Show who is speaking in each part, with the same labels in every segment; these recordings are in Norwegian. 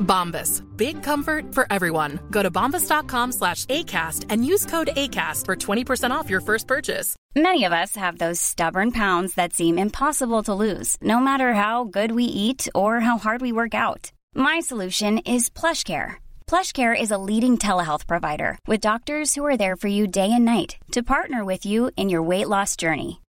Speaker 1: Bombas. Big comfort for everyone. Go to bombas.com slash ACAST and use code ACAST for 20% off your first purchase.
Speaker 2: Many of us have those stubborn pounds that seem impossible to lose, no matter how good we eat or how hard we work out. My solution is PlushCare. PlushCare is a leading telehealth provider with doctors who are there for you day and night to partner with you in your weight loss journey.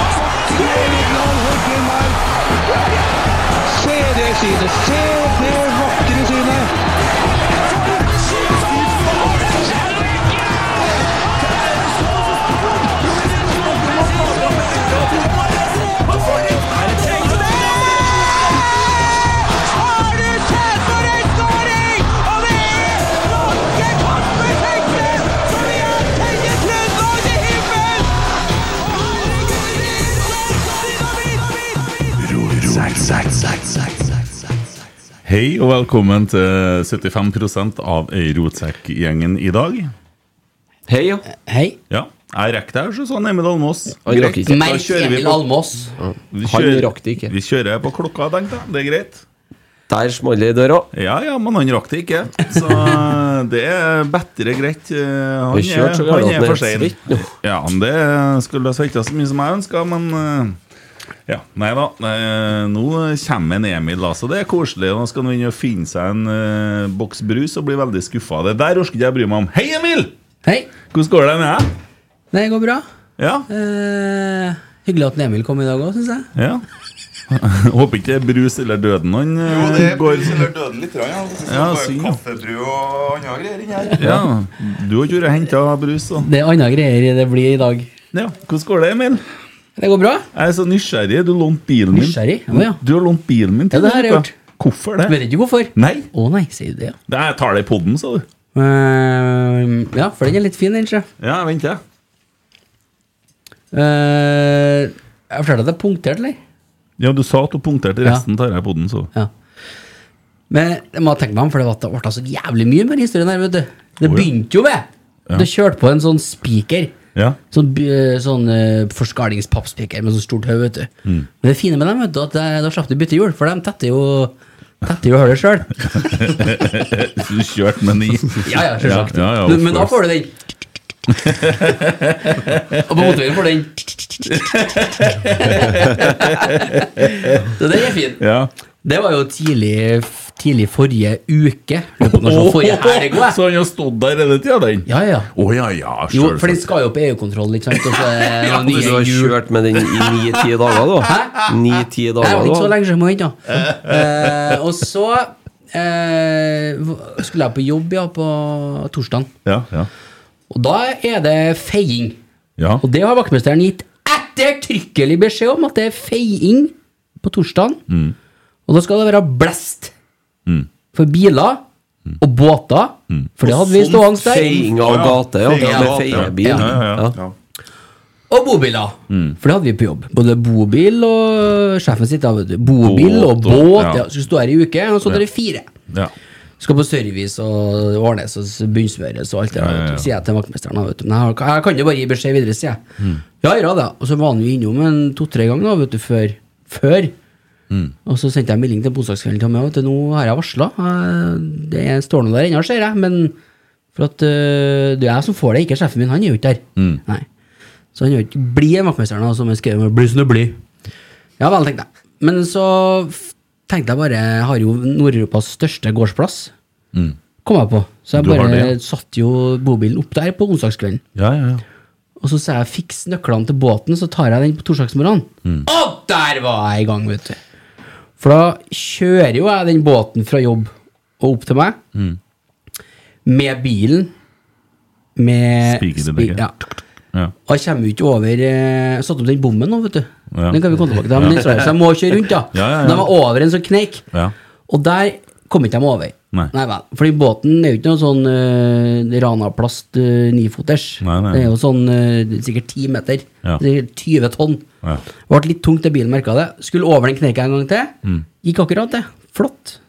Speaker 3: Vegard Heggen her. Se det synet! Se det vakre synet!
Speaker 4: Hei og velkommen til 75 av Rotsekk-gjengen i dag.
Speaker 5: Hei, ja.
Speaker 6: Hei.
Speaker 4: Ja, jeg rekker det her, så sånn Emil Almås.
Speaker 5: Oi,
Speaker 4: Greit,
Speaker 5: rakk ikke.
Speaker 4: da
Speaker 6: Merk
Speaker 4: kjører vi
Speaker 6: Emil
Speaker 4: på-
Speaker 6: Almås.
Speaker 4: vi
Speaker 5: Han
Speaker 4: kjører-
Speaker 5: rakk det ikke.
Speaker 4: Vi kjører på klokka, tenkte jeg. Det er greit.
Speaker 5: Der smalt det i døra.
Speaker 4: Ja, ja, men han rakk det ikke. Så eh, det er bedre greit. Eh, Han
Speaker 5: Vi kjørte så
Speaker 4: er,
Speaker 5: galt
Speaker 4: han
Speaker 5: at
Speaker 4: er for
Speaker 5: det
Speaker 4: sein.
Speaker 5: svitt nå.
Speaker 4: Ja, men det skulle ha svetta så mye som jeg ønska, men eh, ja, Nei da. eh, Nå kommer en Emil, da, så det er koselig. Nå skal han inn og finne seg en eh, boks brus og bli veldig skuffa. Det der orker ikke jeg bry meg om. Hei, Emil!
Speaker 6: Hei.
Speaker 4: Hvordan går det med deg?
Speaker 6: Det går bra.
Speaker 4: Ja,
Speaker 6: Eh, hyggelig at Emil kom i dag òg, syns jeg.
Speaker 4: ja. Håper ikke det er brus eller døden han eh,
Speaker 7: Jo, det
Speaker 4: går
Speaker 7: eller døde litt. Ja,
Speaker 4: Ja,
Speaker 7: ja,
Speaker 4: synd, ja.
Speaker 7: Kaffebrød og andre greier inni her.
Speaker 4: Ja, Du har ikke vært og henta brus, så.
Speaker 6: Det er andre greier det blir i dag.
Speaker 4: Ja, hvordan går det, Emil?
Speaker 6: Det går bra.
Speaker 4: Jeg er så nysgjerrig. Du lånte bilen min.
Speaker 6: Nysgjerrig? Å, ja.
Speaker 4: Du har lånt bilen min. til
Speaker 6: Ja, det har jeg
Speaker 4: noe. Hvorfor det?
Speaker 6: Vet ikke hvorfor.
Speaker 4: Nei,
Speaker 6: Å nei, sier du det, ja.
Speaker 4: det er- jeg tar det i poden, sa du.
Speaker 6: Eh, ja, for den er litt fin, den, sjø.
Speaker 4: Ja, vent, jeg.
Speaker 6: Eh, jeg fortalte at det er punktert, eller?
Speaker 4: Ja, du sa at du punkterte resten, tar jeg i poden, så.
Speaker 6: Ja. Men jeg må tenke meg om, for det var- det ble så jævlig mye med den historien her, vet du. Det
Speaker 4: Å, ja.
Speaker 6: begynte jo med
Speaker 4: Ja.
Speaker 6: Du kjørte på en sånn spiker.
Speaker 4: Ja.
Speaker 6: Sånn, by- sånn eh, forskalingspappspiker med sånn stort høy, vet du.
Speaker 4: Mm.
Speaker 6: Men det fine med dem, vet du, at eh, da slapp du bytte hjul, for de tetter jo Tetter jo hølet sjøl.
Speaker 4: Så du kjørte med ni.
Speaker 6: Ja, ja, selvsagt.
Speaker 4: Ja, ja, ja,
Speaker 6: men, men da får du den. Og på motorveien får du den. Så den er fin.
Speaker 4: Ja.
Speaker 6: Det var jo tidlig, tidlig forrige uke. Lurer på om det var sånn forrige helg
Speaker 4: Åh,
Speaker 6: også, jeg.
Speaker 4: så han har stått der hele tida, den?
Speaker 6: Ja, ja.
Speaker 4: Å ja, ja,
Speaker 6: Jo, for den
Speaker 4: selvsagt.
Speaker 6: skal jo på EU-kontroll, ikke sant. Og så er det noen
Speaker 5: Du
Speaker 6: nye
Speaker 5: har
Speaker 6: hjul.
Speaker 5: kjørt med den i ni-ti dager, da. Ni-ti
Speaker 6: Nei, det
Speaker 5: dager,
Speaker 6: var ikke så
Speaker 5: da.
Speaker 6: lenge siden jeg venta. Eh, og så eh, v- skulle jeg på jobb ja, på torsdag,
Speaker 4: Ja, ja.
Speaker 6: og da er det feiing.
Speaker 4: ja.
Speaker 6: Og det har vaktmesteren gitt ettertrykkelig beskjed om, at det er feiing på torsdag.
Speaker 4: Mm.
Speaker 6: Og da skal det være blest for biler og båter, for det hadde vi stående der.
Speaker 5: Feiing av gate, ja.
Speaker 4: Mm. Feiing av
Speaker 5: Med
Speaker 4: gate, ja.
Speaker 5: feiebil.
Speaker 6: Ja,
Speaker 4: ja, ja. Mm.
Speaker 5: Ja.
Speaker 6: Og bobiler, for det hadde vi på jobb. Både bobil og sjefen sitt. da, vet du. Bobil og
Speaker 4: Båt og-
Speaker 6: båt.
Speaker 4: ja.
Speaker 6: Ja. Så skulle stå her i uke, og så hadde det fire.
Speaker 4: ja.
Speaker 6: Skal på service og ordnes og s- bunnsmøres og alt det der. vet du. Sier jeg til vaktmesteren. da, Vet du. Men jeg, har- jeg kan jo bare gi beskjed videre, sier jeg. Ja, gjør det. Og så var han jo innom en to-tre ganger da, vet du, før. før. Og så sendte jeg melding til bonsdagskvelden til ham. ja, Vet du, nå har jeg varsla. Det er- står nå der ennå, ser jeg. Men for at øh, det er jeg som får det, ikke sjefen min. Han er jo ikke der. Nei. Så han er jo ikke blid, den vaktmesteren, da, som jeg skrev. Bli som du blir. Ja vel, tenkte jeg. Men så f- tenkte jeg bare Jeg har jo Nord-Europas største gårdsplass, kom jeg på. Så jeg
Speaker 4: Du har
Speaker 6: bare
Speaker 4: det,
Speaker 6: satt jo bobilen opp der på onsdagskvelden.
Speaker 4: Ja, ja, ja.
Speaker 6: Og så sa jeg 'fiks nøklene til båten', så tar jeg den på torsdagsmorgenen.
Speaker 4: Mm.
Speaker 6: Og der var jeg i gang, vet du. For da kjører jo jeg den båten fra jobb og opp til meg.
Speaker 4: Mm.
Speaker 6: Med bilen. Med
Speaker 4: Spiker i
Speaker 6: spi-
Speaker 4: begge.
Speaker 6: ja.
Speaker 4: ja.
Speaker 6: Og jeg kommer jo ikke over eh, Satt opp den bommen nå, vet du.
Speaker 4: Ja.
Speaker 6: Den kan vi komme tilbake til. Men den, så jeg må kjøre rundt, da.
Speaker 4: Ja, ja, ja.
Speaker 6: Den var over en sånn kneik.
Speaker 4: Ja.
Speaker 6: Og der kom ikke de over.
Speaker 4: Nei.
Speaker 6: vel. Fordi båten er jo ikke noe sånn eh, ranaplast eh, nifoters.
Speaker 4: Nei, nei.
Speaker 6: Det er jo sånn eh, sikkert 10 meter.
Speaker 4: Ja.
Speaker 6: Sikkert 20 tonn.
Speaker 4: Ja.
Speaker 6: Ble litt tungt, det bilen merka det. Skulle over den kneika en gang til.
Speaker 4: Mm.
Speaker 6: Gikk akkurat det. Flott.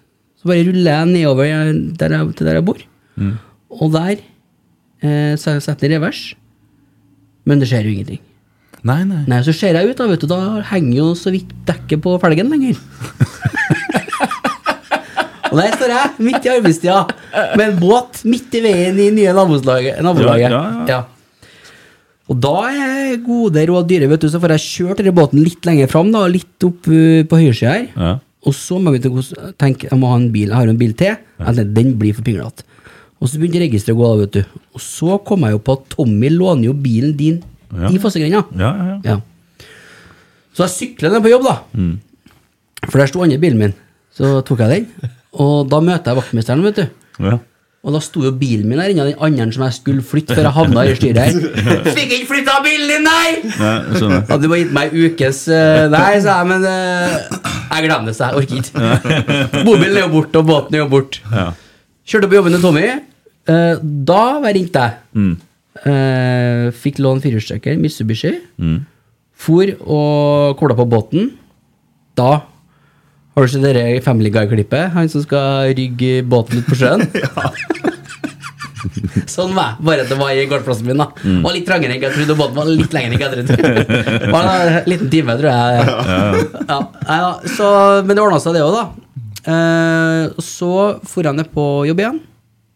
Speaker 6: Så bare ruller jeg nedover eh, der jeg, til der jeg bor.
Speaker 4: Mm.
Speaker 6: Og der eh, så jeg setter jeg revers. Men det skjer jo ingenting.
Speaker 4: Nei, nei.
Speaker 6: Nei, så ser jeg ut, da, vet du, da henger jo så vidt dekket på felgen lenger. Og der står jeg, midt i arbeidstida, med en båt midt i veien i nye nabolaget. nabolaget.
Speaker 4: Ja, ja, ja.
Speaker 6: Og da er gode råd dyre, vet du, så får jeg kjørt denne båten litt lenger fram, da, litt opp uh, på høyresida her.
Speaker 4: Ja.
Speaker 6: Og så må jeg tenke, tenke jeg må ha en bil, jeg har jo en bil til. Jeg tenkte, den blir for pinglete. Og så begynte registeret å gå, da, vet du. Og så kom jeg jo på at Tommy låner jo bilen din
Speaker 4: Ja.
Speaker 6: i Fossegrenda.
Speaker 4: Ja, ja, ja.
Speaker 6: Ja. Så jeg sykler ned på jobb, da. For der sto andre bilen min. Så tok jeg den. Og da møter jeg vaktmesteren, vet du.
Speaker 4: ja.
Speaker 6: Og da sto jo bilen min her inne, den andre som jeg skulle flytte før jeg havna i styret her. Fikk ikke flytta bilen din, nei!
Speaker 4: Nei, jeg skjønner.
Speaker 6: Hadde bare gitt meg ukes eh, Nei, sa jeg, men eh, jeg glemmer det, så jeg orker ikke. Bobilen er jo borte, og båten er jo borte.
Speaker 4: Ja.
Speaker 6: Kjørte på jobben til Tommy. Eh, da var jeg ringt deg. Eh, fikk låne firehjulstrekker, Mitsubishi. For og kola på båten. Da har du sett det Family Guy-klippet? Han som skal rygge båten ut på sjøen? sånn var jeg. Bare at det var i gårdsplassen min. da Var litt trangere enn jeg trodde, og båten var litt lengre enn jeg trodde. var en liten time, tror jeg. Ja, nei da, så, men det ordna seg, det òg, da. Eh, så for jeg ned på jobb igjen.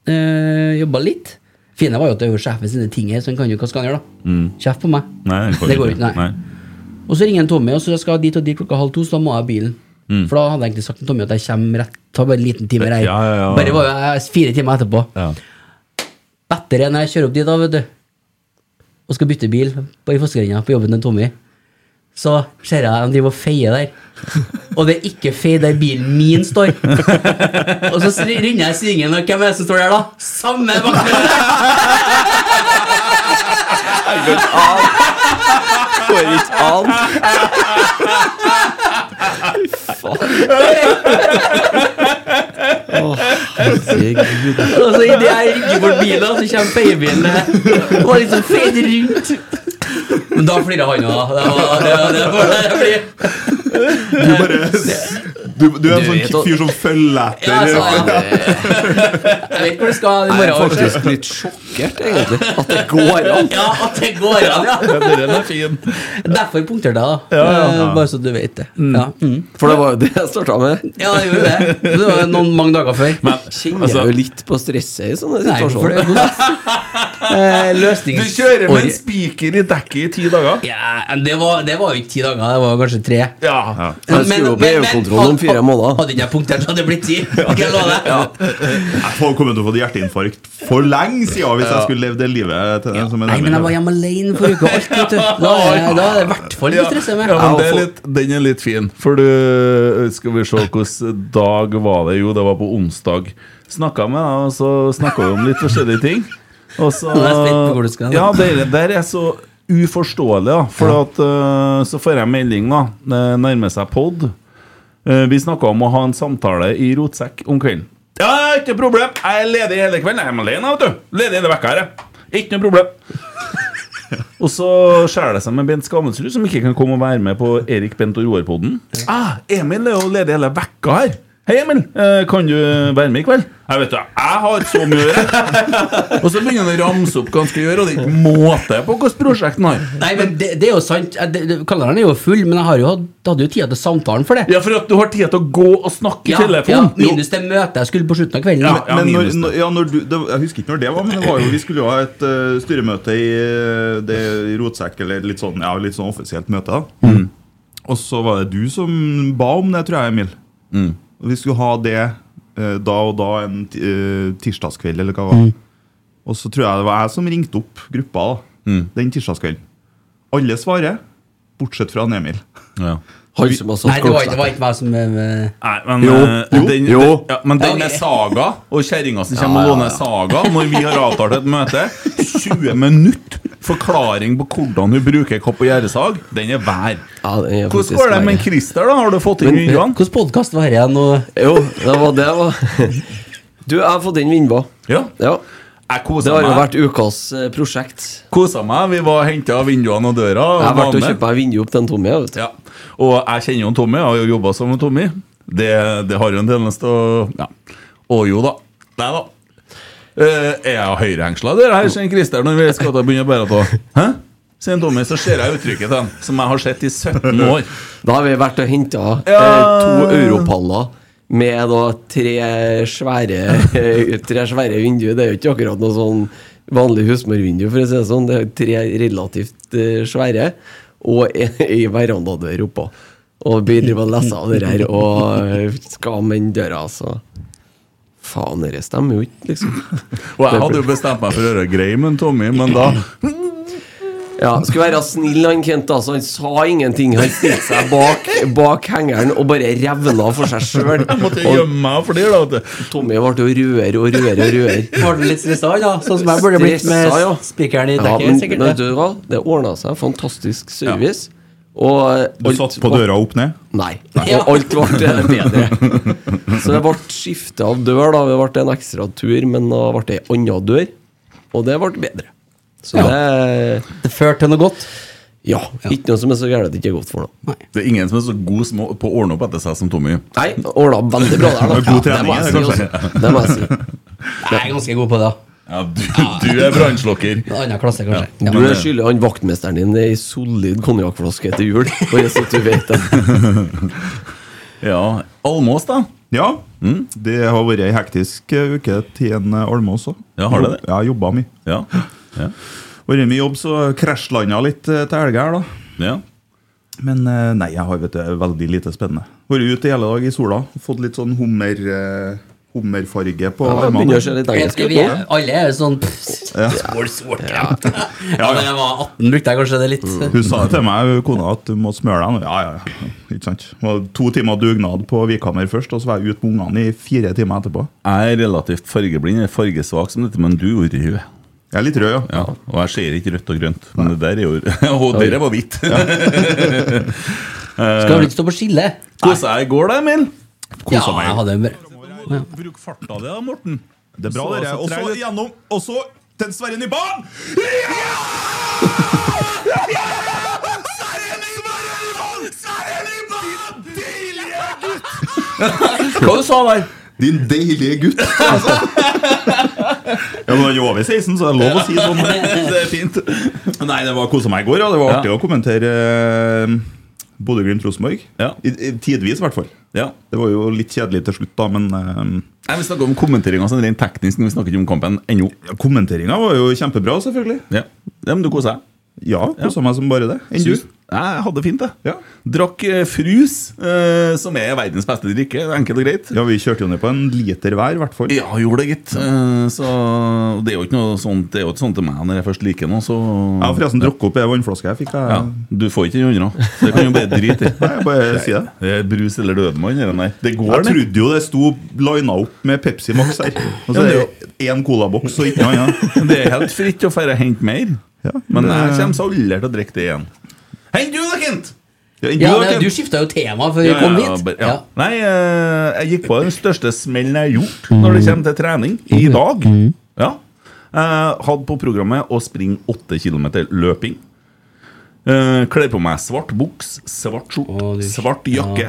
Speaker 6: Eh, Jobba litt. Fine var jo at det er jo sjefen sine ting her, så han kan jo hva skal han gjøre, da? Kjeft på meg.
Speaker 4: Nei, den
Speaker 6: Det går ikke, Mm. nei. Og så ringer en Tommy, og så skal jeg dit og dit klokka halv to, så da må jeg ha bilen. For da hadde jeg egentlig sagt til Tommy at jeg kommer rett, tar bare en liten time her.
Speaker 4: Mm. Ja, ja, ja.
Speaker 6: Bare var jo jeg fire timer etterpå.
Speaker 4: Ja.
Speaker 6: Bedre når jeg kjører opp dit, da, vet du. Og skal bytte bil på, i Foskerenga på jobben til Tommy. Så ser jeg han driver og feier der. Og det er ikke fei der bilen min står. Og så s- ringer jeg svingen, og hvem er det som står der, da? Samme vaktmester!
Speaker 5: Går ikke an! Herregud.
Speaker 6: Og så idet jeg rygger bort bilen, så kommer feiebilen og liksom feier rundt. Men da flirer han òg, da. Det var, det var, det var, det blir-
Speaker 7: Du bare Du, du er en
Speaker 5: Du vet
Speaker 7: sånn
Speaker 5: at-
Speaker 7: fyr som følger
Speaker 6: ja, altså,
Speaker 7: etter.
Speaker 6: så, Jeg vet hvor det skal i
Speaker 5: Jeg er
Speaker 6: morgen. kanskje.
Speaker 5: faktisk litt sjokkert, egentlig. At det går an.
Speaker 6: Ja, at det går an, ja.
Speaker 4: Den er fin.
Speaker 6: Derfor punkterte jeg, da. Eh, Bare så du vet det. Ja, mm.
Speaker 5: For det var jo det jeg starta med.
Speaker 6: ja det gjorde det. Det var jo noen mange dager før.
Speaker 5: Kjenner
Speaker 4: altså-
Speaker 5: jeg jo litt på stresset i sånne
Speaker 6: Nei, for det
Speaker 5: situasjoner.
Speaker 6: Eh, løsnings...
Speaker 4: Du kjører med
Speaker 6: Oi.
Speaker 4: en spiker i dekket i ti dager.
Speaker 6: Ja, men det var, det var jo ikke ti dager, det var kanskje tre.
Speaker 4: Ja.
Speaker 5: Jeg skulle jo på EU-kontroll om fire måneder.
Speaker 6: Hadde ikke jeg punktert, så hadde det blitt ti. Kan jeg love deg?
Speaker 7: Jeg kommer til å få hjerteinfarkt for lenge siden hvis jeg skulle levd det livet til som en
Speaker 6: Nei, men jeg var hjemme alene forrige uke. og Alt, vet du. Da er jeg- da er det i hvert fall ikke stressa med.
Speaker 4: Ja, men det er litt, den er litt fin. For du eh, Skal vi se hvilken dag var det? Jo, det var på onsdag. Snakka med deg, og så snakka vi om litt forskjellige ting. Og så
Speaker 6: Nå er jeg spent på hvor du skal.
Speaker 4: Ja, det der er så uforståelig, da. For at, eh, så får jeg melding, da. Det nærmer seg pod. Eh, vi snakka om å ha en samtale i rotsekk om kvelden. Ja, ikke problem. Jeg er ledig hele kvelden. Jeg er alene, vet du. Ledig hele vekka her, jeg. Ikke noe problem. og så skjærer det seg med Bent Skammelsrud, som ikke kan komme og være med på Erik Bent og Roar-poden. Ah, Emil er jo ledig hele vekka her. Hei, Emil, eh, kan du være med i kveld? Jeg vet du, jeg har så mye å gjøre. og så begynner han å ramse opp hva han skal gjøre, og det er ikke måte på hvilket prosjekt han har.
Speaker 6: Nei, men det, det er jo sant. Jeg- det- det- Kalenderen er jo full, men jeg har jo hatt, hadde jo tid til samtalen for det.
Speaker 4: Ja, for at du har tid til å gå og snakke i telefonen.
Speaker 6: ja, minus det møtet jeg skulle på slutten av kvelden.
Speaker 4: Ja,
Speaker 7: Men når,
Speaker 4: minus det.
Speaker 7: når, ja, når du, det, jeg husker ikke når det var, men det var jo, vi skulle jo ha et eh, styremøte i eh, det, i Rotsekk, eller litt sånn, ja, litt sånn offisielt møte. da.
Speaker 5: Mm.
Speaker 7: Og så var det du som ba om det, tror jeg, Emil.
Speaker 5: Mm.
Speaker 7: Og vi skulle ha det eh, da og da en ti- eh, tirsdagskveld, eller hva det
Speaker 5: Mm.
Speaker 7: var. Og så tror jeg det var jeg som ringte opp gruppa da,
Speaker 5: Mm.
Speaker 7: den tirsdagskvelden. Alle svarer, bortsett fra han Emil.
Speaker 4: Ja.
Speaker 5: Han som
Speaker 6: Nei,
Speaker 5: har
Speaker 6: det var,
Speaker 5: satt
Speaker 6: det var
Speaker 5: kortsletta.
Speaker 6: ikke meg som eh,
Speaker 4: Nei, men,
Speaker 5: Jo,
Speaker 4: eh,
Speaker 5: jo,
Speaker 4: den,
Speaker 5: jo.
Speaker 4: den- Ja, men den
Speaker 6: Ja,
Speaker 4: med
Speaker 6: ok.
Speaker 4: Saga og kjerringa som kommer
Speaker 5: Ja,
Speaker 4: og
Speaker 5: ja, ja.
Speaker 4: låner Saga når vi har avtalt et møte 20 minutter forklaring på hvordan hun bruker kopp og gjerdesag, den er vær.
Speaker 5: Ja, den
Speaker 6: eh,
Speaker 5: er
Speaker 4: Hvordan
Speaker 5: faktisk
Speaker 4: går det med
Speaker 5: verre.
Speaker 4: Christer, da? Har du fått inn
Speaker 5: Men-
Speaker 4: vinduene?
Speaker 6: Hvilken podkast var dette igjen? Og
Speaker 5: Jo, det var det, da. Du, jeg har fått inn vindbå.
Speaker 4: Ja.
Speaker 5: Ja.
Speaker 4: Jeg
Speaker 5: Det
Speaker 4: kosa
Speaker 5: har jo
Speaker 4: meg.
Speaker 5: vært ukas eh, prosjekt.
Speaker 4: Kosa meg. Vi var henta vinduene og døra. Og
Speaker 5: Jeg har vært
Speaker 4: var
Speaker 5: og
Speaker 4: med.
Speaker 5: kjøpt meg vindu opp til en Tommy. jeg, Vet du.
Speaker 4: Ja. Og jeg kjenner jo en Tommy, jeg har jo jobba som en Tommy. Det, det har jo en tendens til å ja. Å jo da. Nei da. Eh, er jeg høyrehengsla der, her, sier Christer, når vi skal ta begynne å bære på? Hæ? Sier en Tommy, så ser jeg uttrykket til han, som jeg har sett i 17 år.
Speaker 5: Da har vi vært og henta
Speaker 4: Ja.
Speaker 5: to europaller med da tre svære Tre svære vinduer. Det er jo ikke akkurat noe sånn vanlig husmorvindu, for å si det sånn. Det er jo tre relativt eh, svære, og ei verandadør oppå. Og vi driver og leser av det her, og eh, skal med den døra, altså. Faen, det stemmer jo ikke, liksom.
Speaker 4: Og jeg hadde jo bestemt meg for å gjøre grei med en Tommy, men da
Speaker 5: Ja, skulle være snill han Kent, altså. Han sa ingenting. Han stilte seg bak, bak hengeren og bare revna for seg sjøl.
Speaker 4: måtte jeg gjemme meg for det. da vet du.
Speaker 5: Tommy ble jo rødere og rødere og rødere.
Speaker 6: Ble du litt stressa, da? Sånn som jeg burde blitt med
Speaker 5: Stressa, ja.
Speaker 6: spikeren i
Speaker 5: Ja,
Speaker 6: dekket.
Speaker 5: men
Speaker 6: sikkert
Speaker 5: vet
Speaker 6: det.
Speaker 5: du hva? Det ordna seg. Fantastisk service. Og
Speaker 7: Du satt på døra opp ned.
Speaker 5: Nei. Og alt ble bedre. Så det ble skifte av dør, da. Det ble en ekstra tur, men da ble det ei anna dør. Og det ble bedre. Så det
Speaker 6: Det førte til noe godt.
Speaker 5: Ja. Ikke noe som er så gærent at det ikke er godt for noe.
Speaker 4: Det er ingen som er så god som å- på å ordne opp etter seg som Tommy.
Speaker 5: Nei, ordna veldig bra der, da.
Speaker 7: Det var god
Speaker 5: Ja, det må jeg si,
Speaker 7: trening, det,
Speaker 5: altså. Det må jeg si.
Speaker 6: Jeg er ganske god på det.
Speaker 4: Ja, du, du er brannslokker.
Speaker 6: En annen klasse, kanskje.
Speaker 4: Ja.
Speaker 5: Du er skyldig han vaktmesteren din ei solid konjakkflaske til jul. Bare så du vet det.
Speaker 4: Ja. Almås, da?
Speaker 7: Ja, Mm. det har vært ei hektisk eh, uke til en eh, Alme også.
Speaker 4: Ja, har det det?
Speaker 7: Jeg har jobba mye.
Speaker 4: Ja. Ja.
Speaker 7: Vært mye jobb, så krasjlanda litt eh, til helga her, da.
Speaker 4: ja.
Speaker 7: Men eh, nei, jeg har vet du, veldig lite spennende. Vært ute hele dag i sola. Fått litt sånn hummer, eh, hummerfarge på
Speaker 5: Ja,
Speaker 7: armene.
Speaker 5: Begynner å se litt engelsk
Speaker 6: Vi
Speaker 5: ut
Speaker 6: er,
Speaker 5: nå.
Speaker 6: alle er jo sånn pff, Skål, skål. Ja. Ja, da jeg var 18, brukte jeg kanskje det litt.
Speaker 5: Mm.
Speaker 7: Hun sa til meg, hun kona, at du må smøre deg. nå. Ja, ja, ja. Ikke sant. Det var to timer dugnad på Vikhammer først, og så var jeg ute med ungene i fire timer etterpå.
Speaker 4: Jeg er relativt fargeblind, eller fargesvak som dette, men du er jo rød.
Speaker 7: Jeg er litt rød, ja.
Speaker 4: Ja, og jeg ser ikke rødt og grønt, men det der er jo Og dere var hvitt.
Speaker 6: Skal vel ikke stå på skille?
Speaker 4: Kosa jeg i går, da, Emil?
Speaker 6: Ja, jeg hadde en
Speaker 4: Bruk farta di, da, Morten.
Speaker 7: Det er bra,
Speaker 4: Så-
Speaker 7: dere.
Speaker 4: så
Speaker 7: Og
Speaker 4: treg
Speaker 7: så
Speaker 4: ut.
Speaker 7: gjennom, og så den Sverre Nyban!
Speaker 4: Hva du sa du der?
Speaker 7: Din deilige gutt! Altså. ja, men han er jo over 16, så det er lov å si sånn.
Speaker 4: Det er fint.
Speaker 7: Nei, det var kosa meg i går, ja. Det var
Speaker 4: Ja.
Speaker 7: artig å kommentere eh, Bodø-Glimt-Rosenborg.
Speaker 4: Ja.
Speaker 7: I- i- Tidvis, i hvert fall.
Speaker 4: Ja.
Speaker 7: Det var jo litt kjedelig til slutt, da, men eh,
Speaker 4: Nei, vi snakker om kommenteringa sånn rent teknisk, men vi snakker ikke om kampen ennå.
Speaker 7: ja, kommenteringa var jo kjempebra, selvfølgelig.
Speaker 4: Ja. ja, men du koser deg.
Speaker 7: Ja, kosa meg som bare det. Enn du?
Speaker 4: Syns- Nei, Jeg hadde det fint, jeg.
Speaker 7: Ja.
Speaker 4: Drakk eh, frus, eh, som er verdens beste drikke. Enkelt og greit.
Speaker 7: Ja, vi kjørte jo ned på en liter hver, i hvert fall.
Speaker 4: Ja, gjorde det, gitt. Eh, Så det er jo ikke noe sånt Det er jo ikke sånt til meg når jeg først liker noe, så
Speaker 7: Jeg har forresten drukket opp ei vannflaske jeg fikk. Jeg,
Speaker 4: Ja, du får ikke den andre. Det kan jo bare drite i.
Speaker 7: Nei, jeg bare sier det.
Speaker 4: Det er brus eller dødmann, eller nei. Det går,
Speaker 7: Jeg
Speaker 4: det.
Speaker 7: trodde jo det sto lina opp med Pepsi Max her. Og så er det én colaboks og ikke noe annet.
Speaker 4: Det er helt fritt å færre hente mer.
Speaker 7: Ja,
Speaker 4: Men
Speaker 7: det-
Speaker 4: jeg kommer så aldri til å drikke det igjen. Hent du, da, Kent!
Speaker 7: Ja, enn
Speaker 6: Ja,
Speaker 7: du,
Speaker 6: det,
Speaker 7: Ken?
Speaker 6: du skifta jo tema før vi kom dit.
Speaker 4: bare- ja.
Speaker 6: Ja.
Speaker 4: Nei, eh, jeg gikk på den største smellen jeg har gjort
Speaker 6: Mm.
Speaker 4: når det kommer til trening, i dag. Ja. Eh, Hadde på programmet å springe åtte kilometer løping. Eh, Kler på meg svart buks, svart skjort,
Speaker 6: Å, du-
Speaker 4: svart jakke.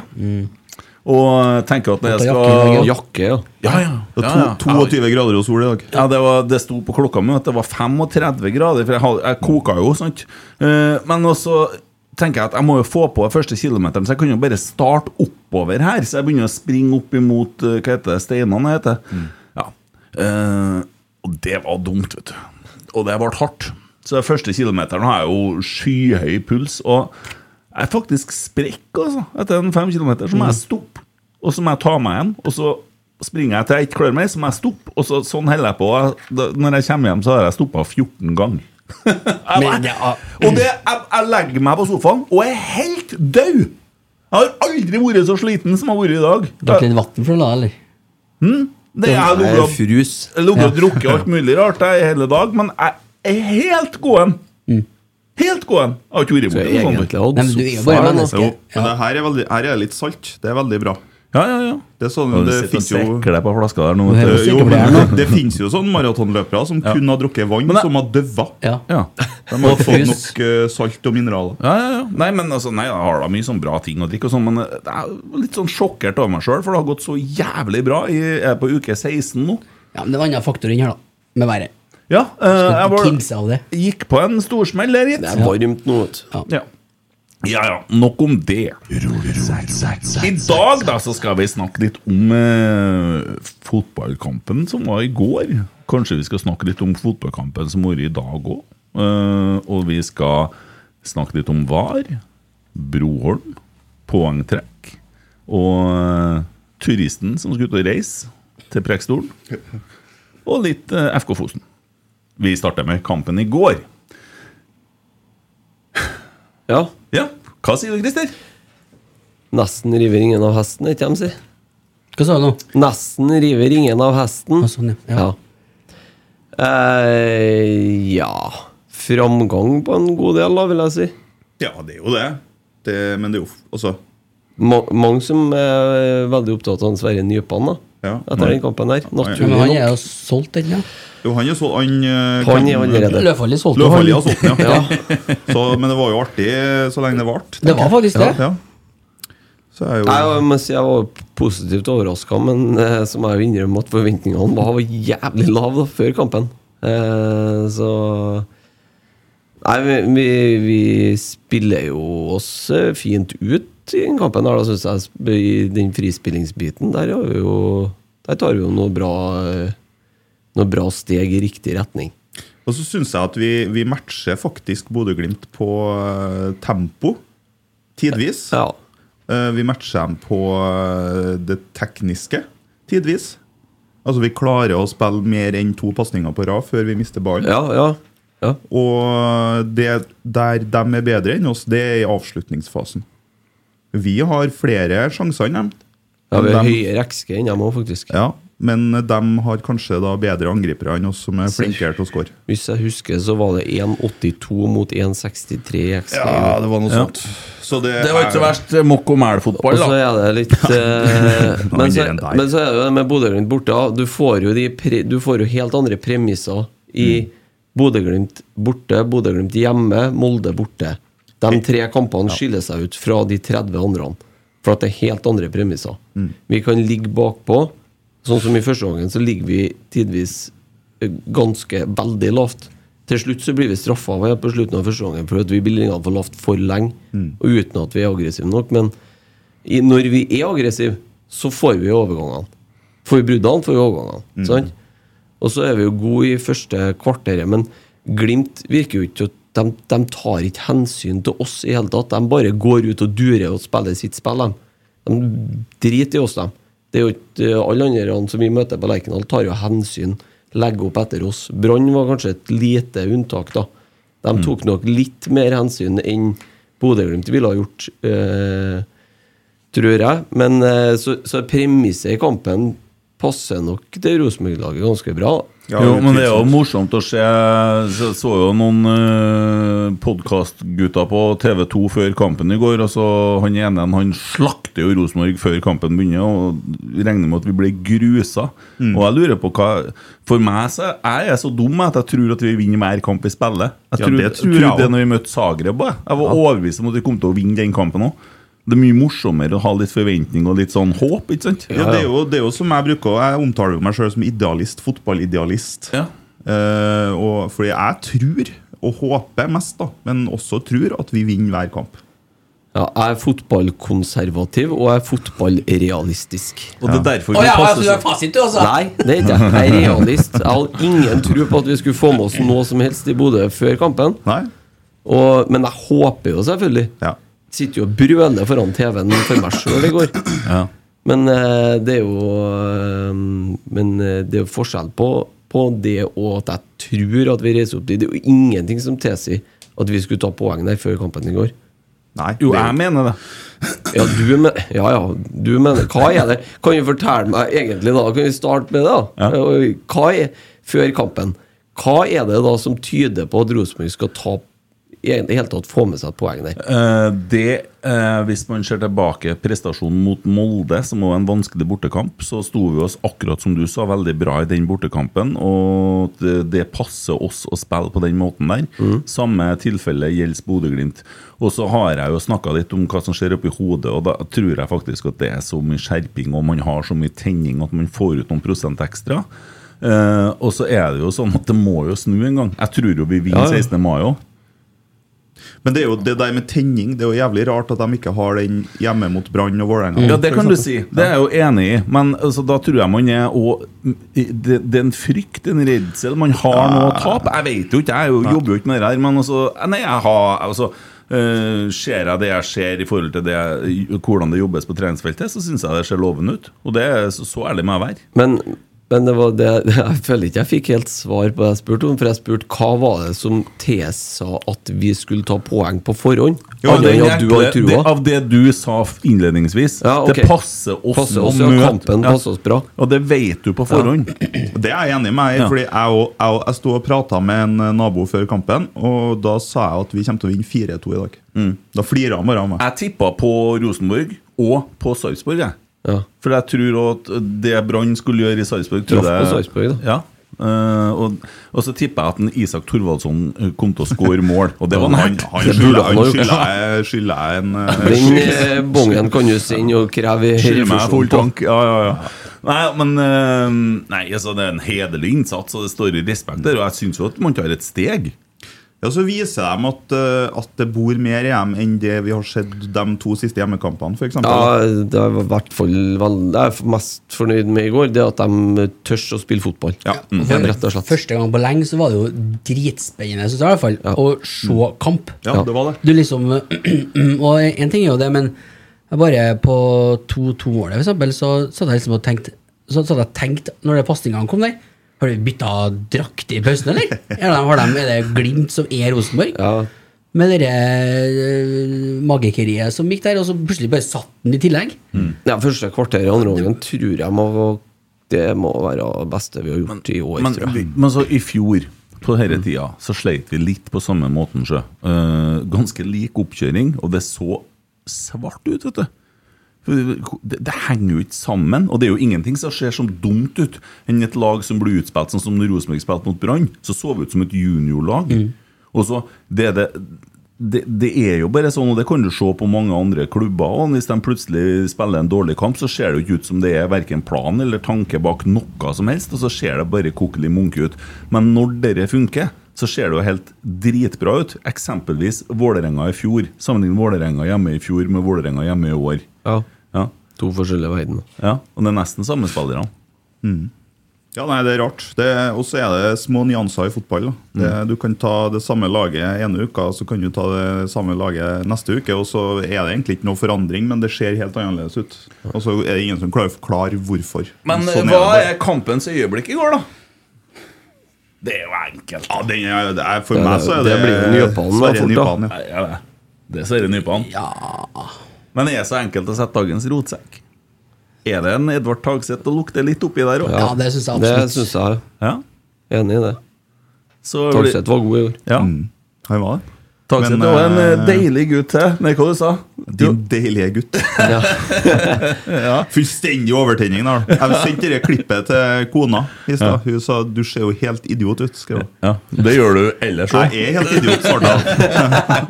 Speaker 4: Og tenker at det
Speaker 6: Ta jakken
Speaker 4: skal
Speaker 6: mm. i dag,
Speaker 4: Ja,
Speaker 5: Jakke, ja.
Speaker 4: ja. ja,
Speaker 7: Det
Speaker 4: ja,
Speaker 7: er to, 22 grader og sol i dag.
Speaker 4: ja, det, var, det sto på klokka mi at det var 35 grader, for jeg, hadde, jeg koka jo, sant. Eh, men også tenker jeg at jeg må jo få på den første kilometeren, så jeg kan jo bare starte oppover her. Så jeg begynner å springe opp imot eh, hva heter det, steinene heter. det? Ja. Eh, og det var dumt, vet du. Og det ble hardt. Så den første kilometeren har jeg jo skyhøy puls, og jeg er faktisk sprekk, altså. Etter en fem kilometer så må jeg stoppe, og så må jeg ta meg igjen. Og så springer jeg til jeg ikke klarer mer, så må jeg stoppe, og så, sånn holder jeg på. Jeg- da- Når jeg kommer hjem, så har jeg stoppa 14 ganger. Jeg-
Speaker 6: Men, ja.
Speaker 4: Og det, jeg, jeg legger meg på sofaen og er helt død! Jeg har aldri vært så sliten som jeg har vært i dag.
Speaker 6: Drakk litt vann for å la, eller?
Speaker 4: Det er
Speaker 5: Jeg
Speaker 4: noe
Speaker 5: er frus.
Speaker 4: jeg lå og drukket alt mulig rart jeg, i hele dag, men jeg er helt gåen. Helt gåen. Jeg har ikke vært
Speaker 5: Så
Speaker 4: sånn. borti
Speaker 5: jeg
Speaker 4: noe
Speaker 5: egentlig
Speaker 4: sånt.
Speaker 5: hadde
Speaker 6: Nei, men du er jo bare
Speaker 5: sofaen,
Speaker 6: menneske.
Speaker 5: altså.
Speaker 7: Jo, men det her, er veldig, her er litt salt. Det er veldig bra.
Speaker 4: Ja, ja, ja.
Speaker 7: Det, er sånn,
Speaker 4: Og du
Speaker 7: det
Speaker 4: sitter og
Speaker 7: finnes jo
Speaker 4: sekker deg på flaska der nå.
Speaker 6: Du
Speaker 4: vet
Speaker 6: hører
Speaker 4: du.
Speaker 6: sikkert
Speaker 7: jo,
Speaker 6: på det her
Speaker 7: men
Speaker 6: nå.
Speaker 7: det finnes jo sånn maratonløpere som kun har drukket vann,
Speaker 4: det-
Speaker 7: som har døva.
Speaker 6: Ja.
Speaker 4: Ja.
Speaker 7: De har
Speaker 6: Og
Speaker 7: fått
Speaker 6: frus.
Speaker 7: nok eh, salt og mineraler.
Speaker 4: Ja, ja, ja. Nei, men altså, nei, jeg har da mye sånn bra ting å drikke og sånn, men jeg er litt sånn sjokkert over meg sjøl, for det har gått så jævlig bra. Jeg er på uke 16 nå.
Speaker 6: ja, men det var en annen faktor inn her, da. Med været.
Speaker 4: Ja, eh, jeg
Speaker 6: Skal
Speaker 4: var,
Speaker 6: ikke kimse av det.
Speaker 4: gikk på en storsmell der, gitt.
Speaker 5: Det er varmt nå, vet du.
Speaker 4: Ja. ja ja, nok om det. I dag da så skal vi snakke litt om eh, fotballkampen som var i går. Kanskje vi skal snakke litt om fotballkampen som var i dag òg. Eh, og vi skal snakke litt om VAR, Broholm, poengtrekk og eh, turisten som skulle ut og reise til Preikestolen. Og litt eh, FK Fosen. Vi starter med kampen i går.
Speaker 5: Ja.
Speaker 4: Ja, hva sier du, Christer?
Speaker 5: Nesten river ingen av hesten, ikke de sier?
Speaker 6: Hva sa du nå?
Speaker 5: Nesten river ingen av hesten.
Speaker 6: Ah, sånn, ja.
Speaker 5: ja. Eh, ja Framgang på en god del, da, vil jeg si.
Speaker 7: Ja, det er jo det. det men det er jo f- altså
Speaker 5: Ma mange som er veldig opptatt av han Sverre Nypan da
Speaker 7: Ja.
Speaker 5: etter den kampen der.
Speaker 6: Ja, men
Speaker 5: Naturlig
Speaker 6: han er
Speaker 5: nok.
Speaker 6: jo solgt ennå.
Speaker 7: Jo, han er så Han, eh,
Speaker 5: Han
Speaker 7: kan-
Speaker 5: er allerede
Speaker 6: Løvfallet solgte jo
Speaker 7: Løvfallet
Speaker 6: han.
Speaker 7: har solgt den, ja. Så, men det var jo artig eh, så lenge det varte.
Speaker 6: Det var faktisk det.
Speaker 7: Ja. Så er jo
Speaker 5: Nei, Jeg må si jeg var positivt overraska, men eh, så må jeg jo innrømme at forventningene var jævlig lave da, før kampen. Eh, så Nei, vi, vi, vi spiller jo oss eh, fint ut i den kampen her, da, syns jeg. sp- I den frispillingsbiten der har vi jo Der tar vi jo noe bra eh, Noe bra steg i riktig retning.
Speaker 7: Og så syns jeg at vi, vi matcher faktisk Bodø-Glimt på eh, tempo, tidvis.
Speaker 5: Ja.
Speaker 7: Eh, vi matcher dem på eh, det tekniske, tidvis. Altså, vi klarer å spille mer enn to pasninger på rad før vi mister ballen.
Speaker 5: Ja, ja. ja.
Speaker 7: Og det der de er bedre enn oss, det er i avslutningsfasen. Vi har flere sjanser enn dem.
Speaker 5: ja vi
Speaker 7: Men
Speaker 5: har
Speaker 7: dem-
Speaker 5: høyere XG enn dem òg, faktisk.
Speaker 7: Ja, men de har kanskje da bedre angripere enn oss som er flinkere til å score.
Speaker 5: Hvis jeg husker, så var det 1,82 mot 1,63 i XG.
Speaker 7: Ja, det var noe sånt. Så det,
Speaker 4: Det var ikke så verst eh, mokk og mæl-fotball,
Speaker 5: Og så
Speaker 4: da.
Speaker 5: er det litt eh, men, så,
Speaker 7: mindre enn deg.
Speaker 5: men så er det jo det med Bodø-Glimt borte. ja. Du får, jo de pre, du får jo helt andre premisser i Bodø-Glimt borte, Bodø-Glimt hjemme, Molde borte. De tre kampene skiller seg ut fra de 30 andre. For at det er helt andre premisser. Vi kan ligge bakpå. Sånn som i første gangen, så ligger vi tidvis eh, ganske veldig lavt. Til slutt så blir vi straffa på slutten av første gangen for at vi blir liggende for lavt for lenge. Og uten at vi er aggressive nok. Men i, når vi er aggressive, så får vi overgangene. Får vi bruddene, får vi overgangene. Sant? Og så er vi jo gode i første kvarteret, men Glimt virker jo ikke å- de, de tar ikke hensyn til oss i hele tatt. De bare går ut og durer og spiller sitt spill, dem. De driter i oss, dem. Det er jo ikke eh, alle andre som vi møter på Lerkendal, tar jo hensyn, legger opp etter oss. Brann var kanskje et lite unntak, da. De tok nok litt mer hensyn enn Bodø-Glimt ville ha gjort. Eh, tror jeg. Men eh, så, så premisset i kampen passer nok til Rosenborg-laget ganske bra.
Speaker 7: Ja,
Speaker 4: jo, men det er jo
Speaker 7: utvilsomt.
Speaker 4: morsomt å se Jeg så jo noen uh, podkastgutter på TV2 før kampen i går. Altså, han ene han slakter jo Rosenborg før kampen begynner, og regner med at vi blir grusa. Og jeg lurer på hva For meg så er jeg så dum at jeg tror at vi vinner mer kamp i spillet. Jeg
Speaker 7: Ja,
Speaker 4: tror,
Speaker 7: det
Speaker 4: jeg
Speaker 7: tror jeg
Speaker 4: trodde
Speaker 7: også.
Speaker 4: når vi møtte Zagreb. Jeg, jeg var overbevist om at vi kom til å vinne den kampen òg. Det er mye morsommere å ha litt forventning og litt sånn håp, ikke sant?
Speaker 7: Ja, det, er jo, det er jo som jeg bruker Jeg omtaler jo meg sjøl som idealist, fotballidealist.
Speaker 4: Ja.
Speaker 7: Eh, og, fordi jeg tror, og håper mest, da, men også tror, at vi vinner hver kamp.
Speaker 5: Ja, jeg er fotballkonservativ, og jeg er fotballrealistisk.
Speaker 4: Og det er derfor
Speaker 6: Å
Speaker 4: vi
Speaker 6: ja, altså,
Speaker 4: passer
Speaker 6: du
Speaker 4: så
Speaker 6: har fasit, du, altså?
Speaker 5: Nei, det er ikke jeg. Jeg er realist. Jeg hadde ingen tro på at vi skulle få med oss noe som helst i Bodø før kampen.
Speaker 7: Nei?
Speaker 5: Og, men jeg håper jo selvfølgelig.
Speaker 7: Ja.
Speaker 5: Sitter jo og brøler foran TV-en for meg sjøl i går. Men eh, det er jo eh, Men eh, det er jo forskjell på, på det og at jeg tror at vi reiser opp dit. Det er jo ingenting som tilsier at vi skulle ta poeng der før kampen i går.
Speaker 7: Nei.
Speaker 4: Jo,
Speaker 7: det er
Speaker 4: jeg mener det.
Speaker 5: Ja, du, men, ja, ja, du mener Hva er det? Kan du fortelle meg egentlig, da? Kan vi starte med det? da?
Speaker 4: Ja.
Speaker 5: Og Hva er, før kampen, hva er det da som tyder på at Rosenborg skal ta i det hele tatt få med seg et poeng der?
Speaker 4: Eh, det, eh, hvis man ser tilbake prestasjonen mot Molde, som var en vanskelig bortekamp, så sto vi oss akkurat som du sa, veldig bra i den bortekampen. Og det, det passer oss å spille på den måten der.
Speaker 5: Mm.
Speaker 4: Samme tilfelle gjelder Bodø-Glimt. Og så har jeg jo snakka litt om hva som skjer oppi hodet, og da tror jeg faktisk at det er så mye skjerping, og man har så mye tenning at man får ut noen prosent ekstra. Eh, og så er det jo sånn at det må jo snu en gang. Jeg tror jo vi vinner
Speaker 5: Ja, ja.
Speaker 4: 16. mai òg.
Speaker 7: Men det er jo det der med tenning. Det er jo jævlig rart at de ikke har den hjemme mot Brann og Vålerenga.
Speaker 5: Mm.
Speaker 4: Ja, det
Speaker 7: for
Speaker 4: kan du
Speaker 7: eksempel.
Speaker 4: si. Det er jeg jo enig i. Men altså, da tror jeg man er og, det, det er en frykt, en redsel. Man har noe å tape. Jeg vet jo ikke, jeg er jo, jobber jo ikke med det her. Men altså, nei, jeg har altså, øh, Ser jeg det jeg ser i forhold til det, jeg- hvordan det jobbes på treningsfeltet, så syns jeg det ser lovende ut. Og det er så, så ærlig må jeg være.
Speaker 5: Men, men det var det, jeg føler ikke jeg fikk helt svar på det jeg spurte om. For jeg spurte hva var det som tilsa at vi skulle ta poeng på forhånd?
Speaker 4: Jo,
Speaker 5: Annet
Speaker 4: det
Speaker 5: enn
Speaker 4: er
Speaker 5: at du har
Speaker 4: det- det-
Speaker 5: trua.
Speaker 4: Av det du sa f- innledningsvis,
Speaker 5: Ja, ok.
Speaker 4: det passer oss,
Speaker 5: Passer
Speaker 4: å
Speaker 5: oss, ja,
Speaker 4: møte-
Speaker 5: kampen passer oss bra.
Speaker 4: Og det vet du på forhånd.
Speaker 7: Og Det er jeg enig med.
Speaker 4: Ja.
Speaker 7: Fordi jeg, og, jeg, og- jeg sto og prata med en eh, nabo før kampen, og da sa jeg at vi kommer til å vinne 4-2 i dag. Da flirer han bare av meg.
Speaker 4: Mm. Jeg tippa på Rosenborg og på Sarpsborg, jeg.
Speaker 5: Ja.
Speaker 4: For jeg tror at det Brann skulle gjøre i Sarpsborg
Speaker 5: Traff
Speaker 4: trodde jeg-
Speaker 5: på Sarpsborg, da.
Speaker 4: Ja. Eh, og, og så tippa jeg at en Isak Thorvaldsson eh, kom til å score mål, og det var
Speaker 7: Han,
Speaker 4: nært.
Speaker 7: han
Speaker 5: Det
Speaker 7: skylder
Speaker 5: burde han ha
Speaker 7: han
Speaker 5: gjort.
Speaker 7: skylder jeg, skylder jeg en eh,
Speaker 5: Den eh, bongen kan du sende og kreve
Speaker 4: Skylder meg full
Speaker 5: refusjon på.
Speaker 4: tank. Ja, ja, ja. Nei, men eh, Nei, altså, det er en hederlig innsats, og det står i respekt der. Og jeg syns jo at man tar et steg.
Speaker 7: Ja, Så viser de at, eh, at det bor mer i dem enn det vi har sett de to siste hjemmekampene, f.eks.
Speaker 5: Ja, det er i hvert fall vel- Det jeg er mest fornøyd med i går, det er at de tør å spille fotball.
Speaker 7: Mhm.
Speaker 5: Rett og slett.
Speaker 6: Første gang på lenge så var det jo dritspennende, synes jeg i hvert fall, å se kamp.
Speaker 7: Ja, det var det.
Speaker 6: Du liksom Og en ting er jo det, men jeg bare på 2-2-målet, for eksempel, så satt jeg liksom og tenkte Så satt jeg og tenkte, når det pasningene kom der Har de bytta drakt i pausen, eller? Er det, har de, er det Glimt som er Rosenborg?
Speaker 5: Ja.
Speaker 6: Med det øh, magikeriet som gikk der, og så plutselig bare satt den i tillegg.
Speaker 5: Ja, første kvarter i andre omgangen tror jeg må Det må være det beste vi har gjort i år,
Speaker 4: Men,
Speaker 5: tror jeg.
Speaker 4: vi- men så i fjor på
Speaker 7: Mm.
Speaker 4: denne tida så sleit vi litt på samme måten. Sjø. Eh, ganske lik oppkjøring, og det så svart ut, vet du. For Det, det henger jo ikke sammen, og det er jo ingenting som ser som dumt ut enn et lag som blir utspilt sånn som når Rosenborg spilte mot Brann. Så så vi ut som et juniorlag. Og så, det, er det, det, det er jo bare sånn, og det kan du se på mange andre klubber òg. Hvis de plutselig spiller en dårlig kamp, så ser det jo ikke ut som det er verken plan eller tanke bak noe som helst, og så ser det bare kokelig munke ut. Men når dette funker, så ser det jo helt dritbra ut. Eksempelvis Vålerenga i fjor. Sammenlign Vålerenga hjemme i fjor med Vålerenga hjemme i år.
Speaker 5: Ja.
Speaker 4: Ja,
Speaker 5: To forskjellige verdener.
Speaker 4: ja. Og det er nesten samme spillerne.
Speaker 7: Ja, nei, det er rart. Det- Og så er det små nyanser i fotball. Da. Det,
Speaker 5: Mm.
Speaker 7: Du kan ta det samme laget ene uka, så kan du ta det samme laget neste uke, og så er det egentlig ikke noe forandring, men det ser helt annerledes ut. Og så er det ingen som klarer å forklare hvorfor.
Speaker 4: Men
Speaker 7: Sånn
Speaker 4: hva
Speaker 7: det bare.
Speaker 4: er kampens øyeblikk i går, da? Det er jo enkelt.
Speaker 7: Ja, den er, det er, For
Speaker 5: Ja,
Speaker 7: meg
Speaker 5: det-
Speaker 7: så er
Speaker 5: det
Speaker 7: det,
Speaker 5: blir jo Nypanen, da,
Speaker 7: Sverre
Speaker 5: fort, da.
Speaker 7: Nypanen, ja.
Speaker 4: Nei, ja, det. det er Sverre Nypan.
Speaker 6: Ja
Speaker 4: Men det er så enkelt å sette dagens rotsekk. Er det en Edvard Tagseth å lukte litt oppi der òg?
Speaker 6: Ja, det synes jeg
Speaker 5: Det
Speaker 6: absolutt.
Speaker 5: syns jeg.
Speaker 4: Ja.
Speaker 5: Enig i det.
Speaker 4: Så blir-
Speaker 5: Tagseth var god i år.
Speaker 4: Ja.
Speaker 7: Mm. Han var det. Men,
Speaker 4: Tagseth var en eh,
Speaker 7: eh,
Speaker 4: deilig gutt til. Nei, hva du sa
Speaker 7: Din deilige gutt.
Speaker 5: Ja.
Speaker 7: Fullstendig overtenning. da. Jeg sendte det klippet til kona i stad. Hun sa 'du ser jo helt idiot ut'. skrev hun.
Speaker 4: Ja, Det gjør du ellers òg.
Speaker 7: Jeg er helt idiot, svarte han.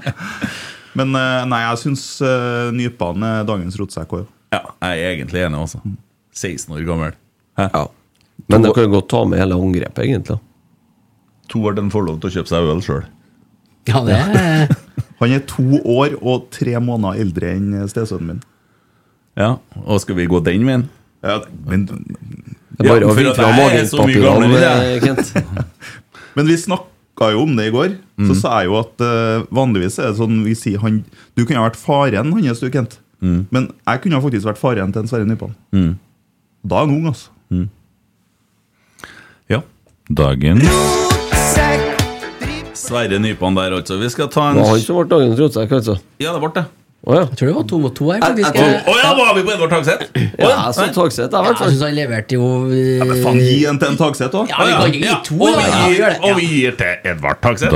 Speaker 7: Men eh, nei, jeg syns uh, nypene er dagens rotsekk òg.
Speaker 4: Ja, jeg er egentlig enig, altså. 16 år gammel.
Speaker 5: Ja. Men du kan jo godt ta med hele angrepet, egentlig.
Speaker 4: To år den får lov til å kjøpe seg øl sjøl.
Speaker 6: Ja, det er
Speaker 7: Han er to år og tre måneder eldre enn stesønnen min.
Speaker 4: Ja, og skal vi gå den veien?
Speaker 7: Ja, men,
Speaker 5: Det er bare
Speaker 4: Ja,
Speaker 5: å
Speaker 4: for
Speaker 5: vite
Speaker 4: at
Speaker 5: fra
Speaker 4: jeg er så mye
Speaker 5: magepapirene,
Speaker 4: gamlere,
Speaker 5: Kent.
Speaker 7: men vi snakka jo om det i går. Så
Speaker 5: Mm.
Speaker 7: sa jeg jo at eh, vanligvis er det sånn vi sier han Du kunne ha vært faren hans, du, Kent.
Speaker 5: Mm.
Speaker 7: Men jeg kunne ha faktisk vært faren til en Sverre Nypan. Da er han ung, altså.
Speaker 4: Ja. Dagen Sverre Nypan der, altså. Vi skal ta
Speaker 5: Det
Speaker 4: en
Speaker 5: var han som ble dagens rotsekk, altså.
Speaker 4: Ja, det ble det.
Speaker 5: Å ja.
Speaker 6: Jeg tror det var to mot to her,
Speaker 5: Jeg- jeg
Speaker 6: faktisk.
Speaker 5: tror-
Speaker 6: Jeg,
Speaker 4: Å ja, var vi på Edvard Tagseth? Å
Speaker 5: ja
Speaker 4: ja,
Speaker 5: jeg så
Speaker 4: nei.
Speaker 5: Tagseth, jeg, i hvert
Speaker 6: jeg
Speaker 5: fall.
Speaker 6: syns han leverte jo eh,
Speaker 7: Men faen, gi en til en Tagseth òg!
Speaker 6: Ja, vi kan ikke gi to,
Speaker 4: og,
Speaker 6: da. Ja,
Speaker 4: vi
Speaker 6: vi
Speaker 4: gir,
Speaker 6: gjør det.
Speaker 4: og vi gir til Edvard Tagseth.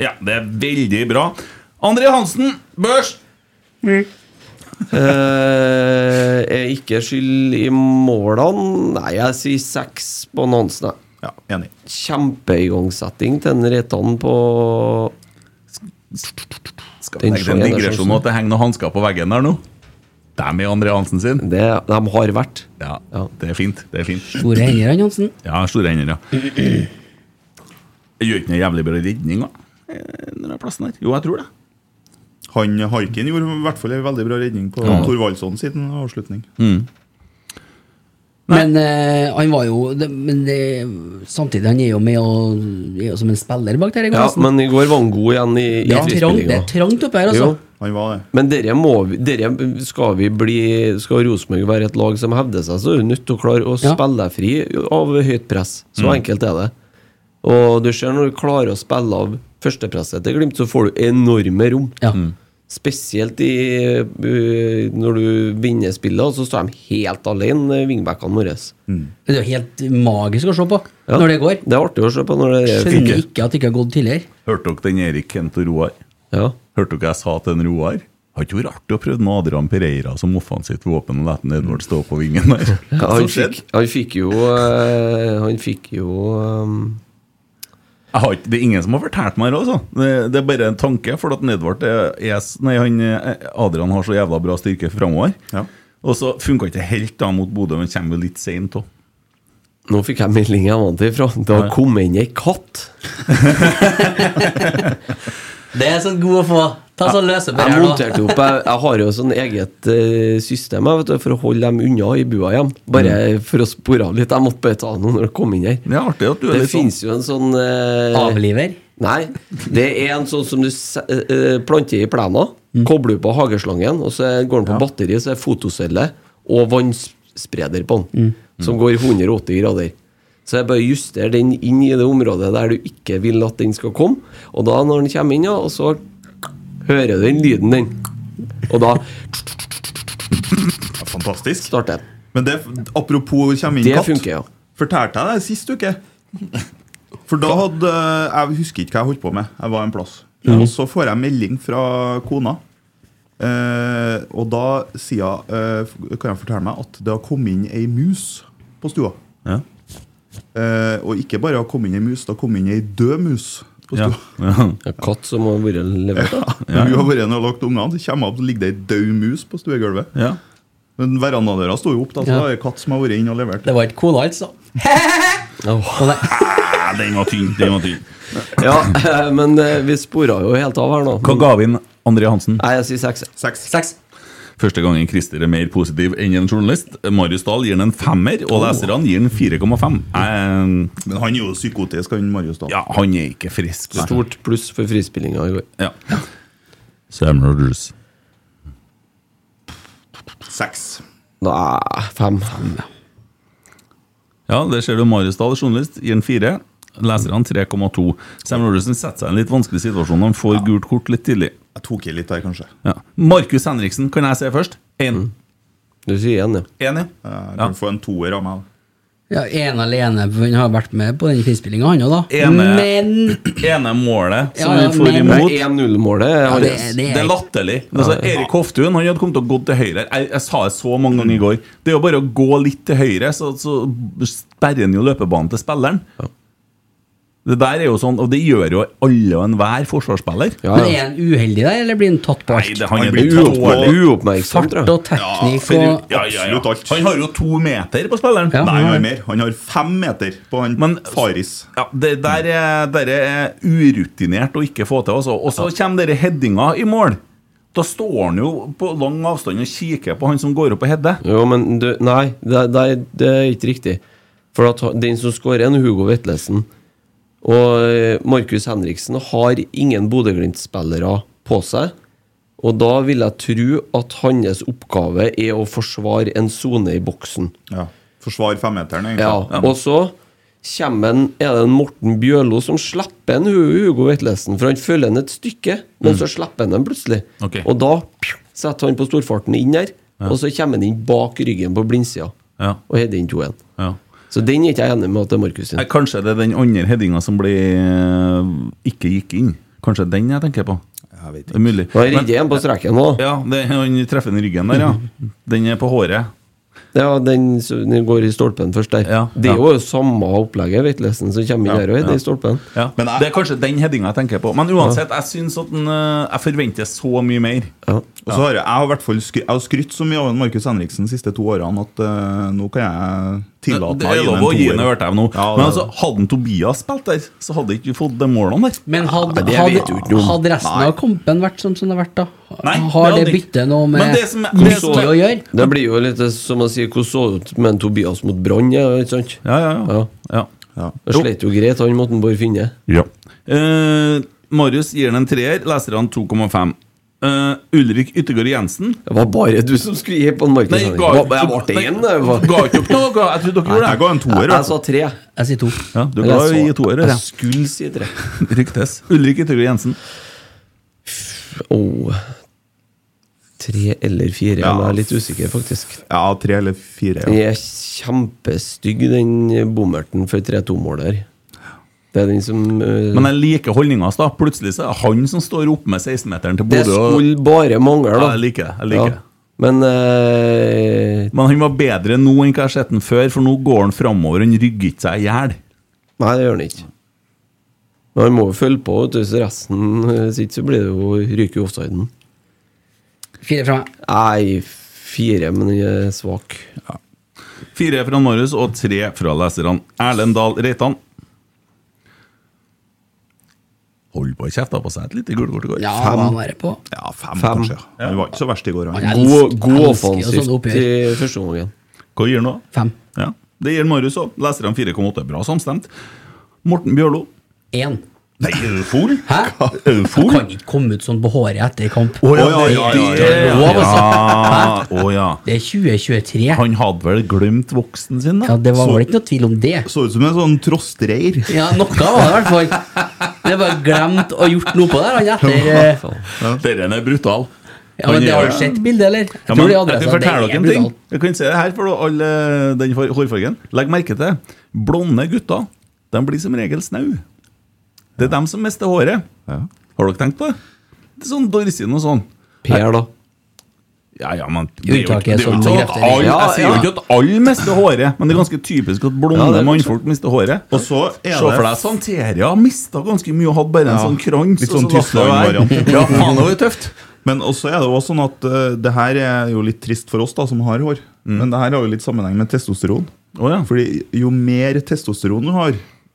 Speaker 4: Ja, det er veldig bra. André Hansen, børs.
Speaker 5: Eh, er ikke skyld i målene. Nei, jeg sier seks på Nansen. jeg.
Speaker 7: Ja, enig.
Speaker 5: Kjempeigangsetting til en Reitan på
Speaker 4: Skal
Speaker 5: Den
Speaker 4: legge til en
Speaker 5: sjøen er
Speaker 4: digresjon
Speaker 5: sjansen.
Speaker 4: nå at det henger noen hansker på veggen der nå. Dem er André Hansen sin.
Speaker 5: det de har vært.
Speaker 4: Ja,
Speaker 5: Ja.
Speaker 4: det er fint. Det er fint.
Speaker 6: Store hender, han Johnsen.
Speaker 4: Ja, store hender, ja. Jeg gjør ikke noe jævlig bra redning, da. eh, Når jeg er plassen her. Jo, jeg tror det.
Speaker 7: Han Haikin gjorde i hvert fall en veldig bra redning på
Speaker 4: Ja.
Speaker 7: Thorvaldsson sin avslutning.
Speaker 6: Men eh, han var jo det, Men det, samtidig, han er jo med og er jo som en spiller bak der. i
Speaker 5: Ja,
Speaker 6: Karlsen.
Speaker 5: men i går var han god igjen i, i
Speaker 6: det, er trangt, det er
Speaker 5: frispillinga.
Speaker 6: trangt oppe her, altså.
Speaker 5: Jo.
Speaker 7: Han var det.
Speaker 5: Men dere må vi- dere Skal vi bli Skal Rosenborg være et lag som hevder seg, så er du nødt til å klare å
Speaker 6: Ja.
Speaker 5: spille deg fri av høyt press. Så
Speaker 4: Mm.
Speaker 5: enkelt er det. Og du ser når du klarer å spille av førstepresset til Glimt, så får du enorme rom.
Speaker 6: Ja.
Speaker 4: Mm.
Speaker 5: Spesielt i, eh, når du vinner spillet, altså, så står de helt alene, eh, wingbackene våre.
Speaker 6: Det er jo helt magisk å se på
Speaker 5: Ja.
Speaker 6: når det går.
Speaker 5: Det er artig å se på når det er
Speaker 6: Skjønner ikke at det ikke har gått tidligere.
Speaker 4: Hørte dere den Erik Kent og Roar?
Speaker 5: Ja.
Speaker 4: Hørte dere jeg sa til en Roar? Har ikke vært artig å prøve med Adrian Pereira som offensivt våpen og lette en Edvard stå på vingen der?
Speaker 5: Ja,
Speaker 4: Hva
Speaker 5: han,
Speaker 4: som
Speaker 5: fikk,
Speaker 4: skjedde?
Speaker 5: han fikk jo eh, Han fikk jo eh,
Speaker 4: Jeg har ikke, det er ingen som har fortalt meg det, altså. Det, det er bare en tanke, for at Edvard er, er s- Nei, han, eh, Adrian har så jævla bra styrke framover.
Speaker 7: Ja.
Speaker 4: Og så funka ikke helt da mot Bodø, men kommer jo litt seint òg.
Speaker 5: Nå fikk jeg melding jeg vant ifra. Det har kommet inn ei katt.
Speaker 6: Det er sånn god å få. Ta sånn løse på
Speaker 5: Jeg
Speaker 6: her nå.
Speaker 5: monterte opp Jeg, jeg har jo sånn eget eh, system jeg, vet du, for å holde dem unna i bua hjem. Bare Eh, for å spore av litt. Jeg måtte bare ta noe når det kom inn her.
Speaker 4: Det er artig at du er
Speaker 5: Det
Speaker 4: litt sånn.
Speaker 5: fins jo en sånn eh,
Speaker 6: Avliver.
Speaker 5: Nei, det er en sånn som du se- eh, eh, planter i plena, kobler på hageslangen, og så går den på batteri, så er det fotocelle og vannspreder på den, som går 180 grader. Så jeg bare justerer den inn i det området der du ikke vil at den skal komme, og da når den kommer inn, ja, og så hører du den lyden den, og da
Speaker 7: Ja, fantastisk.
Speaker 5: starter den.
Speaker 7: Men det, apropos kommer inn
Speaker 5: Det
Speaker 7: katt.
Speaker 5: funker, ja.
Speaker 7: Fortalte jeg det sist uke? For da hadde Jeg husker ikke hva jeg holdt på med. Jeg var en plass.
Speaker 5: Mhm.
Speaker 7: Og så får jeg melding fra kona. Eh, og da sier hun eh, Kan jeg fortelle meg at det har kommet inn ei mus på stua.
Speaker 4: Ja.
Speaker 7: Eh, og ikke bare har kommet inn ei mus, det har kommet inn ei død mus på
Speaker 4: Ja.
Speaker 7: stua.
Speaker 4: Ja.
Speaker 5: Ja, Katt som har vært levert, da.
Speaker 7: Når Hun har vært inne og lagt ungene, så kommer hun opp, så ligger det ei død mus på stuegulvet.
Speaker 4: Ja.
Speaker 7: Men verandadøra sto jo opp, da, så
Speaker 6: Ja.
Speaker 7: det er ei katt som har vært inne og levert.
Speaker 6: Det var ikke kona, altså.
Speaker 5: Åh.
Speaker 6: Og det-
Speaker 4: Ah, den var tynn, den var tynn.
Speaker 5: Ja, eh, men eh, vi spora jo helt av her nå.
Speaker 4: Hva ga vi inn André Hansen?
Speaker 5: Nei, jeg sier seks.
Speaker 7: Seks.
Speaker 6: Seks.
Speaker 4: Første gangen Christer er mer positiv enn en journalist. Marius Dahl gir den en femmer,
Speaker 5: Oh.
Speaker 4: og leserne gir den 4,5. Eh,
Speaker 7: Men han er jo psykotisk, han Marius Dahl.
Speaker 4: Ja, han er ikke frisk. vet du.
Speaker 5: Stort pluss for frispillinga i går.
Speaker 4: Ja. Sam Rogers.
Speaker 7: Seks.
Speaker 5: Nei, fem.
Speaker 4: Ja, det ser du Marius Dahl, journalist, gir en fire. Leserne 3,2. Sam Rogersen setter seg i en litt vanskelig situasjon. Han får gult kort litt tidlig.
Speaker 7: Jeg tok i litt der, kanskje.
Speaker 4: Ja. Markus Henriksen, kan jeg se først? Én.
Speaker 5: Du sier én, Mm. ja.
Speaker 4: Enig?
Speaker 7: Jeg
Speaker 4: Ja.
Speaker 7: kan få en toer av meg.
Speaker 6: Ja, en alene, for han har vært med på den frispillinga, han òg, da.
Speaker 4: Ene-
Speaker 6: Men
Speaker 4: Ene målet som
Speaker 6: Ja, ja,
Speaker 4: vi får
Speaker 6: men-
Speaker 4: imot.
Speaker 5: 1-0-målet er
Speaker 6: Ja, det,
Speaker 5: hans.
Speaker 6: det
Speaker 4: Det
Speaker 6: er
Speaker 4: er latterlig. Altså, Erik Hoftun han hadde kommet til å gå til høyre. Jeg, jeg sa det så mange ganger i går. Det er jo bare å gå litt til høyre, så, så sperrer han jo løpebanen til spilleren. Det der er jo sånn, og det gjør jo alle og enhver forsvarsspiller.
Speaker 5: Ja,
Speaker 6: Men er
Speaker 5: ja.
Speaker 6: han uheldig der, eller blir han tatt på
Speaker 4: Nei,
Speaker 6: alt?
Speaker 4: det, han er
Speaker 7: blir
Speaker 4: dårlig.
Speaker 5: Uoppmer- Uoppmerksom,
Speaker 6: Fart
Speaker 5: tror jeg.
Speaker 6: og teknikk
Speaker 4: for-
Speaker 6: og
Speaker 4: ja, ja,
Speaker 7: absolutt
Speaker 4: ja.
Speaker 7: alt.
Speaker 4: Han har jo to meter på spilleren.
Speaker 6: Ja.
Speaker 7: Nei, han har mer. Han har fem meter på han
Speaker 4: Men-
Speaker 7: Faris.
Speaker 4: Ja, det der er, der er urutinert å ikke få til. Også. Og så kommer dere headinga i mål. Da står han jo på lang avstand og kikker på han som går opp og header.
Speaker 5: Jo, men du, nei, det, det, det er ikke riktig. For at ha- den som skårer, er Hugo Vetlesen. Og eh, Markus Henriksen har ingen Bodø-Glimt-spillere på seg. Og da vil jeg tro at hans oppgave er å forsvare en sone i boksen.
Speaker 7: Ja. Forsvar femmeteren, egentlig.
Speaker 5: Ja, Og så kommer en, er det en Morten Bjørlo som slipper en Hu- Hugo Vetlesen, for han følger han et stykke, men så slipper han den plutselig.
Speaker 4: Mm. Ok.
Speaker 5: Og da pju, setter han på storfarten inn der, og så kommer han inn bak ryggen på blindsida
Speaker 4: Ja,
Speaker 5: og header inn 2-1.
Speaker 4: ja.
Speaker 5: Så den er ikke jeg enig med at det er Markus sin.
Speaker 4: Nei, Kanskje det er den andre headinga som ble, ikke gikk inn. Kanskje den jeg tenker på.
Speaker 7: Jeg vet
Speaker 4: Det er mulig.
Speaker 5: Og jeg
Speaker 4: Men-
Speaker 5: redder en på streken nå. Ja.
Speaker 4: ja, det, han treffer den i ryggen der, ja. Den er på håret.
Speaker 5: den, som- den går i stolpen først der.
Speaker 4: Ja,
Speaker 5: Det
Speaker 4: ja.
Speaker 5: er jo samme opplegget, Vetlesen, som kommer inn der og header i stolpen.
Speaker 4: Ja.
Speaker 7: Men jeg-
Speaker 4: det er kanskje den headinga jeg tenker på. Men uansett, jeg synes at den, eh, jeg forventer så mye mer.
Speaker 7: Og så har jeg, jeg har i hvert fall skry, jeg har skrytt så mye av en Markus Henriksen de siste to årene at eh, nå kan jeg tillate
Speaker 4: Det
Speaker 7: meg
Speaker 4: er lov å gi den, hørte jeg nå.
Speaker 7: Ja,
Speaker 4: Men
Speaker 7: det-
Speaker 4: altså, hadde en Tobias spilt der, så hadde ikke vi fått de målene der.
Speaker 6: Men hadde,
Speaker 5: Nei, det
Speaker 6: hadde,
Speaker 5: vet du ikke noe om.
Speaker 6: hadde resten av kampen vært sånn som, som det har vært, da?
Speaker 4: Nei,
Speaker 6: har
Speaker 4: det
Speaker 6: det
Speaker 4: hadde ikke.
Speaker 6: byttet noe
Speaker 4: Men
Speaker 6: med
Speaker 4: det som er- det som
Speaker 6: Kosovo
Speaker 4: er-
Speaker 6: å gjøre?
Speaker 5: Det blir jo litt som å si hvordan så det ut med en Tobias mot Brann, ja, ikke sant?
Speaker 4: Ja, ja, ja.
Speaker 5: Ja.
Speaker 4: ja.
Speaker 5: Det slet jo greit, han måtte Bård Finne.
Speaker 4: Eh, Marius gir den en treer, leserne 2,5. Eh, Ulrik Yttergård Jensen
Speaker 5: Det var bare du som skulle gi på en Markus
Speaker 4: Nei,
Speaker 5: Henriksen.
Speaker 4: ga
Speaker 5: Hva-
Speaker 4: ikke-
Speaker 5: Jeg ble igjen,
Speaker 4: Nei,
Speaker 5: det var-
Speaker 4: Ga ikke opp noe? Jeg trodde dere gjorde
Speaker 7: Jeg
Speaker 4: det.
Speaker 7: ga en toer. i
Speaker 5: Jeg
Speaker 7: hvert fall.
Speaker 5: sa tre.
Speaker 6: Jeg sier to.
Speaker 4: Ja, du
Speaker 5: Eller
Speaker 4: ga
Speaker 5: jeg
Speaker 4: i
Speaker 5: sa-
Speaker 4: toere, ja.
Speaker 5: Jeg skulle si tre.
Speaker 4: Ryktes. Ulrik Yttergård Jensen.
Speaker 5: Åh Tre eller fire,
Speaker 7: Ja.
Speaker 5: men jeg er litt usikker, faktisk.
Speaker 7: Ja, tre eller fire.
Speaker 5: Den
Speaker 7: Ja.
Speaker 5: er kjempestygg, den bommerten for 3-2-mål der. Det er den som eh,
Speaker 4: Men jeg liker holdninga hans. da. Plutselig så er det han som står oppe med 16-meteren til
Speaker 5: Det
Speaker 4: Bodø. og-
Speaker 5: skulle bare mangle,
Speaker 4: Ja,
Speaker 5: da.
Speaker 4: jeg liker det. jeg liker det.
Speaker 5: Men eh,
Speaker 4: Men han var bedre nå enn hva jeg har sett han før, for nå går han framover. Han rygger ikke seg i hjel.
Speaker 5: Nei, det gjør han ikke. Men han må jo følge på, vet du, så resten eh, sitt så blir det jo ryker jo offsiden.
Speaker 6: Fire fra meg.
Speaker 5: Nei, fire, men den er svak.
Speaker 4: Fire fra Marius og tre fra leserne. Erlend Dahl Reitan. Hold på å kjefte på seg et lite gult kort i går.
Speaker 6: Ja, hva var det på?
Speaker 7: Ja, fem,
Speaker 5: Fem.
Speaker 7: kanskje. Ja. Han var ikke så verst i går.
Speaker 6: Han
Speaker 7: Han.
Speaker 5: God,
Speaker 6: elsker-
Speaker 5: god
Speaker 6: elsker jo
Speaker 5: offensivt
Speaker 6: sånne oppgjør.
Speaker 5: i første omgangen.
Speaker 4: Hva gir han nå?
Speaker 6: Fem.
Speaker 4: Ja. Det gir Marius òg. Leserne 4,8. Bra samstemt. Morten Bjørlo.
Speaker 6: Én.
Speaker 4: Nei, er du full?
Speaker 6: Hæ?
Speaker 4: Er du
Speaker 6: Jeg
Speaker 4: full?
Speaker 6: kan ikke komme ut sånn på håret etter kamp.
Speaker 4: Å ja,
Speaker 7: Å, ja, ja, ja,
Speaker 4: det er
Speaker 6: ja.
Speaker 4: lov, altså. Å ja.
Speaker 6: Det er 2023.
Speaker 4: Han hadde vel glemt voksen sin, da?
Speaker 6: Ja, det var
Speaker 7: Så-
Speaker 6: vel ikke noe tvil om det.
Speaker 7: Så ut som en sånn trostreir.
Speaker 6: Ja, noe var det i hvert fall. Det var glemt å gjort noe på der. Han etter eh,
Speaker 4: Denne er brutal.
Speaker 6: Ja, men det har du sett bildet, eller? Jeg
Speaker 4: Ja,
Speaker 6: tror
Speaker 4: men,
Speaker 6: det er
Speaker 4: jeg
Speaker 6: adressa.
Speaker 4: kan fortelle
Speaker 6: Det er
Speaker 4: dere en ting.
Speaker 6: brutalt.
Speaker 4: Jeg kan se det her, for da, alle den for- hårfargen. Legg merke til blonde gutter. De blir som regel snau. Det er dem som mister håret. Har dere tenkt på det? Det er sånn Dorsin og sånn.
Speaker 5: Per, da.
Speaker 4: Ja, ja, men det er jo
Speaker 6: Unntaket
Speaker 4: ikke- det er jo
Speaker 6: som
Speaker 4: ikke sånn at
Speaker 6: bekrefter
Speaker 4: alle-
Speaker 5: regelen.
Speaker 4: Jeg sier jo ikke at alle mister håret, men det er ganske typisk at
Speaker 5: Ja,
Speaker 4: blonde
Speaker 5: det er
Speaker 4: mannfolk mister håret.
Speaker 7: Og så
Speaker 4: Se
Speaker 7: er
Speaker 4: for
Speaker 7: det
Speaker 4: deg Santeria mista ganske mye og hadde bare en
Speaker 7: Ja,
Speaker 4: sånn krans.
Speaker 7: litt
Speaker 4: og
Speaker 7: sånn
Speaker 4: så datt det
Speaker 7: Tyskland-variant.
Speaker 4: der. Ja, faen, det var jo tøft.
Speaker 7: Men også er det jo også sånn at eh, det her er jo litt trist for oss da, som har hår.
Speaker 4: Mm.
Speaker 7: Men det her har jo litt sammenheng med testosteron.
Speaker 4: Å, ja.
Speaker 7: Fordi jo mer testosteron du har,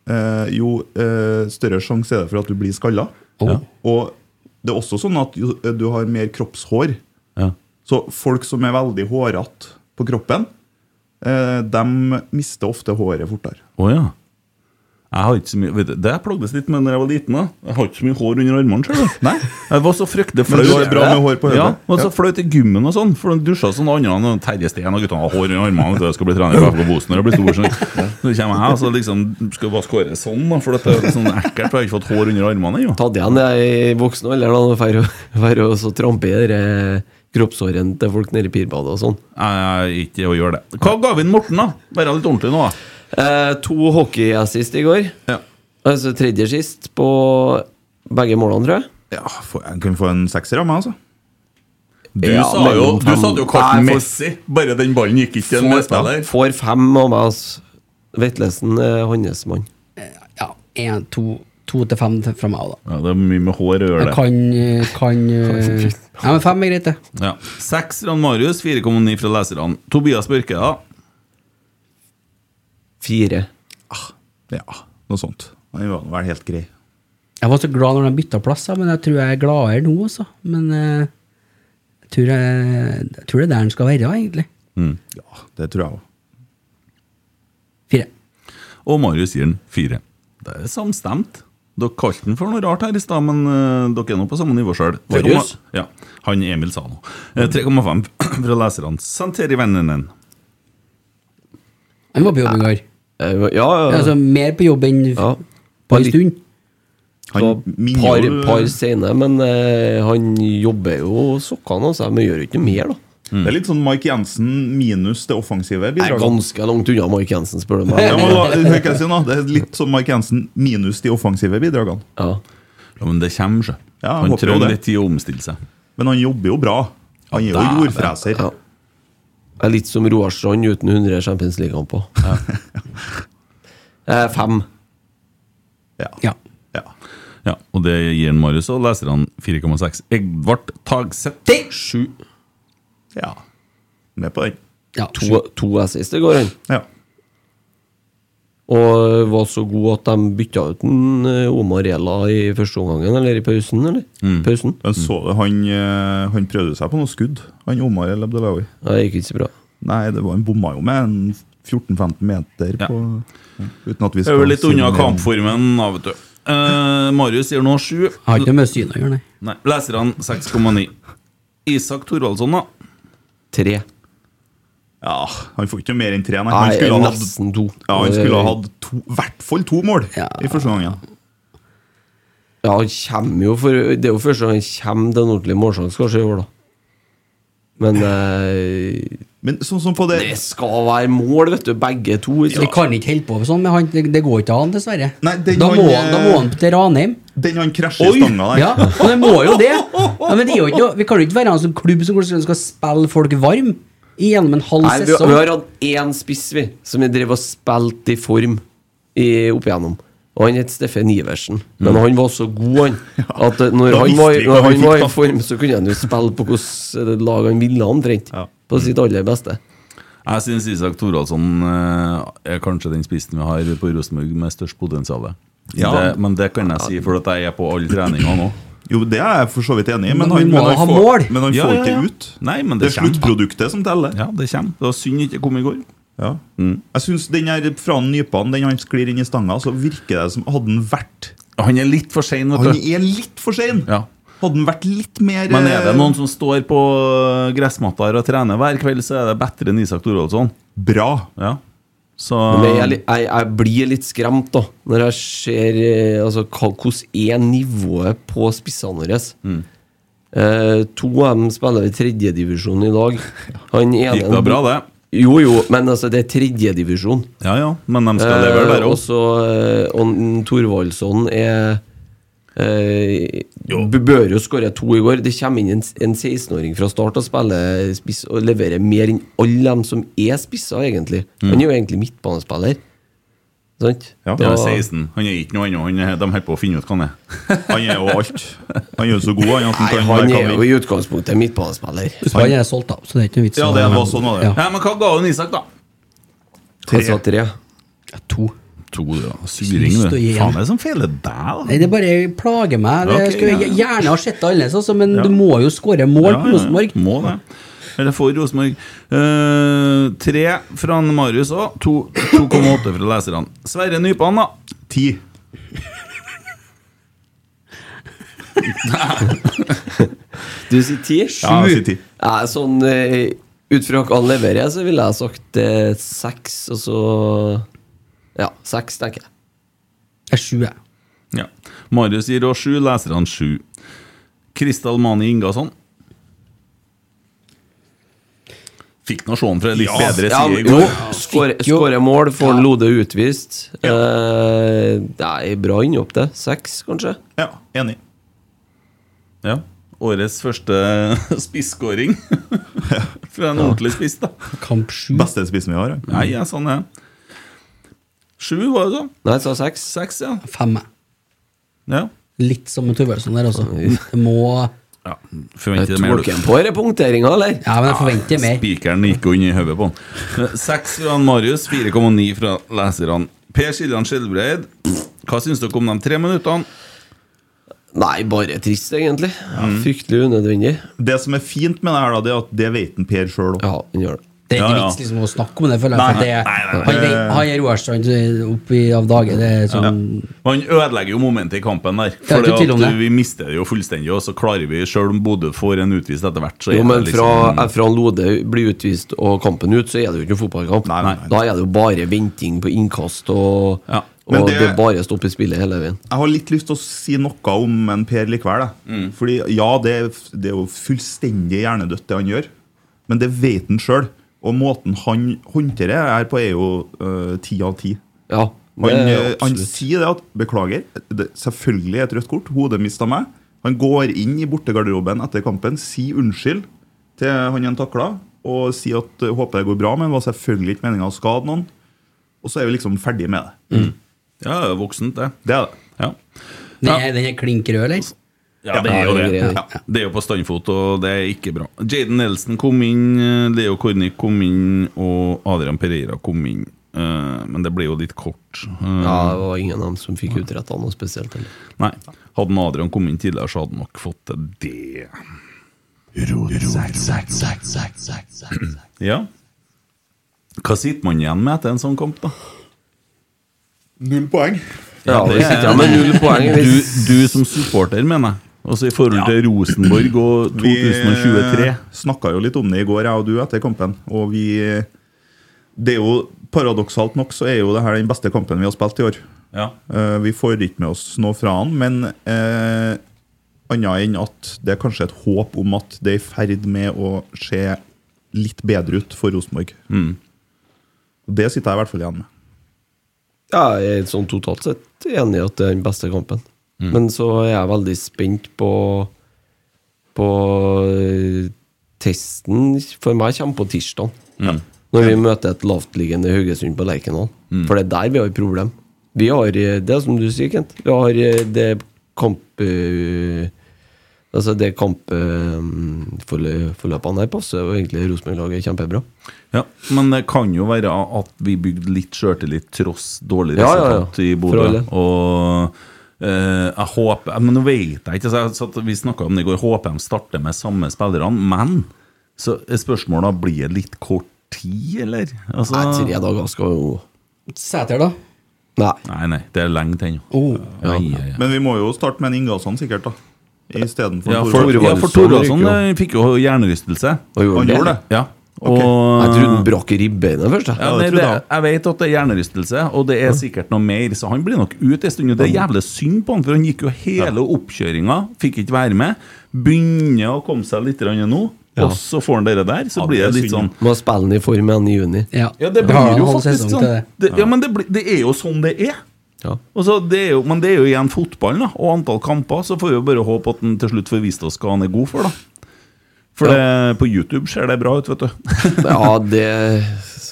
Speaker 7: eh, jo eh, større sjanse er det for at du blir skalla.
Speaker 6: Ja.
Speaker 7: Og det er også sånn at jo, du har mer kroppshår.
Speaker 4: Ja.
Speaker 7: Så folk som er veldig hårete på kroppen, eh, de mister ofte håret fortere.
Speaker 4: Å ja. Jeg har ikke så mye, vet du, Det jeg plagdes litt med når jeg var liten. da Jeg har ikke så mye hår under armene. selv, da.
Speaker 7: Nei.
Speaker 4: Jeg var så fryktelig
Speaker 7: Men
Speaker 4: flau.
Speaker 7: du har bra med hår på hodet.
Speaker 4: Ja, var så
Speaker 7: Ja.
Speaker 4: flau til gymmen og sånn. For de dusja sånn og andre og Terje Steen og guttene har hår under armene. vet du, Jeg skal bli trener i FK Bosen når jeg blir stor. Sånn. Så kommer jeg og så liksom skal bare skåre sånn, da, for dette er sånn ekkelt. For jeg har ikke fått hår under armene ennå.
Speaker 5: Tatt igjen jeg i voksen alder, da. når jeg drar- drar og så trampe i det kroppshåret til folk nede i pirbadet og sånn.
Speaker 4: Jeg er ikke å gjøre det. Hva ga vi inn Morten, da? Være litt ordentlig nå, da.
Speaker 5: Eh, to hockeyassist i går.
Speaker 4: Ja.
Speaker 5: Altså tredje sist på begge målene, tror jeg.
Speaker 7: Ja, får jeg kan få en sekser av meg, altså.
Speaker 4: Du
Speaker 5: Ja,
Speaker 4: sa jo
Speaker 5: mellom
Speaker 4: du
Speaker 5: fem-
Speaker 4: satte jo
Speaker 5: Nei,
Speaker 4: Carten
Speaker 5: for-
Speaker 4: Messi. Bare den ballen gikk ikke til en
Speaker 5: Får-
Speaker 4: medspiller.
Speaker 5: eh, Får fem av meg, altså. Vetlesen er hans mann.
Speaker 6: Ja, en, to, to til fem til- fra meg, da.
Speaker 4: Ja, det er mye med hår å gjøre
Speaker 6: Jeg
Speaker 4: det.
Speaker 6: kan, eh, kan eh, Ja, men fem er greit, det.
Speaker 4: Ja. Seks fra Marius, 4,9 fra leserne. Tobias Børke, da.
Speaker 5: Fire.
Speaker 7: Ja, noe sånt. Han var vel helt grei.
Speaker 6: Jeg var så glad når de bytta plass, ja, men jeg tror jeg er gladere nå, altså. Men eh, jeg, tror jeg, jeg tror det er der den skal være, egentlig.
Speaker 7: Ja, det tror jeg òg.
Speaker 6: Fire.
Speaker 4: Og Marius gir den fire. Det er samstemt. Dere kalte den for noe rart her i stad, men eh, dere er nå på samme nivå sjøl.
Speaker 6: Marius?
Speaker 4: Ja, han Emil sa noe. Eh, 3,5 fra leserne. Senteri vennene.
Speaker 6: Han var på jobb i går.
Speaker 5: Eh, Ja, ja.
Speaker 6: Altså, mer på jobb enn
Speaker 5: ja.
Speaker 6: på en stund.
Speaker 7: Han
Speaker 5: Det var
Speaker 7: minner
Speaker 5: par,
Speaker 7: jo-
Speaker 5: par sene, men eh, han jobber jo sokkene av seg, men gjør jo ikke noe mer, da.
Speaker 4: Mm.
Speaker 7: Det er litt sånn Mike Jensen minus det offensive
Speaker 5: Jeg er
Speaker 7: bidraget.
Speaker 5: ganske langt unna Mark Jensen, spør du
Speaker 7: Ja,
Speaker 5: meg.
Speaker 7: men da, hør hva jeg sier nå. Det er litt som Mike Jensen minus de offensive bidragene.
Speaker 5: Ja.
Speaker 4: Ja, men det kommer, sjø.
Speaker 7: Ja, jeg
Speaker 4: han
Speaker 7: håper jo
Speaker 4: trenger
Speaker 7: det.
Speaker 4: litt tid å omstille seg.
Speaker 7: Men han jobber jo bra. Han er jo
Speaker 4: Ja, det-
Speaker 7: jordfreser.
Speaker 5: ja. Jeg er litt som Roar Strand uten 100 Champions League-kamper. Eh, fem.
Speaker 7: Ja.
Speaker 6: Ja.
Speaker 7: Ja.
Speaker 4: Ja, og det gir han Marius og leserne 4,6. Edvard Tagseth.
Speaker 6: Det-
Speaker 4: Sju.
Speaker 7: ja. Med på den.
Speaker 6: Ja,
Speaker 5: To, to assist i går, han.
Speaker 7: Ja.
Speaker 5: Og var så god at de bytta ut en eh, Omar Ela i første omgangen, eller i pausen, eller? Pausen?
Speaker 7: Men så du, han, eh, han prøvde seg på noen skudd, han Omar El Abdelawi.
Speaker 5: Ja, Det gikk ikke så bra.
Speaker 7: Nei, det var, han bomma jo med en 14-15 meter
Speaker 4: Ja.
Speaker 7: på Uten at vi
Speaker 4: Det er jo litt
Speaker 7: si
Speaker 4: unna
Speaker 7: noe mer om-
Speaker 4: kampformen, da, vet du. Eh, Marius gir nå sju.
Speaker 6: Jeg har ikke noe med synet å gjøre, nei.
Speaker 4: Nei, leserne 6,9. Isak Thorvaldsson, da.
Speaker 5: Tre.
Speaker 7: Ja, han får ikke noe mer enn tre, nei. Han
Speaker 5: Nei,
Speaker 7: skulle ha hatt,
Speaker 5: nesten to.
Speaker 7: ja, han skulle ha hatt to, i hvert fall to mål
Speaker 6: Ja.
Speaker 7: i første gangen.
Speaker 5: Ja, han kommer jo for Det er jo første gang han kommer til en ordentlig målsjanse, kanskje, i år, da. Men eh,
Speaker 7: Men sånn som på det
Speaker 5: det skal være mål, vet du. Begge to.
Speaker 6: Vi
Speaker 5: ikke sant?
Speaker 6: kan ikke holde på sånn med han. Det, det går ikke an, dessverre.
Speaker 7: Nei, den
Speaker 6: da,
Speaker 7: han,
Speaker 6: må,
Speaker 7: eh,
Speaker 6: han- da må han til Ranheim.
Speaker 7: Den han krasjer i stanga der.
Speaker 6: Ja, og det må jo det. Ja, men det er jo ikke, noe- vi kan jo ikke være en sånn klubb som går- skal spille folk varm i gjennom en halv
Speaker 5: Nei, vi,
Speaker 6: sesong.
Speaker 5: vi har hatt én spiss, vi, som vi drev og spilte i form i, opp igjennom. Og han het Steffen Iversen. Men han var så god, han, at eh, når
Speaker 7: da
Speaker 5: han
Speaker 7: visste
Speaker 5: var,
Speaker 7: vi hva
Speaker 5: når
Speaker 7: vi
Speaker 5: han
Speaker 7: fikk,
Speaker 5: var
Speaker 7: da.
Speaker 5: i form, så kunne han jo spille på hvilket lag han ville, omtrent.
Speaker 7: Ja.
Speaker 5: På sitt aller beste.
Speaker 4: Jeg syns Isak Thoralsson eh, er kanskje den spissen vi har på Rosenborg med størst potensial.
Speaker 7: Ja.
Speaker 4: Det, men det kan jeg si, for at jeg er på alle treninger nå.
Speaker 7: Jo, det er jeg for så vidt enig i, men,
Speaker 6: Men
Speaker 7: han,
Speaker 6: vi må
Speaker 7: men han
Speaker 6: ha
Speaker 7: får,
Speaker 6: mål.
Speaker 7: Men han
Speaker 4: Ja,
Speaker 7: får
Speaker 4: ja, ja.
Speaker 7: ikke ut.
Speaker 4: Nei, men
Speaker 7: Det
Speaker 4: det
Speaker 7: er
Speaker 4: kommer.
Speaker 7: sluttproduktet som teller.
Speaker 4: Ja, det kommer. Det var synd ikke kom i går.
Speaker 7: Ja. Jeg syns den her fra Nypan, den han sklir inn i stanga, så virker det som hadde han vært
Speaker 4: Han er litt for sein,
Speaker 7: Han
Speaker 4: vet du.
Speaker 7: er litt for sein!
Speaker 4: Ja.
Speaker 7: Hadde han vært litt mer
Speaker 4: Men er det
Speaker 7: eh,
Speaker 4: noen som står på gressmatta her og trener hver kveld, så er det bedre enn Isak Thoralsson.
Speaker 7: eh, bra?
Speaker 4: Ja. Så
Speaker 5: Men jeg, jeg, jeg blir litt skremt da når jeg ser eh, altså, hva, hvordan er nivået på spissene våre. Eh, to av dem spiller i tredjedivisjon i dag. Han ene
Speaker 4: gikk det bra, det?
Speaker 5: Jo, jo, men altså, det er tredjedivisjon.
Speaker 4: Ja ja, men de skal levere
Speaker 5: Eh,
Speaker 4: der
Speaker 5: og
Speaker 4: òg.
Speaker 5: så eh, og n- Thorvaldsson er eh, b- Bør jo skåre to i går. Det kommer inn en, s- en 16-åring fra start og spiller spiss og leverer mer enn alle dem som er spisser, egentlig.
Speaker 4: Mm.
Speaker 5: Han er jo egentlig midtbanespiller. Sant?
Speaker 7: Ja.
Speaker 4: Det
Speaker 5: Da-
Speaker 4: er 16. Han er ikke noe annet. Han er, de holder på å finne ut hva han er.
Speaker 7: Han er jo alt. Han er jo så god, han. At han
Speaker 5: Nei,
Speaker 7: kan
Speaker 5: han
Speaker 7: være
Speaker 5: er
Speaker 7: hva
Speaker 5: jo
Speaker 7: vi-
Speaker 5: i utgangspunktet midtbanespiller.
Speaker 6: Husk på, han er solgt, da, så det er ikke noe vits.
Speaker 7: Ja,
Speaker 6: å-
Speaker 7: det var sånn var det.
Speaker 6: Ja.
Speaker 4: Ja, men hva ga hun Isak, da?
Speaker 5: Han sa tre.
Speaker 6: Ja, to.
Speaker 4: To, ja. Syring,
Speaker 6: Lyst til
Speaker 4: du.
Speaker 6: å gi
Speaker 4: Faen,
Speaker 6: en.
Speaker 4: det er som feiler deg, da.
Speaker 6: Nei, det bare plager meg. Det
Speaker 4: Ok,
Speaker 6: skulle jeg
Speaker 4: ja.
Speaker 6: gjerne ha sett det annerledes, altså, men du må jo skåre mål på Rosenborg.
Speaker 4: Ja, må det. Eller for Rosenborg. Eh, tre fra han Marius òg. 2,8 fra leserne. Sverre Nypan, da.
Speaker 7: Ti.
Speaker 5: Du sier ti? Sju?
Speaker 7: Ja, jeg sier ti.
Speaker 5: Nei, sånn eh, ut fra hva han leverer, så ville jeg sagt eh, seks, og så Ja, seks, tenker jeg.
Speaker 6: Jeg er sju, jeg.
Speaker 4: Ja. Marius gir oss sju, leserne sju. Kristal Mani Ingasson. Fikk nå se han fra en litt bedre
Speaker 5: Ja,
Speaker 4: side i
Speaker 5: men-
Speaker 4: går.
Speaker 5: jo, skåre- skåre mål, får han Lode utvist. Eh, det er bra innhopp, det. Seks, kanskje?
Speaker 7: Ja, enig.
Speaker 4: Ja. Årets første spisskåring. fra en ordentlig spiss, da.
Speaker 6: Kamp sju.
Speaker 7: Beste spissen vi har. ja.
Speaker 4: Nei, ja, sånn er det. Sju, var det sånn?
Speaker 5: Nei, jeg sa seks.
Speaker 4: Seks, ja.
Speaker 6: Fem. jeg.
Speaker 4: ja.
Speaker 6: Litt som med Tuvelsen der, altså. Jeg Må
Speaker 4: ja.
Speaker 5: Jeg
Speaker 4: Forventer det mer,
Speaker 5: Tok han
Speaker 4: du.
Speaker 5: på denne punkteringa, eller?
Speaker 6: Ja, men jeg forventer mer.
Speaker 4: Spikeren gikk jo inn i hodet på han. Seks fra han Marius, 4,9 fra leserne. Per Siljan Skjelbreid, hva syns dere om de tre minuttene?
Speaker 5: Nei, bare trist, egentlig.
Speaker 7: Mm.
Speaker 5: Fryktelig unødvendig.
Speaker 7: Det som er fint med det her, da, det er at det vet en Per sjøl òg.
Speaker 5: Ja, den gjør det.
Speaker 6: Det er ikke
Speaker 4: Ja, ja.
Speaker 6: vits liksom å snakke om det, føler jeg.
Speaker 7: Nei,
Speaker 6: for det,
Speaker 7: nei, nei, nei.
Speaker 6: Han, vet- han er Roarstrand oppi av dage. Det er sånn
Speaker 4: Han ødelegger jo momentet i kampen der.
Speaker 6: Ja,
Speaker 4: For
Speaker 6: ikke tvil om det.
Speaker 4: vi mister det jo fullstendig, og så klarer vi, sjøl om Bodø får en utvist etter hvert, så
Speaker 5: Jo, men
Speaker 4: det liksom-
Speaker 5: fra, fra Lode blir utvist og kampen ut, så er det jo ikke noen fotballkamp.
Speaker 7: Nei, nei, nei.
Speaker 5: Da er det jo bare venting på innkast, og,
Speaker 4: Ja.
Speaker 5: og
Speaker 7: Men
Speaker 5: det,
Speaker 7: det-
Speaker 5: er bare stopper spillet hele veien.
Speaker 7: Jeg har litt lyst til å si noe om en Per likevel. Da. Fordi ja, det, er f- det er jo fullstendig hjernedødt, det han gjør. Men det vet han sjøl. Og måten han håndterer det her på, er jo øh, ti av ti.
Speaker 5: Ja, det
Speaker 7: Han,
Speaker 5: er
Speaker 7: eh, han
Speaker 5: absolutt.
Speaker 7: sier det at Beklager, det, selvfølgelig et rødt kort. Hodet mista meg. Han går inn i bortegarderoben etter kampen, sier unnskyld til han han takla, og sier at eh, håper det går bra, men det var selvfølgelig ikke meninga å skade noen. Og så er vi liksom ferdig med det.
Speaker 4: Ja, det er voksent, det.
Speaker 7: Det er det.
Speaker 4: Ja.
Speaker 6: Den er, den er klink rød, eller?
Speaker 4: Ja, det er jo det.
Speaker 5: greit.
Speaker 4: Ja. Det er jo på standfot, og det er ikke bra. Jaden Nelson kom inn, eh, Leo Kornic kom inn, og Adrian Pereira kom inn. Eh, Men det ble jo litt kort. Eh,
Speaker 5: Ja, det var ingen av dem som fikk utretta noe spesielt. Eller.
Speaker 4: Nei. Hadde en Adrian kommet inn tidligere, så hadde han nok fått til det. Ja. Hva sitter man igjen med etter en sånn kamp, da?
Speaker 7: Null poeng.
Speaker 5: Ja, det sitter jeg med null poeng.
Speaker 4: Du,
Speaker 5: Hvis,
Speaker 4: du som supporter, mener jeg. Altså i forhold til Rosenborg og 2023.
Speaker 7: Vi snakka jo litt om det i går, jeg og du, etter kampen. Og vi Det er jo paradoksalt nok så er jo det her den beste kampen vi har spilt i år.
Speaker 4: Ja.
Speaker 7: Eh, vi får ikke med oss noe fra han, men eh, annet enn at det er kanskje et håp om at det er i ferd med å se litt bedre ut for Rosenborg.
Speaker 5: Mm.
Speaker 7: Det sitter jeg i hvert fall igjen med.
Speaker 5: ja, jeg er sånn totalt sett enig i at det er den beste kampen. Men så er jeg veldig spent på På eh, testen for meg kommer på tirsdag.
Speaker 4: Mm.
Speaker 5: Når vi møter et lavtliggende Haugesund på Lerkendal.
Speaker 4: Mm.
Speaker 5: For det er der vi har et problem. Vi har eh, det er som du sier, Kent. Vi har eh, det kamp... eh, Altså det kampforløpene her passer jo egentlig Rosenborg-laget kjempebra.
Speaker 4: Ja, Men det kan jo være at vi bygde litt sjøltillit tross dårlig
Speaker 5: Ja, ja, ja.
Speaker 4: resultat i
Speaker 5: For
Speaker 4: Bodø.
Speaker 5: alle.
Speaker 4: Og eh, jeg håper Men nå vet jeg ikke. Så jeg, satt- vi snakka om det i går. Håper de starter med samme spillerne. Men så er spørsmålet da, blir det litt kort tid, eller? Altså,
Speaker 5: Nei, tre dager skal jo
Speaker 6: Ah. Sæter, da?
Speaker 5: Nei.
Speaker 4: nei, nei, det er lenge til ennå.
Speaker 6: Oh.
Speaker 4: Ja, ja, ja.
Speaker 7: Men vi må jo starte med en Ingalsson, sikkert. da Istedenfor
Speaker 4: Ja, for,
Speaker 7: Tore.
Speaker 4: ja, for Thorvaldsson eh, fikk jo hjernerystelse.
Speaker 5: Og gjorde
Speaker 7: Han
Speaker 5: det.
Speaker 7: gjorde det.
Speaker 4: Ja, og
Speaker 7: Ok.
Speaker 5: Jeg trodde han brakk ribbeinet først. jeg.
Speaker 4: Ja,
Speaker 7: Ja,
Speaker 4: nei,
Speaker 7: det
Speaker 4: det,
Speaker 7: trodde jeg.
Speaker 4: jeg vet at det er hjernerystelse, og det er sikkert noe mer, så han blir nok ute en stund. Og det er jævlig synd på han, for han gikk jo hele oppkjøringa, fikk ikke være med. Begynner å komme seg litt grann nå, og så får han dere der. Så
Speaker 7: Ja,
Speaker 4: blir
Speaker 7: det er
Speaker 4: det litt sånn
Speaker 7: synd.
Speaker 5: Må spille den i form igjen i juni.
Speaker 6: Ja.
Speaker 4: Ja, det
Speaker 6: Jeg har
Speaker 4: blir
Speaker 6: en
Speaker 4: jo
Speaker 6: halv
Speaker 4: faktisk
Speaker 6: sesong
Speaker 4: sånn.
Speaker 6: til det.
Speaker 4: Det, ja, men det, blir, det er jo sånn det er.
Speaker 5: Ja.
Speaker 4: Og så det er jo, men det er jo igjen fotballen da, og antall kamper. Så får vi jo bare håpe at han til slutt får vist oss hva han er god for, da. For det, på YouTube ser det bra ut, vet du.
Speaker 5: ja, det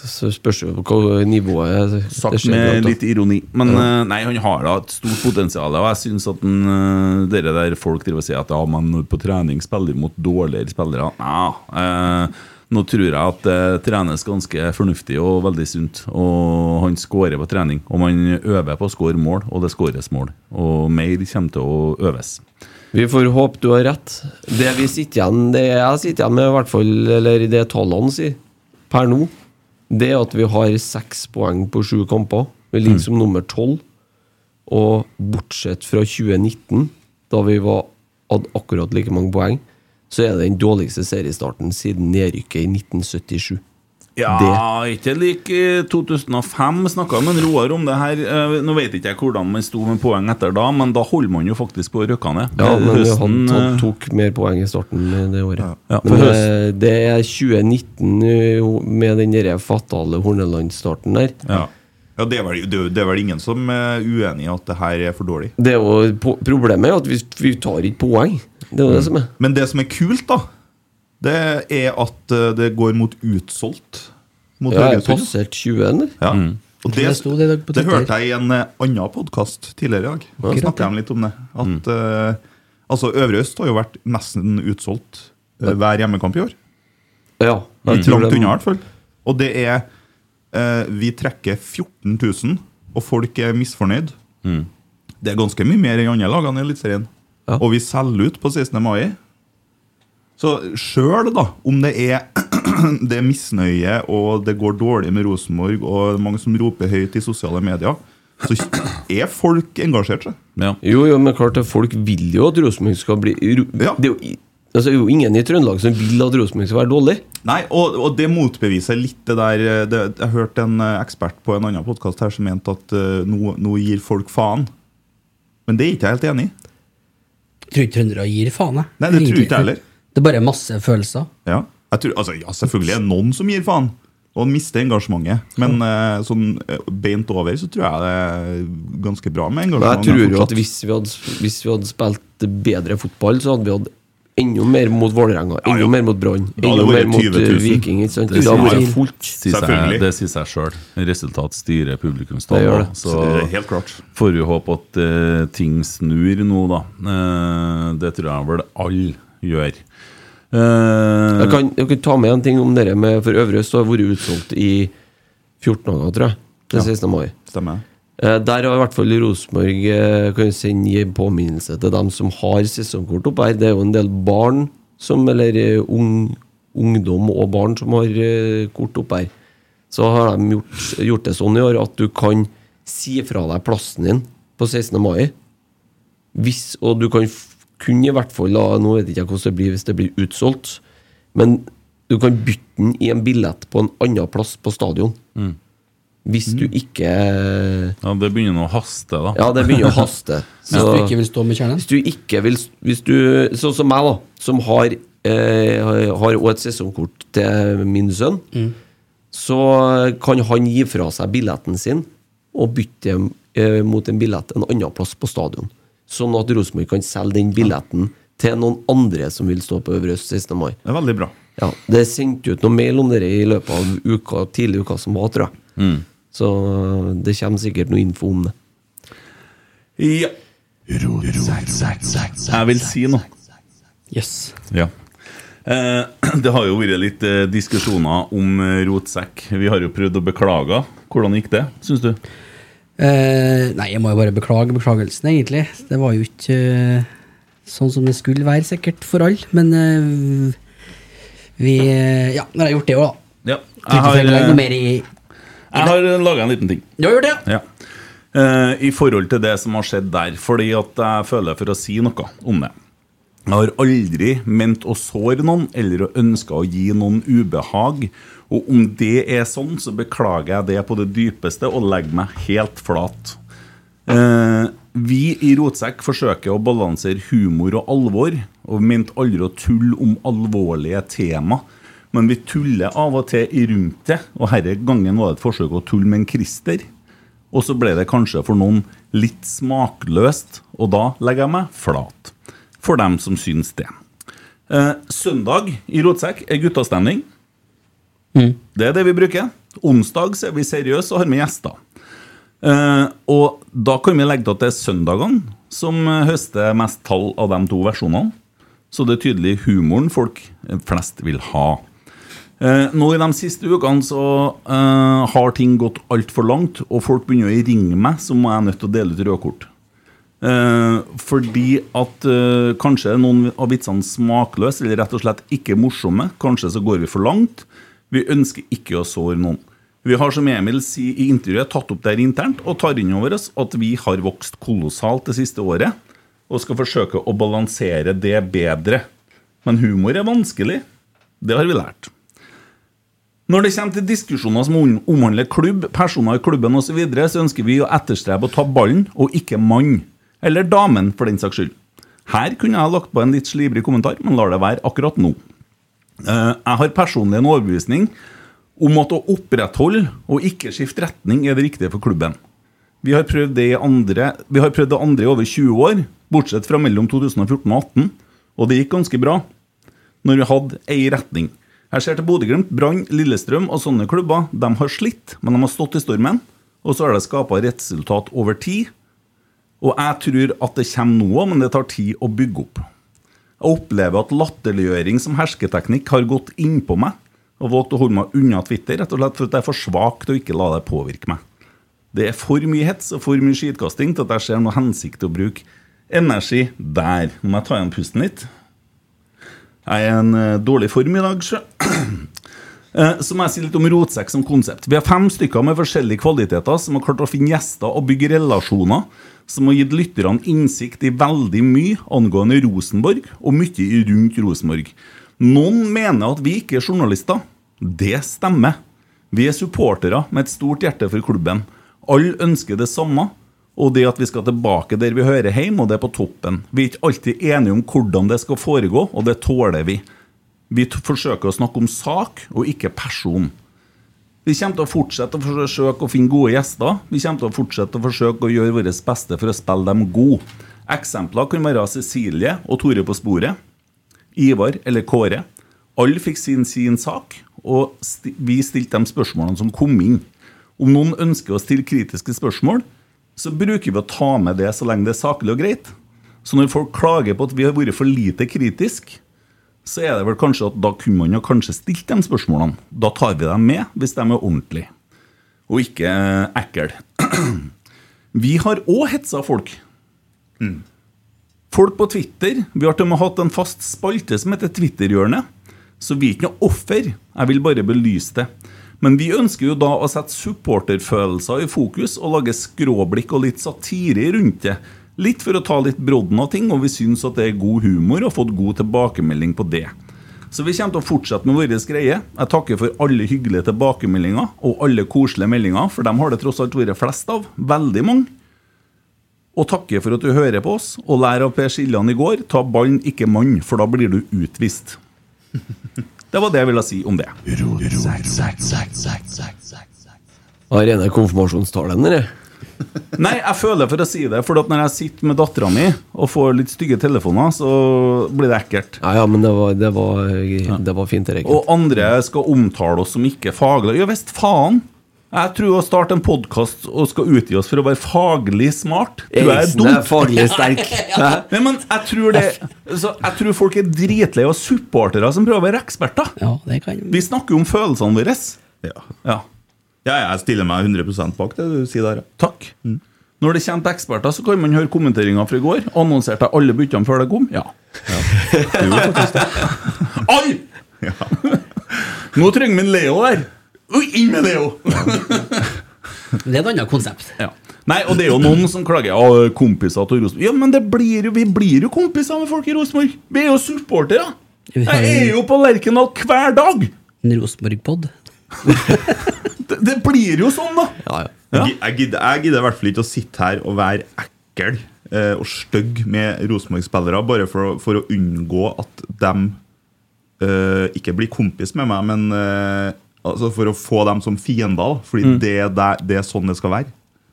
Speaker 5: så spørs jo på hva nivået det
Speaker 4: Sagt
Speaker 5: skjer
Speaker 4: med
Speaker 5: blant, da.
Speaker 4: litt ironi. Men eh, nei, han har da et stort potensial. Og jeg syns at han, eh, dere der folk driver og sier at ja, man på trening spiller mot dårligere spillere Nja. eh, nå tror jeg at det trenes ganske fornuftig og veldig sunt. Og han skårer på trening. Og man øver på å skåre mål, og det skåres mål. Og mer kommer til å øves.
Speaker 5: Vi får håpe du har rett. Det vi sitter igjen Det jeg sitter igjen med, i hvert fall, eller det tallene sier per nå, det er at vi har seks poeng på sju kamper. Vi ligger
Speaker 4: Mm.
Speaker 5: som nummer tolv. Og bortsett fra 2019, da vi var, hadde akkurat like mange poeng, så er det den dårligste seriestarten siden nedrykket i 1977.
Speaker 4: Ja,
Speaker 5: Det-
Speaker 4: ikke lik eh, i 2005. Snakka med en Roar om det her. Eh, Nå vet ikke jeg hvordan man sto med poeng etter da, men da holder man jo faktisk på å røkke ned.
Speaker 5: Ja, men vi
Speaker 4: Høsten,
Speaker 5: hadde
Speaker 4: eh,
Speaker 5: tatt, tok mer poeng i starten det året.
Speaker 4: Ja, for
Speaker 5: men eh,
Speaker 4: høsten-
Speaker 5: det er 2019 jo, med den der fatale Horneland-starten der.
Speaker 4: eh, Ja.
Speaker 7: Ja, det, er vel, det, er- det er vel ingen som er uenig i at det her er for dårlig.
Speaker 5: Det er jo, po- problemet er jo at vi, vi tar ikke poeng. Det er jo
Speaker 7: Mm.
Speaker 5: det som er.
Speaker 7: Men det som er kult, da, det er at eh, det går mot utsolgt. Mot
Speaker 5: Ja, jeg
Speaker 7: Haugesund.
Speaker 5: passerte 20, eller?
Speaker 7: Ja. Og
Speaker 6: Mm. det sto det i dag på
Speaker 7: det
Speaker 6: Twitter.
Speaker 7: hørte jeg i en eh, annen podkast tidligere i dag. Da
Speaker 6: Akkurat, Mm.
Speaker 7: snakket
Speaker 6: ja.
Speaker 7: de litt om det. At eh, altså, Øvre Øst har jo vært nesten utsolgt eh, hver hjemmekamp i år.
Speaker 5: Ja, jeg tror
Speaker 7: Langt
Speaker 5: det-
Speaker 7: unna, i hvert fall. Og det er eh, Vi trekker 14 000, og folk er misfornøyd. Det er ganske mye mer enn andre lagene i Eliteserien.
Speaker 5: Mm. Ja.
Speaker 7: Og vi selger ut på 16. mai. Så sjøl, da, om det er det er misnøye og det går dårlig med Rosenborg, og det er mange som roper høyt i sosiale medier, så er folk engasjert seg.
Speaker 4: Ja.
Speaker 5: Jo, jo, men klart det, folk vil jo at Rosenborg skal bli ro-
Speaker 7: Ja.
Speaker 5: det, er jo, i- altså, det er jo ingen i Trøndelag som vil at Rosenborg skal være dårlig.
Speaker 7: Nei, og, og det motbeviser litt det der eh, det, Jeg hørte en eh, ekspert på en annen podkast her som mente at eh, nå, nå gir folk faen. Men det er ikke jeg helt enig i.
Speaker 6: Jeg tror ikke trøndere gir faen, jeg.
Speaker 7: Nei, det tror
Speaker 6: Egentlig.
Speaker 7: ikke jeg heller.
Speaker 6: Det er bare masse følelser.
Speaker 7: Ja. Jeg tror, altså, ja, selvfølgelig er det noen som gir faen, og mister engasjementet. Men eh, sånn eh, beint over så tror jeg det er ganske bra med
Speaker 5: Men jeg
Speaker 7: engasjement.
Speaker 5: tror jo at
Speaker 7: fortsatt.
Speaker 5: hvis vi, hadde, hvis vi hadde spilt bedre fotball, så hadde vi hatt enda mer mot Vålerenga, enda
Speaker 7: ja.
Speaker 5: mer mot Brann,
Speaker 7: Da hadde
Speaker 5: enda
Speaker 7: det
Speaker 5: mer
Speaker 7: vært
Speaker 5: mot
Speaker 7: 20 000.
Speaker 5: eh, Viking. Ikke sant? Det
Speaker 4: Det sier
Speaker 5: hadde
Speaker 4: seg
Speaker 5: vært
Speaker 6: Tvil.
Speaker 4: fullt. Sier seg,
Speaker 7: Selvfølgelig.
Speaker 4: det sier seg sjøl. Resultat styrer
Speaker 5: Det gjør
Speaker 4: publikumstallene.
Speaker 5: det.
Speaker 4: Så
Speaker 7: Det er helt klart.
Speaker 4: får vi håpe at eh, ting snur nå, da. Eh, det tror jeg vel alle gjør. Eh,
Speaker 5: Jeg kan, jeg kan ta med en ting om dere med For øvrig så har jeg vært utsolgt i 14 dager, tror jeg. Den 16. mai.
Speaker 7: Stemmer.
Speaker 5: Eh, Der har i hvert fall Rosenborg eh, kan jo sende gi en påminnelse til dem som har sesongkort oppe her. Det er jo en del barn som, eller eh, ung, ungdom og barn som har eh, kort oppe her. Så har de gjort, gjort det sånn i år at du kan si fra deg plassen din på 16. mai. Hvis, og du kan f- kunne i hvert fall da, Nå vet ikke jeg hvordan det blir hvis det blir utsolgt, men du kan bytte den i en billett på en annen plass på stadion. Hvis du ikke
Speaker 4: Mm. ja, det begynner nå å haste, da.
Speaker 5: Ja, det begynner å haste. Så,
Speaker 6: Hvis du ikke vil stå med kjernen.
Speaker 5: hvis du ikke vil hvis du, Sånn som meg, da, som har eh, Har også et sesongkort til min sønn, så kan han gi fra seg billetten sin og bytte eh, mot en billett en annen plass på stadion. Sånn at Rosenborg kan selge den billetten til noen andre som vil stå på Øvre Øst 16. mai.
Speaker 7: Det er veldig bra.
Speaker 5: Ja, det er sendt ut noen mail om dere i løpet av uka, tidlig uka som var, tror jeg.
Speaker 4: Mm.
Speaker 5: Så eh, det kommer sikkert noe info om det.
Speaker 4: Ja. Jeg vil si noe.
Speaker 6: Yes.
Speaker 4: Ja. Eh, Det har jo vært litt eh, diskusjoner om eh, rotsekk. Vi har jo prøvd å beklage. Hvordan gikk det, syns du?
Speaker 6: Eh, nei, jeg må jo bare beklage beklagelsen, egentlig. Det var jo ikke eh, sånn som det skulle være, sikkert, for alle. Men eh, vi eh, Ja, nå har jeg gjort det òg, da.
Speaker 4: Ja.
Speaker 6: Tror
Speaker 4: Jeg
Speaker 6: ikke
Speaker 4: har,
Speaker 6: jeg legger noe
Speaker 4: eh,
Speaker 6: mer i
Speaker 4: jeg har laga en liten ting.
Speaker 6: Du har gjort det, ja?
Speaker 4: Ja. Eh, I forhold til det som har skjedd der, fordi at jeg føler for å si noe om det. Jeg har aldri ment å såre noen eller å ønske å gi noen ubehag. Og om det er sånn, så beklager jeg det på det dypeste og legger meg helt flat. Eh, vi i Rotsekk forsøker å balansere humor og alvor, og vi mente aldri å tulle om alvorlige tema. Men vi tuller av og til i rundt det, og herre gangen var det et forsøk å tulle med en Christer. Og så ble det kanskje for noen litt smakløst, og da legger jeg meg flat. For dem som syns det. Eh, søndag i Rotsekk er guttastemning. Det er det vi bruker. Onsdag så er vi seriøse og har med gjester. Eh, og da kan vi legge til at det er søndagene som eh, høster mest tall av de to versjonene. Så det er tydelig humoren folk flest vil ha. Eh, nå I de siste ukene så eh, har ting gått altfor langt, og folk begynner å ringe meg, så må jeg nødt til å dele ut rødkort. Eh, fordi at eh, kanskje er noen av vitsene smakløse eller rett og slett ikke morsomme. Kanskje så går vi for langt. Vi ønsker ikke å såre noen. Vi har, som Emil sier i intervjuet, tatt opp det her internt og tar inn over oss at vi har vokst kolossalt det siste året og skal forsøke å balansere det bedre. Men humor er vanskelig. Det har vi lært. Når det kommer til diskusjoner som om- omhandler klubb, personer i klubben osv., så, videre, så ønsker vi å etterstrebe å ta ballen, og ikke mann. Eller damen, for den saks skyld. Her kunne jeg ha lagt på en litt slibrig kommentar, men lar det være akkurat nå. Eh, Jeg har personlig en overbevisning om at å opprettholde og ikke skifte retning er det riktige for klubben. Vi har prøvd det, i andre, vi har prøvd det andre i over 20 år, bortsett fra mellom 2014 og 2018, og det gikk ganske bra når vi hadde ei retning. Jeg ser til Bodø-Glimt, Brann, Lillestrøm og sånne klubber. De har slitt, men de har stått i stormen. Og så har det skapa resultat over tid. Og jeg tror at det kommer noe, men det tar tid å bygge opp. Jeg opplever at latterliggjøring som hersketeknikk har gått innpå meg og valgt å holde meg unna Twitter, rett og slett for at jeg er for svak til å ikke la det påvirke meg. Det er for mye hets og for mye skitkasting til at jeg ser noe hensikt til å bruke energi der. Nå må jeg ta igjen pusten litt. Jeg er i en eh, dårlig form i dag, sjø. Eh, Så må jeg si litt om rotsekk som konsept. Vi har fem stykker med forskjellige kvaliteter som har klart å finne gjester og bygge relasjoner, som har gitt lytterne innsikt i veldig mye angående Rosenborg, og mye rundt Rosenborg. Noen mener at vi ikke er journalister. Det stemmer. Vi er supportere med et stort hjerte for klubben. Alle ønsker det samme, og det at vi skal tilbake der vi hører hjemme, og det er på toppen. Vi er ikke alltid enige om hvordan det skal foregå, og det tåler vi. Vi t- forsøker å snakke om sak og ikke person. Vi kommer til å fortsette å forsøke å finne gode gjester. Vi kommer til å fortsette å forsøke å gjøre vårt beste for å spille dem gode. Eksempler kan være Cecilie og Tore på sporet, Ivar eller Kåre. Alle fikk sin, sin sak, og sti vi stilte de spørsmålene som kom inn. Om noen ønsker å stille kritiske spørsmål, så bruker vi å ta med det så lenge det er saklig og greit. Så når folk klager på at vi har vært for lite kritisk, så er det vel kanskje at da kunne man jo kanskje stilt de spørsmålene. Da tar vi dem med, hvis de er ordentlige, og ikke eh, ekle. Vi har òg hetsa folk. Folk på Twitter. Vi har til og med hatt en fast spalte som heter Twitterhjørnet. Så vi er ikke noe offer. Jeg vil bare belyse det. Men vi ønsker jo da å sette supporterfølelser i fokus og lage skråblikk og litt satire rundt det. Litt for å ta litt brodden av ting, og vi syns at det er god humor og har fått god tilbakemelding på det. Så vi kommer til å fortsette med vår greie. Jeg takker for alle hyggelige tilbakemeldinger og alle koselige meldinger, for dem har det tross alt vært flest av. Veldig mange og takke for at du hører på oss. Og lær av Per Siljan i går ta ballen, ikke mann, for da blir du utvist. Det var det jeg ville si om det.
Speaker 5: Har rene konfirmasjonstalen, eller?
Speaker 4: Nei, jeg føler for å si det, for at når jeg sitter med dattera mi og får litt stygge telefoner, så blir det ekkelt.
Speaker 5: Ja, ja, men det var, det var, det var fint, Erik.
Speaker 4: Og andre skal omtale oss som ikke faglige. Ja visst, faen! Jeg tror å starte en podkast og skal utgi oss for å være faglig smart, tror jeg er
Speaker 5: Eriksen
Speaker 4: dumt.
Speaker 5: er faglig sterk. Hæ?
Speaker 4: Nei, men jeg tror, det, så jeg tror folk er dritlei av supportere som prøver å være eksperter.
Speaker 6: Ja, Mm. det kan
Speaker 4: Vi snakker jo om følelsene våre.
Speaker 7: Ja.
Speaker 4: Ja.
Speaker 7: ja, jeg stiller meg 100 bak det du sier der. ja.
Speaker 4: Takk. Når det kommer til eksperter, så kan man høre kommenteringa fra i går. Annonserte jeg alle byttene før det kom? Ja. Alle! Nå trenger vi en Leo der. Ui, inn med Leo!
Speaker 6: Det er et annet konsept.
Speaker 4: Ja. Nei, og det er jo noen som klager. Ja, kompiser til Rosenborg. Ja, men det blir, jo- vi blir jo kompiser med folk i Rosenborg. Vi er jo supportere.
Speaker 6: Vi har
Speaker 4: Jeg er
Speaker 6: en
Speaker 4: jo på Lerkendal hver dag!
Speaker 6: en Rosenborg-pod.
Speaker 4: Det, det blir jo sånn, da.
Speaker 5: Ja, ja.
Speaker 4: Ja.
Speaker 7: Jeg, jeg gidder, jeg gidder i hvert fall ikke å sitte her og være ekkel eh, og stygg med Rosenborg-spillere, bare for, å- for å unngå at de eh, ikke blir kompis med meg, men eh, altså for å få dem som fiender. da.
Speaker 5: Mm.
Speaker 7: Fordi det, er der, det er sånn det skal være.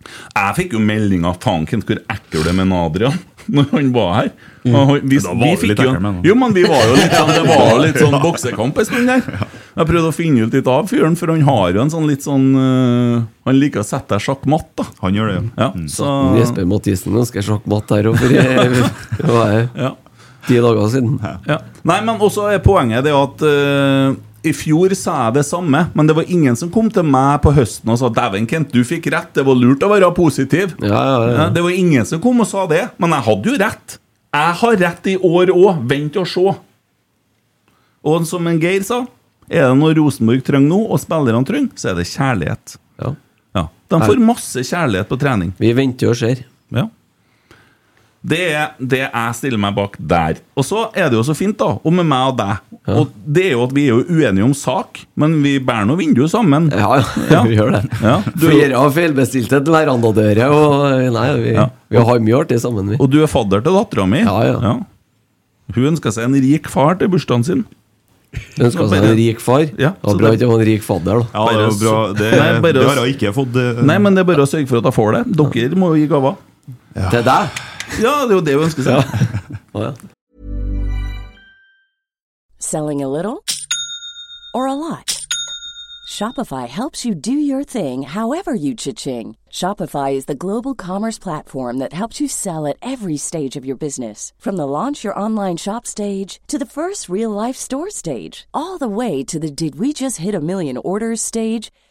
Speaker 4: Jeg fikk jo melding av tanken hvor ekkel det er med Adrian når han var her. Og han- Vi,
Speaker 7: Mm. da var det
Speaker 4: vi
Speaker 7: litt
Speaker 4: fikk jo,
Speaker 7: ekkel med han.
Speaker 4: jo, men vi var jo litt sånn, det var jo litt sånn boksekamp en stund der. Jeg prøvde å finne ut litt av fyren, for han har jo en sånn litt sånn øh, Han liker å sette deg sjakkmatt, da.
Speaker 7: Han gjør det, Mm. jo.
Speaker 4: Ja, så,
Speaker 5: Jesper Mathisen ønsker sjakkmatt her over Det var jeg
Speaker 4: ja,
Speaker 5: ti dager siden.
Speaker 4: ja. Nei, men også er poenget det at øh, i fjor sa jeg det samme, men det var ingen som kom til meg på høsten og sa 'Dæven, Kent, du fikk rett. Det var lurt å være positiv'.
Speaker 5: Ja, ja, ja.
Speaker 4: Ja, det var ingen som kom og sa det, men jeg hadde jo rett. Jeg har rett i år òg. Vent og se. Og som en Geir sa, er det noe Rosenborg trenger nå, og spillerne trenger, så er det kjærlighet.
Speaker 5: ja.
Speaker 4: Ja. De får masse kjærlighet på trening.
Speaker 5: Vi venter og ser.
Speaker 4: Ja. Det er det jeg stiller meg bak der. Og så er det jo så fint, da, og med meg og deg. Og det er jo at vi er jo uenige om sak, men vi bærer nå vinduet sammen.
Speaker 5: Ja, ja,
Speaker 4: Ja.
Speaker 5: vi gjør det.
Speaker 4: Ja, du-
Speaker 5: Flere har feilbestilt et verandadøre, og eh, nei, vi,
Speaker 4: Ja.
Speaker 5: vi har mye artig sammen, vi.
Speaker 4: Og du er fadder til dattera mi.
Speaker 5: Ja, ja.
Speaker 4: Hun ønsker seg en rik far til bursdagen sin.
Speaker 5: Ønska seg en rik far.
Speaker 4: Ja,
Speaker 5: Ja,
Speaker 4: så
Speaker 5: bra
Speaker 4: det-
Speaker 5: ikke var en rik fadder, da.
Speaker 7: Ja, det, er jo
Speaker 4: Bare
Speaker 7: bra.
Speaker 4: så-
Speaker 7: Det,
Speaker 4: Nei, bare
Speaker 7: det
Speaker 4: s-
Speaker 7: har jeg ikke fått. eh,
Speaker 4: Nei, men det er bare å sørge for at jeg får det. Dere må jo gi gaver.
Speaker 5: Til deg?
Speaker 4: Ja, det er jo det vi ønsker seg.
Speaker 5: Å, ja.
Speaker 8: Selling a little or a lot? Shopify helps you do your thing however you cha-ching. Shopify is the global commerce platform that helps you sell at every stage of your business. From the launch your online shop stage to the first real life store stage, all the way to the did we just hit a million orders stage.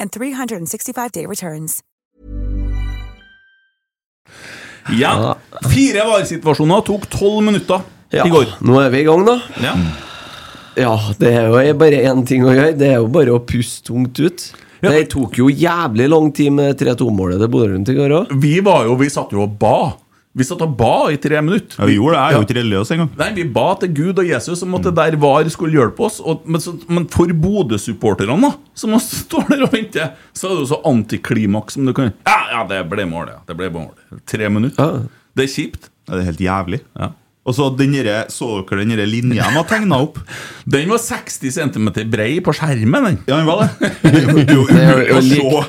Speaker 9: and 365-day returns.
Speaker 4: Ja. Fire varesituasjoner tok tolv minutter
Speaker 5: Ja,
Speaker 4: i går.
Speaker 5: nå er vi i gang, da.
Speaker 4: Ja.
Speaker 5: Ja, det er jo bare én ting å gjøre. Det er jo bare å puste tungt ut. Det tok jo jævlig lang tid med 3-2-målet til Bodø Glimt i går òg.
Speaker 4: Vi var jo, vi satt jo og ba. Vi satt og ba i tre minutter.
Speaker 7: Ja, vi gjorde det. Jeg er
Speaker 4: Ja.
Speaker 7: jo ikke religiøs engang.
Speaker 4: Nei, Vi ba til Gud og Jesus om at det der var skulle hjelpe oss. Og, men, så, men for Bodø-supporterne, da, som står der og venter, så er det jo så antiklimaks som du kan Ja, ja, det ble mål, ja. Det ble mål. Tre minutter. Det er kjipt.
Speaker 7: Ja, det er helt jævlig. Og så den derre- så dere den derre linja de har tegna opp?
Speaker 4: Den var 60 cm brei på skjermen, den.
Speaker 7: Ja, den var det. Det er jo umulig å se.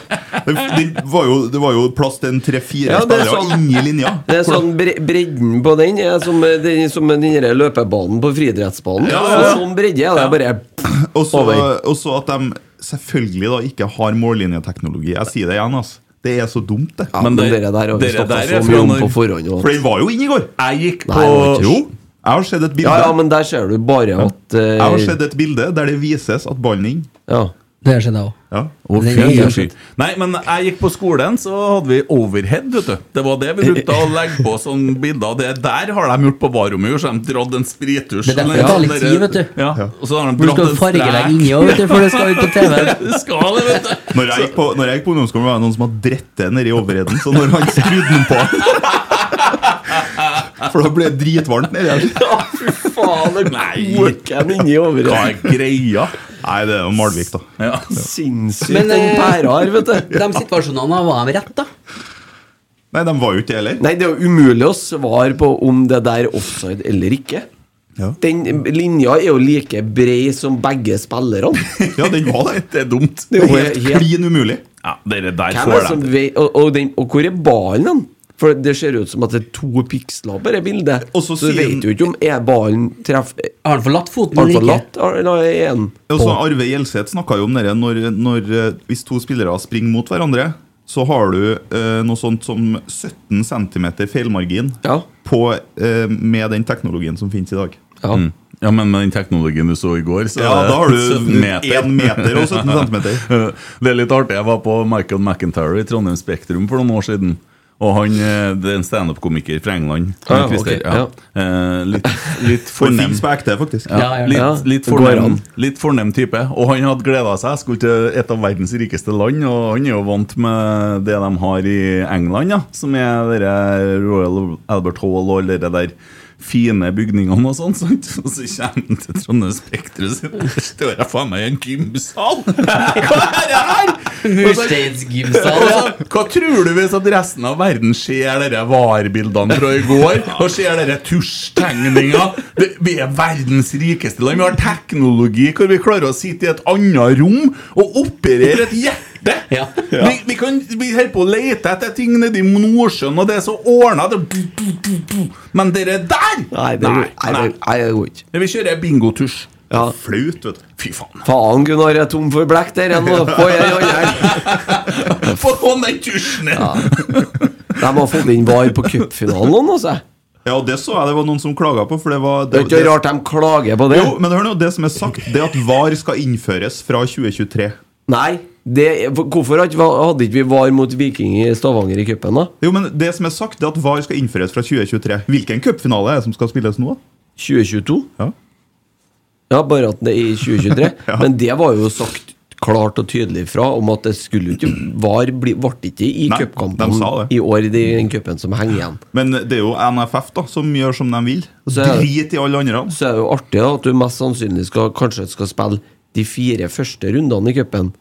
Speaker 7: Det, det, var jo, det var jo plass til en tre-fire
Speaker 5: Ja, det er
Speaker 7: spillere
Speaker 5: sånn-
Speaker 7: inni linja.
Speaker 5: Det er sånn bre bredden på den er som eh, den, som den der løpebanen på friidrettsbanen.
Speaker 7: Ja, ja, ja.
Speaker 5: Så Sånn bredde er det bare
Speaker 7: Og så,
Speaker 5: Over.
Speaker 7: og så at de selvfølgelig da ikke har mållinjeteknologi. Jeg sier det igjen, altså. Det er så dumt, det.
Speaker 5: Ja, men Men det- dere der har vi dere snakket der er så mye om fra når- på forhånd, og-
Speaker 7: For den var jo inne i går!
Speaker 4: Jeg gikk
Speaker 5: Nei, på- det var ikke-
Speaker 7: Jo, jeg har sett et bilde.
Speaker 5: Ja, ja, men der ser du bare at eh,
Speaker 7: Jeg har sett et bilde der det vises at ballen er inn.
Speaker 5: Ja.
Speaker 6: Det skjedde jeg òg.
Speaker 7: Ja.
Speaker 4: Å,
Speaker 6: Det-
Speaker 4: fy,
Speaker 6: det-
Speaker 4: fy. Nei, men jeg gikk på skolen, så hadde vi overhead, vet du. Det var det vi brukte å legge på sånne bilder. og Det der har de gjort på varomur, så de dratt en sprittusj.
Speaker 6: Det er derfor
Speaker 4: eller
Speaker 6: det tar
Speaker 4: sånn
Speaker 6: litt
Speaker 4: der-
Speaker 6: tid, vet du.
Speaker 4: Ja, og så har de
Speaker 6: Du
Speaker 4: dratt
Speaker 6: skal
Speaker 4: en
Speaker 6: fargelegge
Speaker 4: strek.
Speaker 6: inni òg, vet du, for det skal ut på TV.
Speaker 4: Det skal det, vet du.
Speaker 7: Når jeg, gikk på, når jeg gikk på ungdomsskolen, var det noen som hadde drett det nedi overheden. Så når han skrudde den på For da ble det dritvarmt nedi her.
Speaker 5: Fy faen, det
Speaker 4: Nei,
Speaker 5: koker dem inni
Speaker 4: hva
Speaker 5: overalt.
Speaker 4: er greia?
Speaker 7: Nei, det er jo Malvik, da.
Speaker 4: Ja.
Speaker 5: Sinnssykt,
Speaker 6: Men,
Speaker 5: den
Speaker 6: eh,
Speaker 5: pæra her, vet du.
Speaker 6: De situasjonene var de rett, da.
Speaker 7: Nei, de var jo ikke det heller.
Speaker 5: Nei, det er jo umulig å svare på om det der er offside eller ikke.
Speaker 7: Ja.
Speaker 5: Den linja er jo like bred som begge spillerne.
Speaker 7: Ja, den var det.
Speaker 4: Det er dumt.
Speaker 5: Det er jo
Speaker 7: Helt
Speaker 5: helt
Speaker 7: klin umulig.
Speaker 4: Ja, dere
Speaker 5: Hvem er
Speaker 4: der
Speaker 5: det
Speaker 4: får
Speaker 5: som
Speaker 4: dem.
Speaker 5: vei- og, og, den, og hvor er ballen hen? For det ser ut som at det er to piksler på det bildet.
Speaker 7: Og så
Speaker 5: så
Speaker 7: sier
Speaker 5: du vet
Speaker 7: den-
Speaker 5: jo ikke om er ballen treff... Har
Speaker 6: Har han forlatt foten
Speaker 5: den
Speaker 6: eller ikke?
Speaker 5: forlatt, har- eller er den
Speaker 7: Og
Speaker 5: på?
Speaker 7: så Arve Gjelseth snakka jo om det når, når eh, Hvis to spillere springer mot hverandre, så har du eh, noe sånt som 17 cm feilmargin
Speaker 5: Ja.
Speaker 7: på, eh, med den teknologien som finnes i dag.
Speaker 5: Ja.
Speaker 4: Ja, men med den teknologien du så i går, så
Speaker 7: Ja,
Speaker 4: er det
Speaker 7: da har du
Speaker 4: 17 meter.
Speaker 7: én meter og 17 cm.
Speaker 4: Det er litt artig. Jeg var på Michael McIntyre i Trondheim Spektrum for noen år siden. Og han, eh, det er en standup-komiker fra England.
Speaker 5: Ah,
Speaker 4: Knut Krister,
Speaker 5: ok, ja.
Speaker 4: Eh, Litt, litt
Speaker 7: For
Speaker 4: fornem.
Speaker 7: fins på ekte, faktisk.
Speaker 6: Ja, ja.
Speaker 4: Litt,
Speaker 5: Ja,
Speaker 4: litt,
Speaker 5: det går
Speaker 4: fornem,
Speaker 5: an.
Speaker 4: litt fornem type. Og han hadde gleda seg. Skulle til et av verdens rikeste land, og han er jo vant med det de har i England, ja, som er dere Royal Albert Hall og alle de der fine bygningene og sånn. sant? Og så kommer han til Trondheim Spektrum, så der står jeg faen meg i en gymsal! Hva er det her?! Og så-
Speaker 6: Mursteinsgymsal, ja.
Speaker 4: Altså, hva tror du hvis at resten av verden ser dere VAR-bildene fra i går? Og ser dere tusjtegninga? Det- Vi er verdens rikeste land. Vi har teknologi hvor vi klarer å sitte i et annet rom og operere et det! Vi, vi, kan, vi holder på å lete etter ting nedi Nordsjøen, og det er så ordna. Men dere der!
Speaker 5: Nei, det går ikke. Nei, det- nei, det går ikke.
Speaker 4: Vi kjører bingotusj.
Speaker 5: Ja.
Speaker 4: Flaut, vet du. Fy faen.
Speaker 5: Faen, Gunnar, jeg er tom for blekk der igjen. nå. Få jeg- jeg- jeg-
Speaker 4: Få få den tusjen ned!
Speaker 5: De har fått inn VAR på cupfinalen, altså.
Speaker 7: Ja, og det så jeg det var noen som klaga på. For det var
Speaker 5: Det er ikke rart de klager på det.
Speaker 7: Jo, men hør nå, det som er sagt, det er at VAR skal innføres fra 2023.
Speaker 5: Nei, det, hvorfor hadde hadde ikke vi VAR mot Viking i Stavanger i cupen, da?
Speaker 7: Jo, men det som er sagt, det er at VAR skal innføres fra 2023. Hvilken cupfinale er det som skal spilles nå?
Speaker 5: 2022?
Speaker 7: Ja.
Speaker 5: Ja, bare at det er i 2023. Men det var jo sagt klart og tydelig fra om at det skulle jo ikke VAR bli, ble ikke i
Speaker 7: Nei,
Speaker 5: cupkampen
Speaker 7: de sa det.
Speaker 5: i år, de- den cupen som henger igjen.
Speaker 7: Men det er jo NFF da, som gjør som de vil.
Speaker 5: Så er det-
Speaker 7: Drit i alle andre.
Speaker 5: Så er det jo artig da, at du mest sannsynlig skal, kanskje skal spille de fire første rundene i cupen.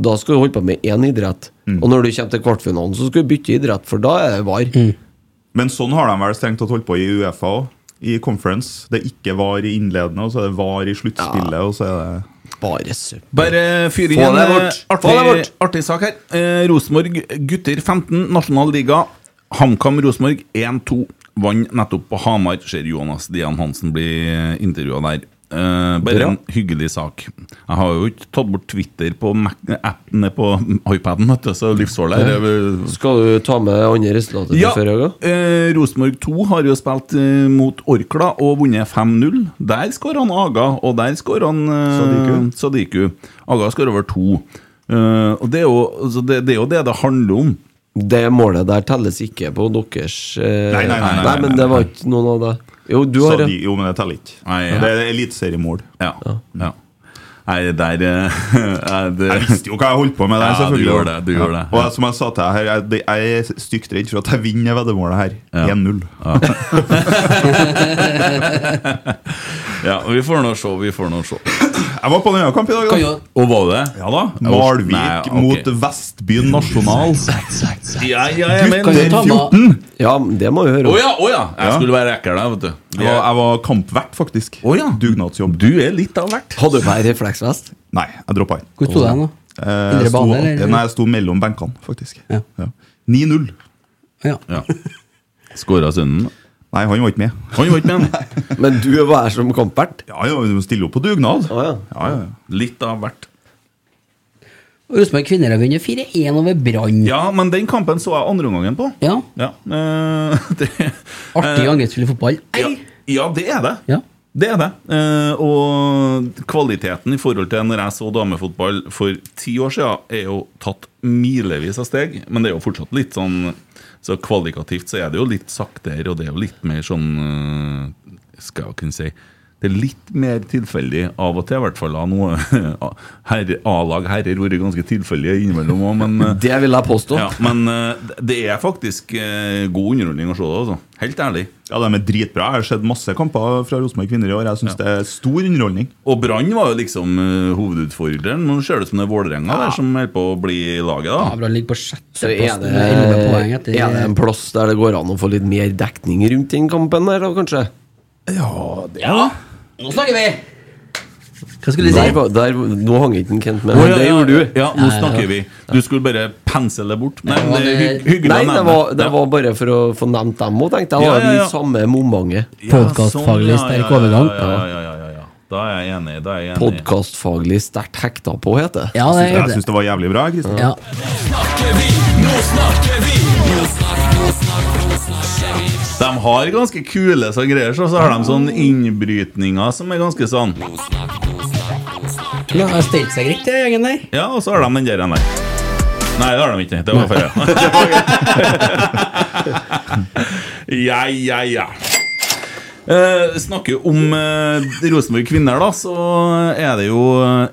Speaker 5: Da skal du holde på med én idrett.
Speaker 4: Mm.
Speaker 5: Og når du kommer til kvartfinalen, så skal du bytte idrett, for da er det VAR.
Speaker 4: Mm.
Speaker 7: Men sånn har de vel strengt tatt holdt på i Uefa òg. I conference. Det er ikke VAR i innledende, og så er det VAR i sluttspillet, og så er det
Speaker 5: Bare søppel.
Speaker 4: Bare fyr inn
Speaker 7: Få
Speaker 4: en
Speaker 7: det
Speaker 4: eh,
Speaker 7: bort. Få det
Speaker 4: artig,
Speaker 7: bort.
Speaker 4: artig sak her. Eh, Rosenborg gutter 15, nasjonal liga. HamKam Rosenborg 1-2. Vant nettopp på Hamar, ser Jonas Dian Hansen bli intervjua der. Eh, bare
Speaker 7: Bra.
Speaker 4: en hyggelig sak. Jeg har jo ikke tatt bort Twitter på Mac appene på iPaden, vet du, så livsfarlig er det.
Speaker 5: Eh, Skal du ta med andre resultater fra før i dag, da?
Speaker 4: eh, Rosenborg 2 har jo spilt eh, mot Orkla og vunnet 5-0. Der skårer han Aga, og der skårer han eh, Sadiku. Aga skårer over to. Eh, og det er, jo, altså det, det er jo det det handler om.
Speaker 5: Det målet der telles ikke på deres eh,
Speaker 7: Nei, nei, nei, nei,
Speaker 5: men
Speaker 7: nei,
Speaker 5: det var
Speaker 7: nei.
Speaker 5: ikke noen av det. Jo, du har
Speaker 7: Sadi- Jo, men det teller ikke.
Speaker 4: ja.
Speaker 7: Det er eliteseriemål.
Speaker 4: Ja. ja. Nei, det der eh, er det...
Speaker 7: Jeg visste jo hva jeg holdt på med der,
Speaker 4: Ja, du
Speaker 7: selvfølgelig.
Speaker 4: gjorde det, du gjorde det.
Speaker 7: Og jeg- som jeg sa til deg her, jeg, det- jeg er stygt redd for at jeg vinner veddemålet her. 1-0.
Speaker 4: Ja, vi får nå se, vi får nå se.
Speaker 7: Jeg var på en annen kamp i dag, da.
Speaker 4: Og var det?
Speaker 7: Ja da.
Speaker 4: Jeg var-
Speaker 7: Malvik
Speaker 4: Nei, ok.
Speaker 7: mot Vestbyen Nasjonal.
Speaker 4: Ja, ja, jeg mener-
Speaker 7: Gutter 14!
Speaker 5: Ja, det må vi høre
Speaker 4: Å ja, å ja! Jeg skulle være ekkel der, vet du.
Speaker 7: Jeg var, jeg var kampvert, faktisk. Dugnadsjobb.
Speaker 4: Du er litt av hvert.
Speaker 5: Hadde du bare refleksvest?
Speaker 7: Nei, jeg droppa den.
Speaker 6: Hvor sto den da?
Speaker 7: Eh,
Speaker 6: Indre
Speaker 7: jeg sto-
Speaker 6: bane, eller?
Speaker 7: Nei, jeg sto mellom benkene, faktisk. Ja. 9-0.
Speaker 4: Ja. Skåra sønnen?
Speaker 7: Nei, han var ikke med.
Speaker 4: Han var ikke med, han.
Speaker 5: Men du var her som kampert?
Speaker 7: Ja, ja, vi må stille opp på dugnad.
Speaker 5: Å ja.
Speaker 7: Ja, ja, ja.
Speaker 4: Litt av hvert.
Speaker 6: Og Rosenborg kvinner har vunnet 4-1 over Brann.
Speaker 4: Ja, men den kampen så jeg andreomgangen på.
Speaker 6: Ja.
Speaker 4: Ja, eh, det,
Speaker 6: Artig
Speaker 4: eh,
Speaker 6: angrepsfull fotball. Ei!
Speaker 4: ja, ja, det er det.
Speaker 6: Ja.
Speaker 4: Det er det. Eh, og kvaliteten i forhold til når jeg så damefotball for ti år siden, er jo tatt milevis av steg. Men det er jo fortsatt litt sånn Så kvalitativt så er det jo litt saktere, og det er jo litt mer sånn eh, Skal jeg kunne si Det er litt mer tilfeldig av og til, i hvert fall. av noe- Herre- A-lag herrer har vært ganske tilfeldige innimellom òg, men eh,
Speaker 5: Det vil jeg påstå.
Speaker 4: ja, men eh, det er faktisk eh, god underholdning å se det, altså. Helt ærlig.
Speaker 7: Ja, De er dritbra. Jeg har sett masse kamper fra Rosenborg kvinner i år. Jeg syns det er stor underholdning.
Speaker 4: Og Brann var jo liksom eh, hovedutfordreren. Nå ser det ut som det er Vålerenga der som holder på å bli i laget,
Speaker 6: Ja,
Speaker 4: da.
Speaker 6: Brann ligger på
Speaker 5: Så er
Speaker 6: sjetteplass
Speaker 5: det,
Speaker 6: med 11 poeng
Speaker 5: er
Speaker 6: etter
Speaker 5: det en plass der det går an å få litt mer dekning rundt den kampen der, da, kanskje?
Speaker 6: Ja! Nå snakker vi! Hva skulle du si?
Speaker 5: Der, var- der, nå hang ikke den Kent med,
Speaker 4: Å,
Speaker 5: men
Speaker 4: ja,
Speaker 5: det
Speaker 4: ja,
Speaker 5: gjorde du.
Speaker 4: Ja, nå snakker vi. Du skulle bare pense det bort. Nei, men det er hy- hyggelig
Speaker 5: Nei,
Speaker 4: å
Speaker 5: det
Speaker 4: nevne.
Speaker 5: var, det var bare for å få nevnt dem òg, tenkte jeg. Da
Speaker 4: Ja,
Speaker 5: er vi
Speaker 4: ja, ja.
Speaker 5: i samme momentet.
Speaker 4: Ja, sånn,
Speaker 6: Podcastfaglig
Speaker 4: ja, ja,
Speaker 6: sterk
Speaker 4: ja,
Speaker 6: overgang.
Speaker 4: Ja, ja, ja, ja, ja, ja. Da er jeg enig. Da er jeg enig.
Speaker 5: Podkastfaglig sterkt hekta på, heter det.
Speaker 6: Ja, det
Speaker 7: Jeg
Speaker 6: er det.
Speaker 7: syns det var jævlig bra. Kristian
Speaker 6: Ja.
Speaker 4: De har ganske kule så greier, så, så har de sånne innbrytninger som er ganske sånn
Speaker 6: Nå har stelt seg greit, den gjengen der.
Speaker 4: Ja, og så har de den der. Nei, Nei, det har de ikke. Det var feil. Ja, ja, ja. Eh, snakker om eh, Rosenborg kvinner, da, så er det jo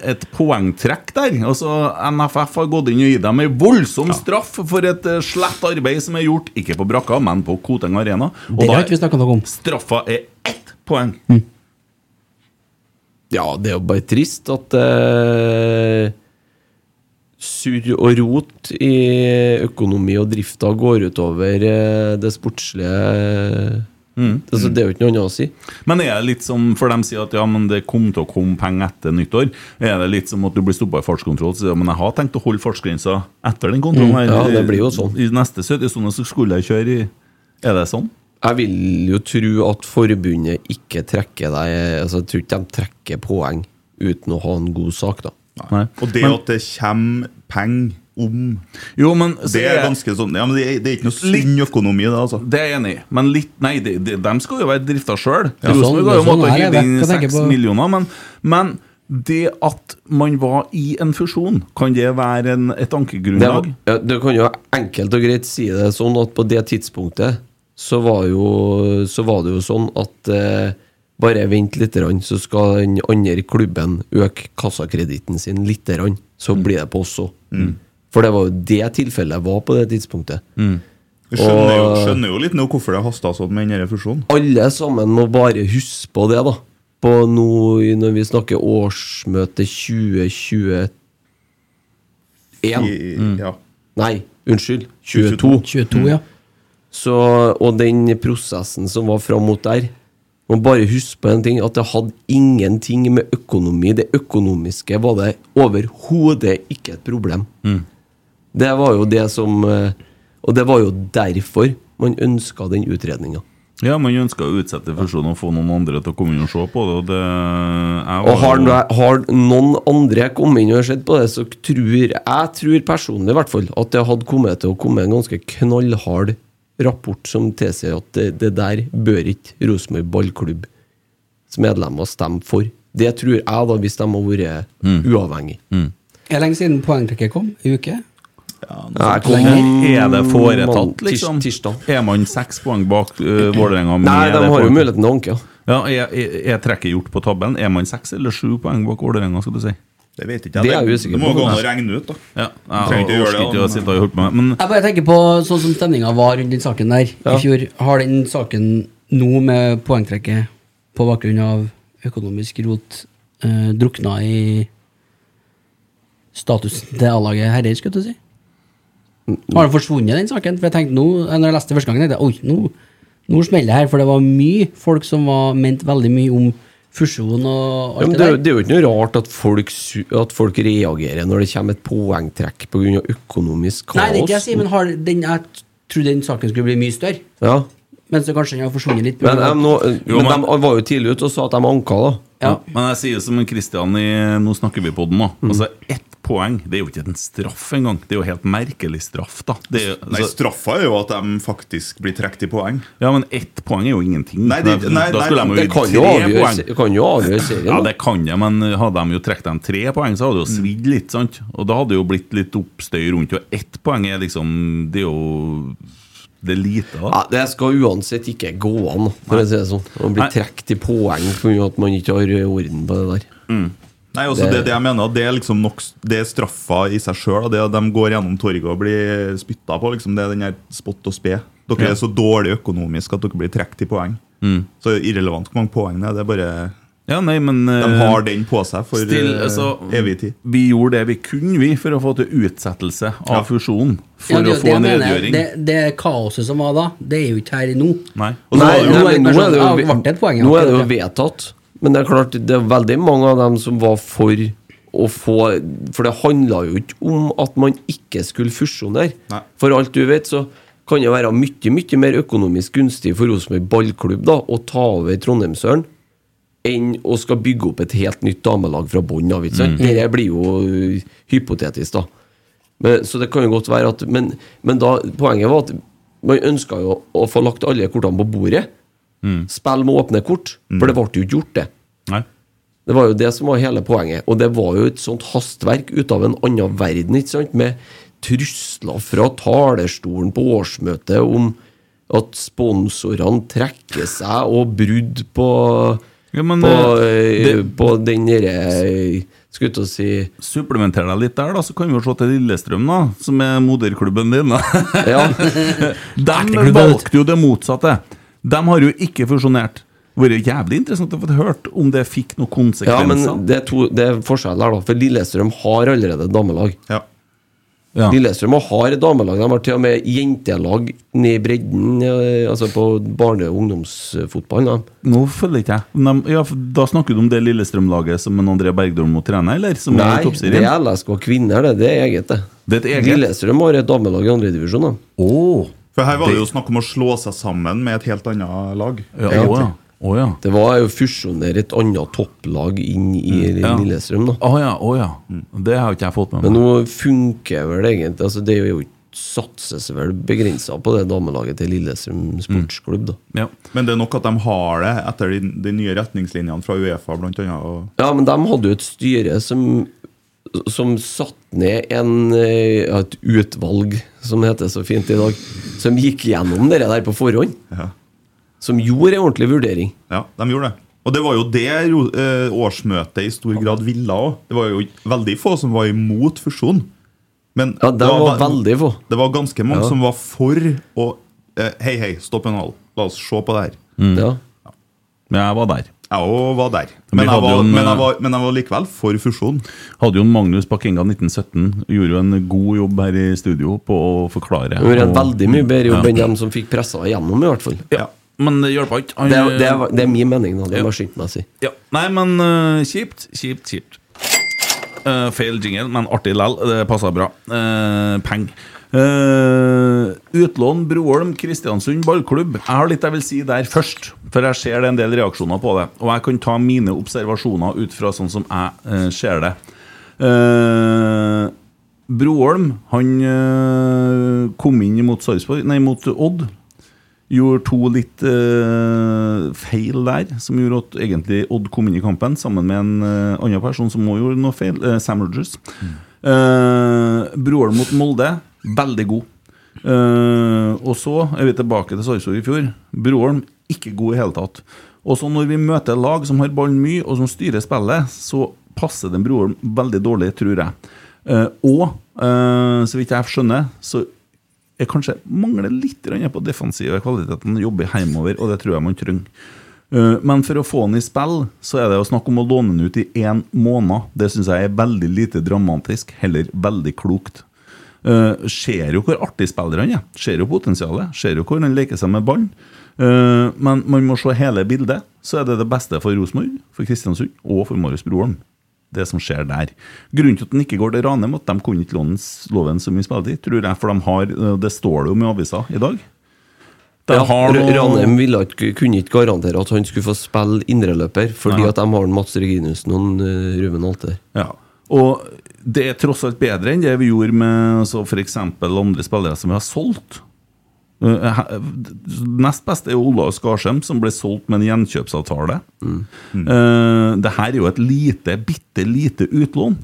Speaker 4: et poengtrekk der. Altså, NFF har gått inn og gitt dem en voldsom straff for et eh, slett arbeid som er gjort, ikke på brakka, men på Koteng Arena. Og
Speaker 6: Det
Speaker 4: da
Speaker 6: har ikke vi snakka noe om.
Speaker 4: straffa er ett poeng.
Speaker 5: Ja, det er jo bare trist at eh, surr og rot i økonomi og drifta går utover eh, det sportslige Altså, det er jo ikke noe annet å si.
Speaker 4: Mm. Men er det litt som, for de sier at ja, men det kom til å komme penger etter nyttår, er det litt som at du blir stoppa i fartskontroll og sier ja, men jeg har tenkt å holde fartsgrensa etter den kontrollen
Speaker 5: Mm,
Speaker 4: her.
Speaker 5: ja, det blir jo sånn.
Speaker 4: I neste 70 soner så skulle jeg kjøre i Er det sånn?
Speaker 5: Jeg vil jo tro at forbundet ikke trekker deg altså, Jeg tror ikke de trekker poeng uten å ha en god sak, da.
Speaker 7: Og det at det kommer penger om
Speaker 4: så
Speaker 7: Det er
Speaker 4: Altså, er-
Speaker 7: ganske sånn Ja, men det er, det er ikke noe sunn økonomi, det, altså.
Speaker 4: Det er jeg enig i, men litt Nei, de, de, dem skal jo være drifta sjøl.
Speaker 7: Ja, sånn-
Speaker 4: Rosenborg har jo
Speaker 7: sånn
Speaker 4: måttet
Speaker 7: er det,
Speaker 4: hive inn
Speaker 7: jeg kan tenke
Speaker 4: seks
Speaker 7: på-
Speaker 4: millioner, men, men det at man var i en fusjon, kan det være en, et
Speaker 5: Det,
Speaker 4: ankegrunnlag?
Speaker 5: var- ja, du kan jo enkelt og greit si det sånn at på det tidspunktet så var, jo, så var det jo sånn at eh, bare vent litt, grann, så skal den andre klubben øke kassakreditten sin litt, grann, så blir det på oss òg.
Speaker 7: Mm.
Speaker 5: For det var jo det tilfellet var på det tidspunktet.
Speaker 7: Jeg skjønner, jo,
Speaker 5: Og-
Speaker 7: skjønner jo litt nå hvorfor det hasta sånn med denne fusjonen.
Speaker 5: alle sammen må bare huske på det, da. På nå, i- når vi snakker årsmøte 2021 Mm.
Speaker 7: I- ja.
Speaker 5: Nei, unnskyld. 22.
Speaker 6: 22, ja.
Speaker 5: Så, og den prosessen som var fram mot der Må bare huske på en ting, at det hadde ingenting med økonomi Det økonomiske var det overhodet ikke et problem. Det var jo det som eh, Og det var jo derfor man ønska den utredninga.
Speaker 4: Ja, man ønska å utsette fusjonen og få noen andre til å komme inn og se på det. Og det jeg var
Speaker 5: Og har,
Speaker 4: jo-
Speaker 5: no- har noen andre kommet inn og sett på det, så tror jeg tror personlig i hvert fall at det hadde kommet til å komme en ganske knallhard rapport som tilsier at det, det der bør ikke Rosenborg ballklubbs medlemmer stemme for. Det tror jeg, da, hvis de har vært
Speaker 4: Mm.
Speaker 5: uavhengige.
Speaker 6: Er det lenge siden poengtrekket kom? I uke?
Speaker 5: Nei,
Speaker 4: Hvor lenge er det foretatt,
Speaker 5: mann-
Speaker 4: liksom?
Speaker 5: tirs- Tirsdag.
Speaker 4: Er man seks poeng bak eh, Vålerenga?
Speaker 5: Nei, de
Speaker 4: med det
Speaker 5: har jo
Speaker 4: foretatt?
Speaker 5: muligheten til å anke. ja.
Speaker 4: Ja, er, er, er trekket gjort på tabellen? Er man seks eller sju poeng bak Vålerenga, skal du si?
Speaker 7: Det vet ikke jeg. Det er jeg Det- usikker det må på. gå an å regne ut, da.
Speaker 4: Ja,
Speaker 7: Du trenger
Speaker 4: jeg
Speaker 7: ikke gjøre
Speaker 4: orker
Speaker 7: det,
Speaker 4: ikke
Speaker 7: da,
Speaker 4: å sitte og holde på med men
Speaker 6: Jeg bare tenker på sånn som stemninga var rundt den saken der
Speaker 4: Ja.
Speaker 6: i fjor. Har den saken nå med poengtrekket på bakgrunn av økonomisk rot eh, drukna i statusen til A-laget herrer, skulle jeg til å si? Har den forsvunnet, den saken? For jeg tenkte nå, når jeg leste det første gangen, tenkte jeg oi, nå, nå smeller det her. For det var mye folk som var ment veldig mye om fusjon og
Speaker 5: Ja, men
Speaker 6: alt
Speaker 5: det, er
Speaker 6: det der.
Speaker 5: jo- det er jo ikke noe rart at folk, su- at folk reagerer når det kommer et poengtrekk pga. økonomisk kaos.
Speaker 6: Nei, det er ikke det jeg sier, men har den, jeg trodde den saken skulle bli mye større.
Speaker 5: ja.
Speaker 6: Men så kanskje den har forsvunnet litt.
Speaker 5: Men, de, nå,
Speaker 4: Jo,
Speaker 5: men
Speaker 4: men-
Speaker 5: de var jo tidlig ute og sa at de anka, da.
Speaker 4: Men jeg sier som en Christian i Nå snakker vi på den, da. Altså, ett poeng Det er jo ikke en straff engang. Det er jo helt merkelig straff, da. Det er, altså-
Speaker 7: Nei, straffa er jo at de faktisk blir trukket i poeng.
Speaker 4: Ja, men ett poeng er jo ingenting.
Speaker 7: Nei, det- nei,
Speaker 4: da skulle
Speaker 7: nei,
Speaker 4: de
Speaker 7: det
Speaker 4: jo
Speaker 7: kan
Speaker 4: gitt
Speaker 7: jo
Speaker 4: tre
Speaker 7: avgjøre-
Speaker 4: poeng.
Speaker 7: det kan jo avgjøre serien,
Speaker 4: Ja,
Speaker 7: da.
Speaker 4: det kan det, men hadde de jo trukket dem tre poeng, så hadde
Speaker 7: Mm.
Speaker 4: det jo svidd litt. sant? Og da hadde det jo blitt litt oppstøy rundt. Og ett poeng er liksom Det er jo Det er lite, da.
Speaker 5: Ja, det skal uansett ikke gå an, for å si det sånn. Å bli
Speaker 4: Nei.
Speaker 5: trukket i poeng pga. at man ikke har orden på det der.
Speaker 7: Nei, også det, det,
Speaker 5: Det-
Speaker 7: jeg mener, at det er liksom nok, det er straffa i seg sjøl. Det at de går gjennom torget og blir spytta på. Liksom, det er den der spott og spe. Dere
Speaker 4: Ja.
Speaker 7: er så dårlig økonomisk at dere blir trukket i poeng.
Speaker 6: Mm.
Speaker 7: Så det er irrelevant hvor mange poeng det er. Det er bare
Speaker 4: Ja, nei, men eh,
Speaker 7: De har den på seg for
Speaker 4: Still,
Speaker 7: eh,
Speaker 4: altså,
Speaker 7: evig tid.
Speaker 4: Vi gjorde det vi kunne vi for å få til utsettelse av fusjonen. For
Speaker 6: Ja, det er
Speaker 4: å
Speaker 6: jo det
Speaker 4: få
Speaker 6: jeg
Speaker 4: en
Speaker 6: mener.
Speaker 4: redegjøring.
Speaker 6: Det, det kaoset som var da, det er jo ikke her nå.
Speaker 4: Nei.
Speaker 6: Og så var
Speaker 5: Nei,
Speaker 6: det jo
Speaker 5: nei,
Speaker 6: bare
Speaker 5: men nå
Speaker 6: personen-
Speaker 5: er det
Speaker 6: ja,
Speaker 5: jo,
Speaker 6: ble det et poeng,
Speaker 5: nå
Speaker 6: akkurat
Speaker 5: er det jo
Speaker 6: det.
Speaker 5: vedtatt. Men det er klart, det er veldig mange av dem som var for å få For det handla jo ikke om at man ikke skulle fusjonere. For alt du vet, så kan det være mye, mye mer økonomisk gunstig for Rosenborg ballklubb da, å ta over Trondheimsøren enn å skal bygge opp et helt nytt damelag fra bånn av. ikke sant?
Speaker 4: Mm.
Speaker 5: Dette blir jo ø, hypotetisk, da. Men, så det kan jo godt være at Men, men da, poenget var at man ønska jo å få lagt alle kortene på bordet. Spill med åpne kort, for det ble jo ikke gjort, det.
Speaker 4: Nei.
Speaker 5: Det var jo det som var hele poenget. Og det var jo et sånt hastverk ut av en annen verden, ikke sant? Med trusler fra talerstolen på årsmøtet om at sponsorene trekker seg, og brudd på
Speaker 4: men,
Speaker 5: på,
Speaker 4: eh,
Speaker 5: eh,
Speaker 4: det-
Speaker 5: på den derre eh, Skulle til å si
Speaker 4: Supplementer deg litt der, da, så kan vi jo se til Lillestrøm, da, som er moderklubben din. da. De
Speaker 5: Erteklubben, vet
Speaker 4: Eh, valgte jo det motsatte. De har jo ikke fusjonert. Det hadde vært jævlig interessant å få hørt om det fikk noen konsekvenser.
Speaker 5: Ja, men det er, to, det er forskjell her, da. For Lillestrøm har allerede et damelag.
Speaker 4: Ja.
Speaker 5: Lillestrøm har damelag. De har til og med jentelag ned i bredden, eh, altså på barne- og ungdomsfotballen. da.
Speaker 4: Nå følger ikke jeg. Men de- ja, for da snakker du om det Lillestrøm-laget som en André Bergdorm må trene, eller? Som er i
Speaker 5: Nei,
Speaker 4: toppserien?
Speaker 5: det er LSK kvinner, det. Det er eget, det.
Speaker 4: Det er et eget?
Speaker 5: Lillestrøm har et damelag i andredivisjon, da.
Speaker 7: For her var det jo snakk om å slå seg sammen med et helt annet lag.
Speaker 5: Egentlig.
Speaker 7: egentlig.
Speaker 5: Det var jo fusjonere et annet topplag inn i
Speaker 4: Mm, ja.
Speaker 5: Lillestrøm, da.
Speaker 4: Å ja, å ja. Det har jo ikke jeg fått med meg.
Speaker 5: Men nå funker vel egentlig altså Det er jo ikke satses vel begrensa på det damelaget til
Speaker 4: Mm.
Speaker 5: Lillestrøm sportsklubb, da.
Speaker 7: Men det er nok at de har det etter de, de nye retningslinjene fra Uefa, blant annet. Og
Speaker 5: Ja, men de hadde jo et styre som Som satt ned en, eh, ja, et utvalg, som det heter så fint i dag, som gikk gjennom det der på forhånd. Som gjorde en ordentlig vurdering.
Speaker 7: ja, de gjorde det. Og det var jo det ro- eh, årsmøtet i stor grad ville òg. Det var jo veldig få som var imot fusjon. Men
Speaker 5: Ja, de var
Speaker 7: ve-
Speaker 5: veldig få.
Speaker 7: Det var ganske mange
Speaker 5: Ja.
Speaker 7: som var for å eh, Hei, hei, stopp en hal. La oss se på det her.
Speaker 4: Mm.
Speaker 5: Ja.
Speaker 4: Men jeg var der.
Speaker 7: Jeg òg var der.
Speaker 4: Men vi
Speaker 7: Men jeg
Speaker 4: hadde jo
Speaker 7: var,
Speaker 4: en,
Speaker 7: men,
Speaker 4: eh,
Speaker 7: jeg var, men jeg var likevel for fusjon.
Speaker 4: Hadde jo en Magnus Bakenga 1917. Gjorde jo en god jobb her i studio på å forklare.
Speaker 5: De gjorde en
Speaker 4: og-
Speaker 5: veldig mye bedre jobb
Speaker 4: Ja.
Speaker 5: enn dem som fikk pressa igjennom, i hvert fall.
Speaker 4: Men det hjelper ikke. Han-
Speaker 5: Det, er- det, er- det er min mening, da. Det må jeg skynde meg å si.
Speaker 4: Ja. Nei, men eh, kjipt, kjipt, kjipt. Eh, feil jingle, men artig lell. Det passer bra. Uh, Peng. Eh, utlån Broholm Kristiansund ballklubb. Jeg har litt jeg vil si der først, for jeg ser det er en del reaksjoner på det. Og jeg kan ta mine observasjoner ut fra sånn som jeg eh, ser det. Eh, Broholm han eh, kom inn mot, Sarpsborg- nei, mot Odd. Gjorde to litt eh, feil der, som gjorde at egentlig Odd kom inn i kampen sammen med en eh, annen person som også gjorde noe feil, eh, Sam Rogers. Eh, Broholm mot Molde, veldig god. Eh, og så er vi tilbake til Sarpsborg i fjor. Broholm, ikke god i hele tatt. Og så når vi møter lag som har ballen mye, og som styrer spillet, så passer den Broholm veldig dårlig, tror jeg. Eh, og, eh, så vidt jeg skjønner, så jeg kanskje mangler litt grann på defensive kvaliteten, jobber hjemover, og det tror jeg man trenger. Eh, Men for å få den i spill, så er det jo snakk om å låne den ut i én måned. Det syns jeg er veldig lite dramatisk, heller veldig klokt. Eh, ser jo hvor artig spiller han er, ser jo potensialet, ser jo hvor han leker seg med ballen. Eh, men man må se hele bildet, så er det det beste for Rosenborg, for Kristiansund og for Marius Broholm. Det som skjer der. Grunnen til at den ikke går til Ranheim, at de kunne ikke låne s- låne den så mye spilletid, tror jeg, for de har, eh, det står det om i avisa i dag. De
Speaker 5: Ja,
Speaker 4: har
Speaker 5: R-
Speaker 4: noe-
Speaker 5: Ranheim ville ikke, kunne ikke garantere at han skulle få spille indreløper, fordi
Speaker 4: Nei.
Speaker 5: at de har en Mats Reginussen og en, eh, Ruben Alter.
Speaker 4: Ja. Og det er tross alt bedre enn det vi gjorde med altså, f.eks. andre spillere som vi har solgt. Eh, he- Nest best er jo Olav Skarsheim, som ble solgt med en gjenkjøpsavtale.
Speaker 5: Mm.
Speaker 4: Eh, det her er jo et lite, bitte lite utlån.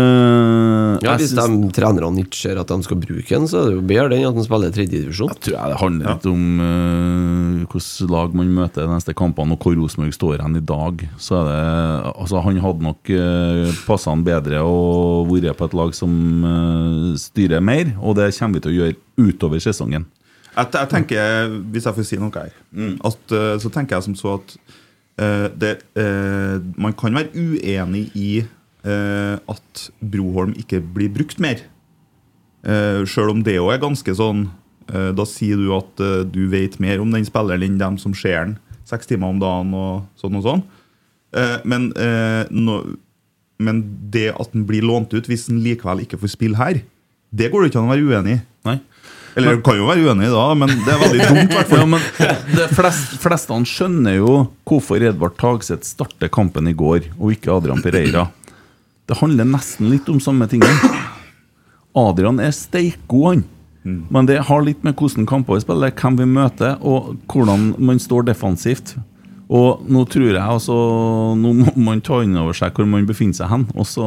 Speaker 4: Eh,
Speaker 5: Ja,
Speaker 4: jeg
Speaker 5: hvis
Speaker 4: syns-
Speaker 5: de trenerne ikke ser at de skal bruke den, så er det jo bedre den at de spiller i tredje divisjon. Jeg
Speaker 4: tror det handler litt om eh, hvordan lag man møter de neste kampene, og hvor Rosenborg står hen i dag. Så er det, altså Han hadde nok uh, passa han bedre og vært på et lag som eh, styrer mer, og det kommer vi til å gjøre utover sesongen.
Speaker 7: Jeg, jeg tenker, Hvis jeg får si noe her, at, eh, så tenker jeg som så at eh, det, eh, man kan være uenig i eh, at Broholm ikke blir brukt mer. Uh, Sjøl om det òg er ganske sånn eh, Da sier du at eh, du vet mer om den spilleren enn dem som ser den seks timer om dagen. og sånn og sånn. Eh, men, eh, nå- men det at den blir lånt ut hvis den likevel ikke får spille her, det går det ikke an å være uenig i.
Speaker 4: Nei.
Speaker 7: Eller
Speaker 4: Men-
Speaker 7: du kan jo være uenig da, men det er veldig dumt. i hvert fall.
Speaker 4: Ja, men de flest, fleste skjønner jo hvorfor Edvard Tagseth starter kampen i går, og ikke Adrian Pereira. Det handler nesten litt om samme tingen. Adrian er steikgod, han. Men det har litt med hvordan kamper vi spiller, hvem vi møter, og hvordan man står defensivt. Og nå tror jeg altså Nå må man ta inn over seg hvor man befinner seg hen, og så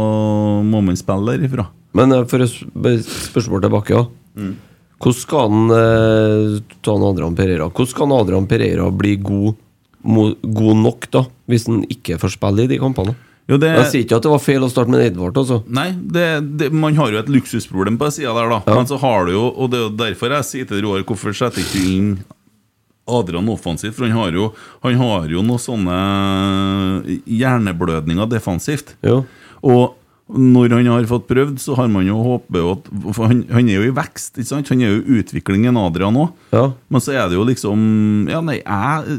Speaker 4: må man spille derifra.
Speaker 5: Men eh, for et sp- bare et spørsmål tilbake, ja.
Speaker 4: Mm.
Speaker 5: Hvordan skal han eh, ta han Adrian Pereira Hvordan skal han Adrian Pereira bli god, mo, god nok, da, hvis han ikke får spille i de kampene?
Speaker 4: Jo, det-
Speaker 5: Jeg sier ikke at det var feil å starte med Edvard, altså.
Speaker 4: Nei, det, det, man har jo et luksusproblem på den sida der, da. Men så har du jo, og det er jo derfor jeg sier til Roar, hvorfor setter ikke du inn Adrian offensivt? For han har jo, han har jo noen sånne hjerneblødninger defensivt. Og Når han har fått prøvd, så har man jo håpet at for han, han er jo i vekst, ikke sant? Han er jo i utviklingen Adrian òg. Men så er det jo liksom Ja, nei, jeg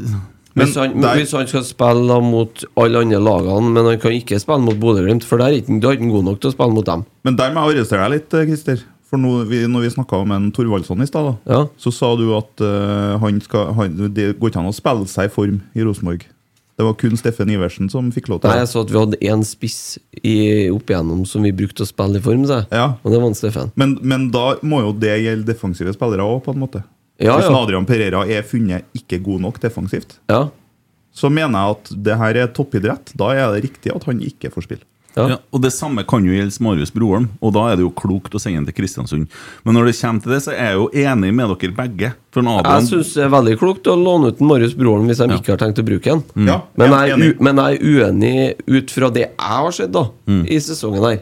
Speaker 5: Hvis han, hvis han skal spille da mot alle andre lagene, men han kan ikke spille mot Bodø-Glimt, for der er ikke, da er ikke han god nok til å spille mot dem.
Speaker 7: Men der må jeg arrestere deg litt, eh, Christer. For nå, vi, når vi snakka om en Thorvaldsson i stad, da, så sa du at eh, han skal, han, det går ikke an å spille seg i form i Rosenborg. Det var kun Steffen Iversen som fikk lov til
Speaker 5: Nei, jeg så at vi hadde én spiss i, opp igjennom som vi brukte å spille i form, sa jeg. Og det var en Steffen.
Speaker 7: Men, men da må jo det gjelde defensive spillere òg, på en måte.
Speaker 5: Ja,
Speaker 7: Hvis
Speaker 5: ja.
Speaker 7: Adrian Pereira er funnet ikke god nok defensivt,
Speaker 5: Ja.
Speaker 7: så mener jeg at det her er toppidrett. Da er det riktig at han ikke får spille.
Speaker 4: Ja. og Det samme kan jo gjelde Marius Broholm, og da er det jo klokt å sende han til Kristiansund. Men når det kommer til det, så er jeg jo enig med dere begge. For en
Speaker 5: Jeg
Speaker 4: Adrian
Speaker 5: syns det er veldig klokt å låne ut en Marius Broholm hvis de ikke har tenkt å bruke den.
Speaker 4: Ja,
Speaker 5: men,
Speaker 4: jeg er
Speaker 5: jeg, er u- men jeg er uenig ut fra det jeg har sett da
Speaker 4: Mm.
Speaker 5: i sesongen her.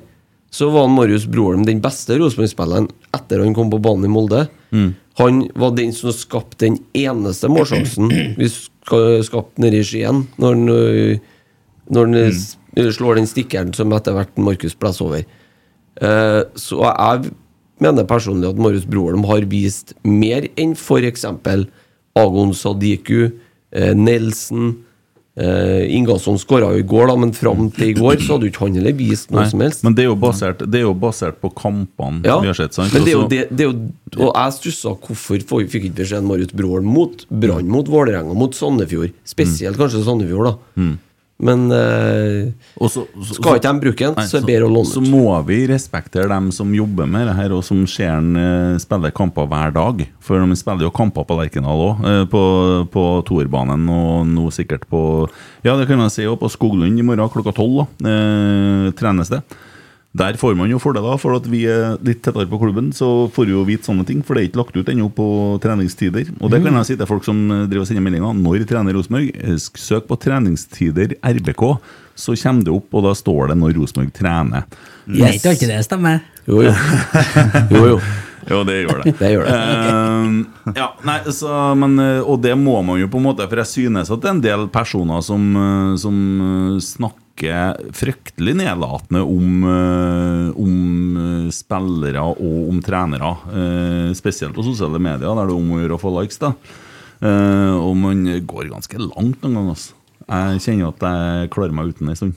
Speaker 5: Så var Marius Broholm den beste Rosenborg-spilleren etter han kom på banen i Molde.
Speaker 4: Mm.
Speaker 5: Han var den som skapte den eneste målsjansen vi ska- skapte nede i Skien, når han, ø, når han
Speaker 4: Mm.
Speaker 5: s- slår den stikkeren som etter hvert Markus blåser over. Eh, Så jeg mener personlig at Marius Broholm har vist mer enn f.eks. Agon Sadiku, eh, Nelson eh, Ingasson skåra jo i går, da, men fram til i går så hadde jo ikke han heller vist noe
Speaker 4: Nei,
Speaker 5: som helst.
Speaker 4: Men det er jo basert, det er jo basert på kampene
Speaker 5: Ja,
Speaker 4: vi har sett. Sant?
Speaker 5: men det er jo
Speaker 4: Også-
Speaker 5: det, det er jo, Og jeg stussa hvorfor får- fikk ikke vi se en Marit Broholm mot Brann, mot Vålerenga, mot Sandefjord. Spesielt kanskje Sandefjord, da.
Speaker 4: Mm.
Speaker 5: Men eh, skal ikke de bruke den,
Speaker 4: Nei,
Speaker 5: så er det bedre å låne
Speaker 4: Så
Speaker 5: ut.
Speaker 4: må vi respektere dem som jobber med det her, og som ser han eh, spille kamper hver dag. For de spiller jo kamper på Lerkendal òg, eh, på, på toerbanen og nå sikkert på Ja, det kan man si også på Skoglund i morgen klokka tolv. da, Eh, trenes det. Der får man jo fordeler, for at vi er litt tettere på klubben, så får vi jo vite sånne ting. For det er ikke lagt ut ennå på treningstider. Og det kan jeg si til folk som eh, driver og sender meldinger. Når trener Rosenborg? Eh, sk- Søk på 'treningstider RBK', så kommer det opp, og da står det når Rosenborg trener.
Speaker 6: Mm.
Speaker 10: Jeg vet jo ikke det stemmer.
Speaker 5: Jo, jo. jo, jo.
Speaker 4: det gjør det.
Speaker 5: Det gjør det.
Speaker 4: Eh, ja, nei, så, men, eh, og det må man jo på en måte, for jeg synes at det er en del personer som, eh, som eh, snakker fryktelig nedlatende om, eh, om eh, spillere og om trenere, eh, spesielt på sosiale medier, der det er om å gjøre å få likes. da. Eh, og man går ganske langt noen ganger. Altså. Jeg kjenner at jeg klarer meg uten en stund.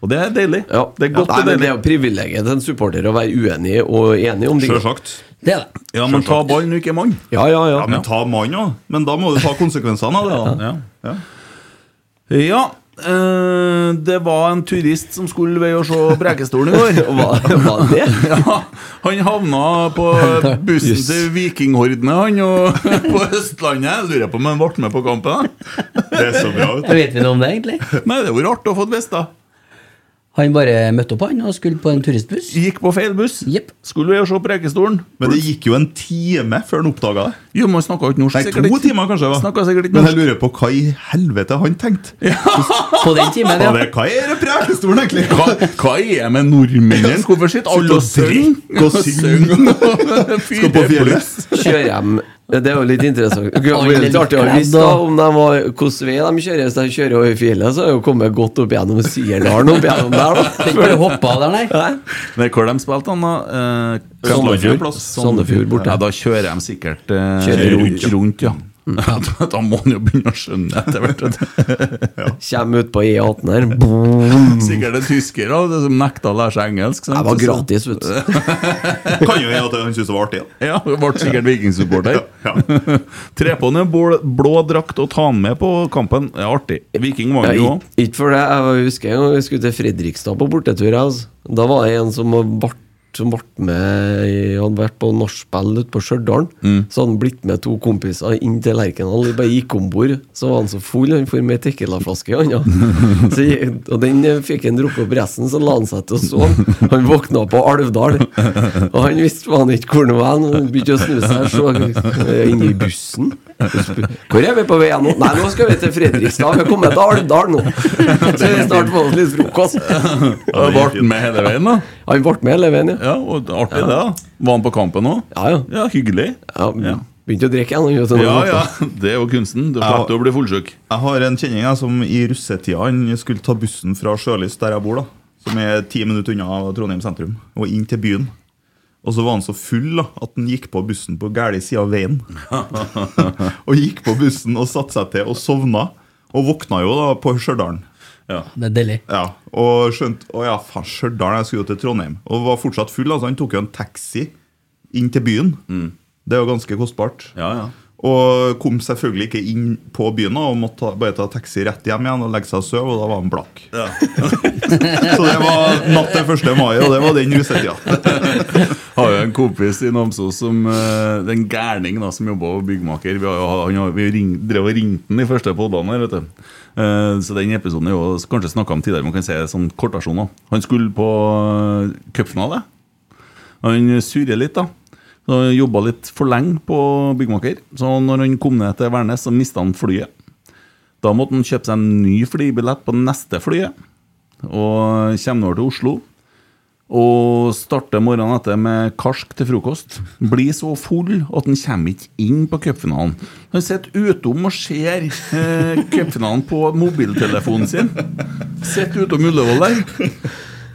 Speaker 4: Og det er deilig. Det er
Speaker 5: Nei,
Speaker 4: godt og
Speaker 5: men
Speaker 4: deilig.
Speaker 5: det er jo privilegiet til en supporter å være uenig og enig om
Speaker 7: Det
Speaker 10: er det.
Speaker 4: Ja, men ta ballen, ikke mann.
Speaker 5: Ja, ja, ja.
Speaker 7: men ta mann òg. Men da må du ta konsekvensene av det. da. Ja.
Speaker 4: Ja, eh, det var en turist som skulle ved å se Brekestolen i går.
Speaker 5: det?
Speaker 4: Ja, han havna på bussen til vikinghordene, han, og på Østlandet. Jeg Lurer på om han ble med på kampen. da.
Speaker 7: Det er så bra.
Speaker 10: Vet vi noe om det, egentlig?
Speaker 4: Nei, det var rart å få vite, da.
Speaker 10: Han bare møtte opp, han, og skulle på en turistbuss.
Speaker 4: Gikk på feil buss. Skulle vi jo se Prekestolen.
Speaker 7: Men det gikk jo en time før han oppdaga det.
Speaker 4: Jo, man snakka ikke norsk,
Speaker 7: Nei,
Speaker 4: sikkert
Speaker 7: to
Speaker 4: ikke.
Speaker 7: timer kanskje. det var.
Speaker 4: Snakket sikkert ikke
Speaker 7: Men jeg lurer på hva i helvete han tenkte.
Speaker 10: På den timen,
Speaker 7: ja.
Speaker 4: ja.
Speaker 7: Det, hva er det prekestolen, egentlig?
Speaker 4: Hva, hva er med nordmennene? Hvorfor sitter alle og synger?
Speaker 7: drikker og
Speaker 4: synger.
Speaker 5: Skal på fjellet. Kjøre hjem. Det er jo litt interessant. Det kunne vært litt artig å vite da, om de var, hvordan vei de kjører. Hvis de kjører over fjellet, så har de jo kommet godt opp gjennom Sierdalen opp gjennom der. da.
Speaker 4: Det er ikke bare å hoppe av der, nei.
Speaker 5: Nei.
Speaker 4: Nei, hvor de spilte han, da? Eh,
Speaker 5: Sandefjord.
Speaker 4: Plass.
Speaker 5: Sandefjord borte.
Speaker 4: Ja, da kjører de sikkert eh,
Speaker 5: Kjører rundt.
Speaker 4: rundt. rundt, ja. Mm. da må han jo begynne å skjønne etter hvert.
Speaker 5: Kjem ut på E18 her. Boom.
Speaker 4: Sikkert en tysker da, det som nekta å lære seg engelsk. Sant?
Speaker 5: Jeg var gratis, vet du.
Speaker 7: Kan jo hende at han syntes det var artig. da.
Speaker 4: Ja, du ble sikkert vikingsupporter. Tre på den blå, blå drakt og ta den med på kampen. Det er artig. Viking vant jo
Speaker 5: Ja,
Speaker 4: òg.
Speaker 5: ik- Ikke for det. Jeg var- husker en gang vi skulle til Fredrikstad på bortetur. jeg, Altså. Da var det en som ble som ble med i- Han hadde vært på nachspiel ute på Stjørdal.
Speaker 4: Mm.
Speaker 5: Så hadde han blitt med to kompiser inn til Lerkendal. De bare gikk om bord. Så var han så full, han for med Tequila-flaske i hånda. Så jeg- Og den eh, fikk han drukket opp resten, så la han seg til å sove. Han våkna på Alvdal, og han visste faen ikke hvor han var. Han begynte å snu seg, så eh, inne i bussen. Hvor er vi på vei nå? Nei, nå skal vi til Fredrikstad. Vi har kommet til Alvdal nå. Så vi snart får oss litt frokost.
Speaker 4: Ja, Ble han med hele veien, da?
Speaker 5: Han ble med hele veien, ja.
Speaker 4: og artig det, da. Var han på kampen òg?
Speaker 5: Ja, ja.
Speaker 4: hyggelig.
Speaker 5: Ja. Begynte å drikke igjen. han, vet du, når
Speaker 4: Ja,
Speaker 5: han
Speaker 4: ja.
Speaker 5: våkna.
Speaker 4: Det er jo kunsten. Du
Speaker 7: Ja.
Speaker 4: slipper å bli fullsjuk.
Speaker 7: Jeg har en kjenning jeg, som i russetida han skulle ta bussen fra Sjølyst, der jeg bor, da som er ti minutter unna Trondheim sentrum, og inn til byen. Og så var han så full da, at han gikk på bussen på gæli sida av veien. og gikk på bussen og satte seg til og sovna. Og våkna jo da på Stjørdal.
Speaker 11: Det er deilig.
Speaker 7: Ja, og skjønte Å ja, faen, Stjørdal, jeg skulle jo til Trondheim. Og var fortsatt full. altså Han tok jo en taxi inn til byen. Det er jo ganske kostbart. Og kom selvfølgelig ikke inn på byen da, og måtte ta- bare ta taxi rett hjem igjen og legge seg og sove, og da var han blakk. Så det var natt til 1. mai, og det var den russetida.
Speaker 4: Har jo en kompis i Namsos som eh, Det er en gærning da, som jobber som byggmaker. Vi, har, jo- han har, vi ring, drev og ringte den i første podden her, vet du. Eh, så den episoden er jo kanskje snakka om tidligere, man kan se sånn kortversjon. da. Han skulle på eh, cupfinale. Han surrer litt, da. Så han jobba litt for lenge på byggmaker. Så når han kom ned til Værnes, så mista han flyet. Da måtte han kjøpe seg en ny flybillett på neste flyet, og kommer over til Oslo. Og starter morgenen etter med karsk til frokost. Blir så full at han kommer ikke inn på cupfinalen. Han sitter utom og ser eh, cupfinalen på mobiltelefonen sin. Sitter utom Ullevål der.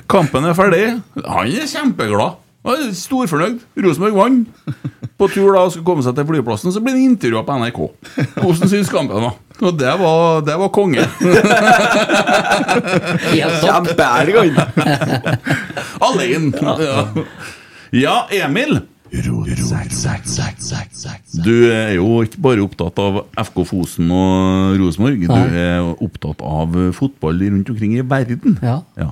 Speaker 4: Kampen er ferdig. Han er kjempeglad. Han er storfornøyd. Rosenborg vant. På tur da og skulle komme seg til flyplassen, så blir det intervjua på NRK. Hvordan syns kampen var? Og det var, det var konge.
Speaker 5: Helt topp.
Speaker 4: Alene. Ja. ja, Emil. Du er jo ikke bare opptatt av FK Fosen og Rosenborg. Du
Speaker 11: Nei.
Speaker 4: er opptatt av fotball rundt omkring i verden.
Speaker 11: Ja.
Speaker 4: ja.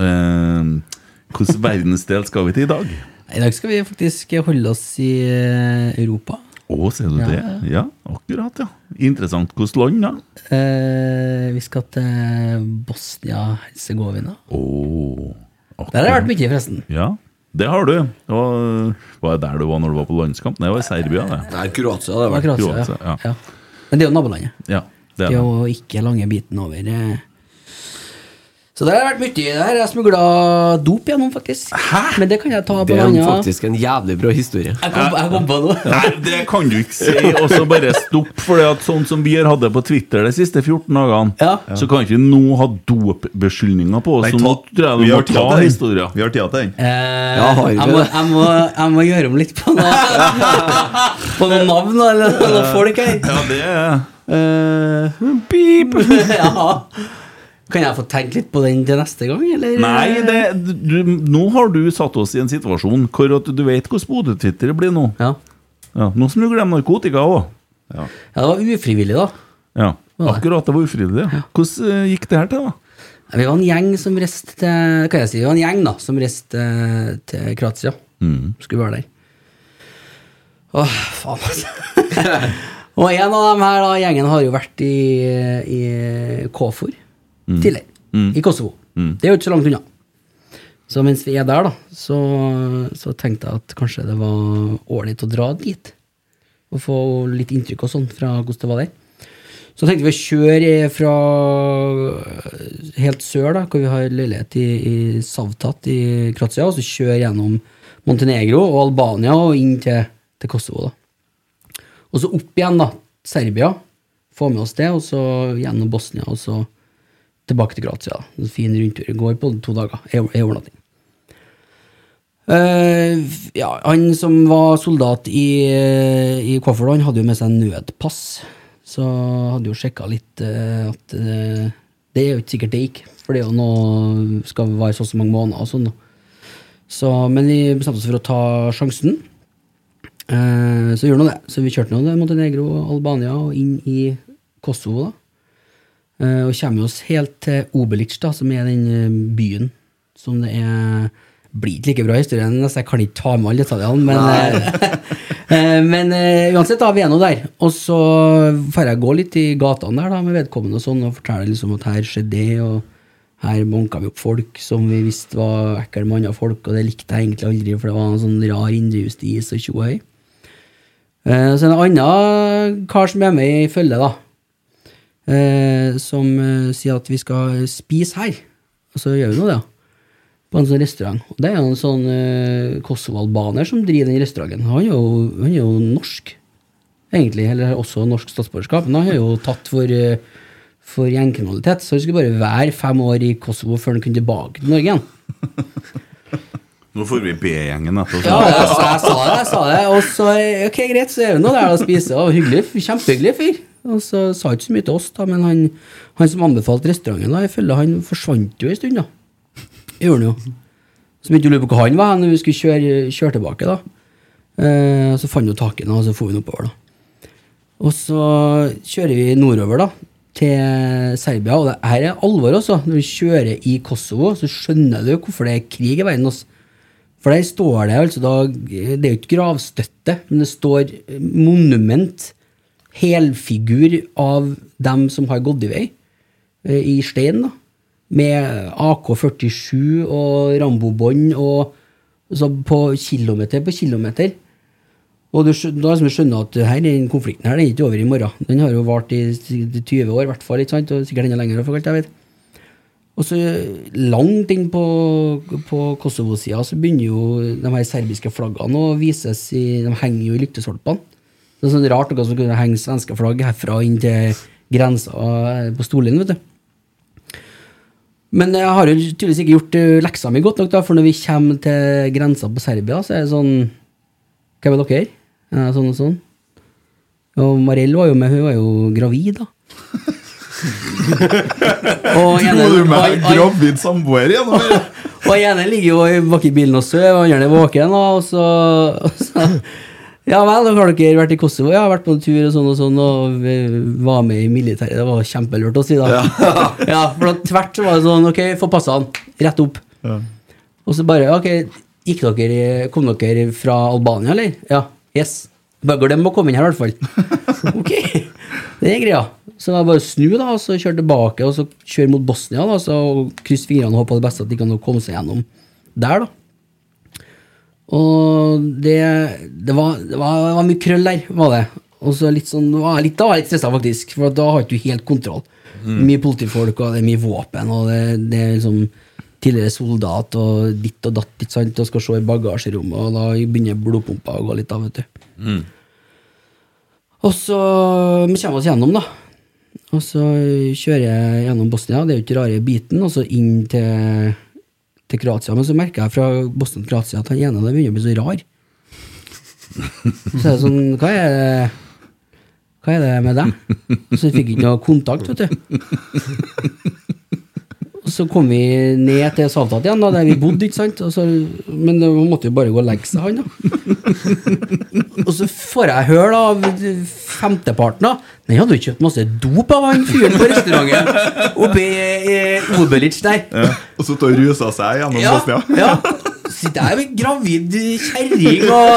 Speaker 4: Eh, Hvilken verdensdel skal vi til i dag?
Speaker 6: I dag skal vi faktisk holde oss i eh, Europa.
Speaker 4: Å, ser du
Speaker 6: Ja,
Speaker 4: det? Ja, akkurat, ja. Interessant. Hvilket land, da?
Speaker 6: Eh, vi skal til Bosnia-Hercegovina.
Speaker 4: Oh,
Speaker 6: Der har jeg vært mye, forresten.
Speaker 4: Ja, det har du. Det var, var det der du var når du var på landskamp? Nei, det var i Serbia, det.
Speaker 12: Nei, Kroatia.
Speaker 6: Det var Kroatia, ja.
Speaker 4: ja.
Speaker 6: ja. Men det er jo nabolandet.
Speaker 4: Ja,
Speaker 6: det
Speaker 4: det er
Speaker 6: er
Speaker 4: det.
Speaker 6: jo ikke lange biten over. eh. Så der har jeg vært mye. Der har jeg smugla dop gjennom, faktisk. Men det kan jeg ta på
Speaker 12: Det er en-
Speaker 6: annen-
Speaker 12: faktisk en jævlig bra historie.
Speaker 6: Jeg kom, jeg kom på noe.
Speaker 4: Nei, det kan du ikke si. Og så bare stopp, for at sånn som vi har hatt det på Twitter de siste 14 dagene, så kan ikke vi nå ha dopbeskyldninger på oss.
Speaker 7: Nei,
Speaker 4: Så nå
Speaker 7: ta-
Speaker 4: tror jeg
Speaker 7: vi
Speaker 4: du må
Speaker 7: har tid
Speaker 4: ta
Speaker 7: til den.
Speaker 4: historien.
Speaker 7: Vi har tida til den.
Speaker 6: Eh,
Speaker 4: Ja, har vi
Speaker 6: jeg, må,
Speaker 4: det?
Speaker 6: jeg, må, jeg må gjøre om litt på noe På noen navn eller noen folk her.
Speaker 4: Ja, det
Speaker 6: Eh, Pip! ja. Kan jeg få tenke litt på den til neste gang, eller?
Speaker 4: Nei, det, du, nå har du satt oss i en situasjon hvor at du vet hvordan bodø blir nå.
Speaker 6: Ja.
Speaker 4: nå smugler de narkotika òg. Ja.
Speaker 6: det var ufrivillig, da.
Speaker 4: Ja, akkurat. Det var ufrivillig. ja. Hvordan eh, gikk det her til, da?
Speaker 6: Vi var en gjeng som reiste til Kan jeg si, vi var en gjeng da Som reiste eh, til Kroatia
Speaker 4: Mm.
Speaker 6: Skulle være der Åh, faen altså Og en av dem her da Gjengen har jo vært i, i Kåfor
Speaker 11: Mm.
Speaker 6: Tidligere
Speaker 11: Mm.
Speaker 6: I Kosovo
Speaker 11: Mm.
Speaker 6: Det er jo ikke så langt unna Så mens vi er der da Så, så tenkte jeg at kanskje det var årlig å dra dit Og få litt inntrykk og sånn Fra hvordan det var der så tenkte vi å kjøre fra eh, helt sør, da, hvor vi har leilighet i, i Savtat i Kroatia, og så kjøre gjennom Montenegro og Albania og inn til, til Kosovo. da. Og så opp igjen, da. Serbia. Få med oss det, og så gjennom Bosnia, og så tilbake til Kroatia. da. En fin rundtur. Går på to dager. Ei ei overnatting. Eh, ja, han som var soldat i, i Kofferland, han hadde jo med seg en nødpass. Så hadde jo sjekka litt eh, at eh, Det er jo ikke sikkert det gikk, for det er jo nå skal være så og så mange måneder og sånn. da. Så, men vi bestemte oss for å ta sjansen. Eh, så gjorde nå det. Så vi kjørte nå til Montenegro og Albania og inn i Kosovo. da. Eh, Og kommer oss helt til Obelic, da, som er den eh, byen som det er Blir ikke like bra historie, nesten. Jeg kan ikke ta med alle detaljene, men, eh, men eh, uansett, da, vi er nå der. Og så får jeg gå litt i gatene der da, med vedkommende og sånn, og fortelle liksom at her skjedde det, og her banka vi opp folk som vi visste var ekle med andre folk, og det likte jeg egentlig aldri, for det var en sånn rar indrejustis og tjo og hei. Eh, Så er det en annen kar som er med i følget, da eh, som eh, sier at vi skal spise her. Og så gjør vi nå det. da. På en sånn restaurant. Og det er jo en sånn eh, kosovo-albaner som driver den restauranten. Han er, jo, han er jo norsk, egentlig. Eller også norsk statsborgerskap. Men han er jo tatt for eh, for gjengkriminalitet. Så han skulle bare være fem år i Kosovo før han kunne tilbake til Norge igjen.
Speaker 4: Nå får vi B-gjengen etter oss.
Speaker 6: Ja, jeg, sa- jeg sa det, jeg sa det. Og så ok, greit, så er vi nå der og spiser. Og hyggelig, fyr, kjempehyggelig fyr. Og så sa han ikke så mye til oss, da, men han, han som anbefalte restauranten, da, jeg føler han forsvant jo en stund, da. Gjorde han jo. Så begynte vi å lure på hvor han var når vi skulle kjøre, kjøre tilbake, da. Eh, så fant vi tak i ham, og så for vi han oppover, da. Og så kjører vi nordover, da. Til Serbia. Og det her er alvor, altså. Når vi kjører i Kosovo, så skjønner du hvorfor det er krig i verden. Altså. For der står det altså da Det er jo ikke gravstøtte, men det står monument, helfigur av dem som har gått i vei, eh, i stein, da. Med AK-47 og Rambo-bånd og så på kilometer på kilometer. Og du, skjø- da liksom skjønner at det her, den konflikten her den er ikke over i morgen. Den har jo vart i s- 20 år, i hvert fall. ikke sant? Og sikkert enda lenger. for alt jeg vet. Og så langt inn på, på Kosovo-sida så begynner jo de her serbiske flaggene å vises i De henger jo i lyktestolpene. Det er sånn rart noe som kunne henge svenske flagg herfra inn til grensa eh, på Storlien, vet du. Men jeg har jo tydeligvis ikke gjort eh, leksa mi godt nok, da, for når vi kommer til grensa på Serbia, så er det sånn Hvem er dere? Ja, Sånn og sånn. Og Mariell var jo med, hun var jo gravid, da. og ene-
Speaker 7: Tror du meg
Speaker 6: og- og-
Speaker 7: gravid samboer igjen? eller?
Speaker 6: og den ene ligger jo i- bak i bilen og sover, og den andre er våken, da, og så, og så Ja vel, da har dere vært i Kosovo? Ja, vært på en tur og sånn og sånn, og vi var med i militæret. Det var kjempelurt å si, da. Ja, For da tvert så var det sånn, ok, få passa han. Rett opp. Og så bare, ok, gikk dere, kom dere fra Albania, eller? Ja, yes. Bare glem å komme inn her, i hvert fall. Ok, det er greia. Så det var bare å snu, da, og så kjøre tilbake, og så kjøre mot Bosnia, da, så krysse fingrene og håpe på det beste at de kan komme seg gjennom der, da. Og det, det, var, det, var, det var mye krøll der, var det. Og så litt sånn, da var jeg litt, da var jeg litt stressa, faktisk, for da har ikke du helt kontroll.
Speaker 13: Mm.
Speaker 6: Mye politifolk, og det er mye våpen, og det, det er liksom tidligere soldat og ditt og datt, ikke sant, og skal se i bagasjerommet, og da begynner blodpumpa å gå litt av, vet du.
Speaker 4: Mm.
Speaker 6: Og så vi kommer oss gjennom, da. Og så kjører jeg gjennom Bosnia, det er jo ikke rare biten, og så inn til, til Kroatia. Men så merker jeg fra Bosnia til Kroatia at han ene av dem begynner å bli så rar. Så er det sånn Hva er det, hva er det med deg? Og Så fikk jeg ikke noe kontakt, vet du. Og så kom vi ned til Saltat igjen, da, der vi bodde, ikke sant. Og så, men det måtte jo bare gå og legge seg, han, da. Og så får jeg høre da, av femteparten da Nei, jeg hadde jo kjøpt masse dop av han fyren på restauranten Oppe i eh, Obelic der
Speaker 7: Ja. Og så tar rusa seg gjennom
Speaker 6: Ja,
Speaker 7: Bosnia.
Speaker 6: ja. Sitter jeg med en gravid kjerring og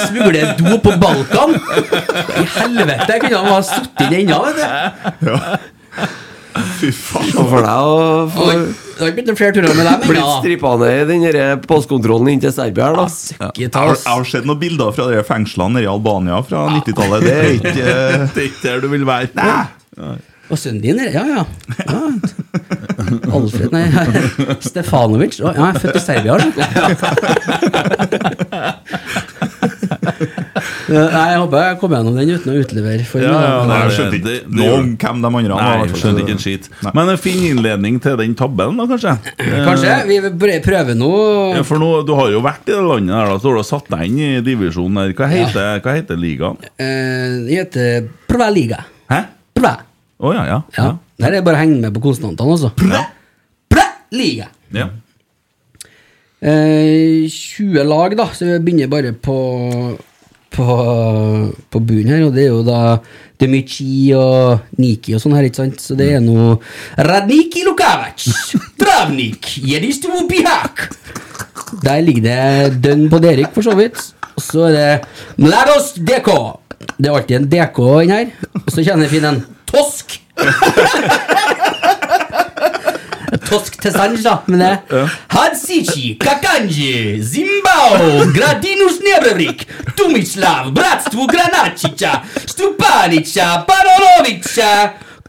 Speaker 6: smugler dop på Balkan I helvete, jeg kunne ha suttet i den enda, vet du
Speaker 7: Fy faen.
Speaker 5: Og for deg å få
Speaker 6: Oi, Det har ikke blitt noen flere turer med dem
Speaker 5: blitt
Speaker 6: ennå.
Speaker 5: strippa ned i den der postkontrollen inn til Serbia her, da.
Speaker 7: Jeg har, jeg har sett noen bilder fra de fengslene nede i Albania fra 90-tallet. Det er ikke
Speaker 4: Det er ikke der du vil være.
Speaker 7: Nei.
Speaker 6: Og sønnen din, er- ja, ja. ja. Alfred, nei, Stefanovic. Å, Ja, jeg er født i Serbia, du. Nei, jeg håper jeg kom gjennom den uten å utlevere. For mye, da.
Speaker 7: nei, jeg
Speaker 4: det-
Speaker 7: skjønte ikke
Speaker 4: det- det
Speaker 7: noe
Speaker 4: gjør
Speaker 7: om hvem
Speaker 4: det.
Speaker 7: de andre var, i
Speaker 4: Nei,
Speaker 7: hvert
Speaker 4: jeg
Speaker 7: fall.
Speaker 4: skjønte ikke en skit. Men en fin innledning til den tabellen, da, kanskje?
Speaker 6: Kanskje. Vi bør prøve nå.
Speaker 4: Ja, for nå, Du har jo vært i det landet der, da, så har du satt deg inn i divisjonen der. Hva heter, hva heter ligaen?
Speaker 6: Eh, Det heter Prva Liga.
Speaker 4: Hæ?
Speaker 6: Prva.
Speaker 4: Å ja, ja.
Speaker 6: Ja. Nei, det er bare å henge med på konsonantene, altså. Prva Liga.
Speaker 4: ja.
Speaker 6: Eh, 20 lag, da, så vi begynner bare på på, på bunnen her, og det er jo da Demichi og Niki og sånn her, ikke sant? Så det er nå Radniki Lukavac, Travnik, Jedistovo Bihak Der ligger det dønn på Derek, for så vidt. Og så er det Mlados DK. Det er alltid en DK inn her. Og så kjenner vi en Tosk. Tosk til sands, da. Men det Hadzici, Kakanji, Zimbao, Gradinus Nebrevrik, Tomislav, Bratstvo Granacica, Stupanica, Parolovica,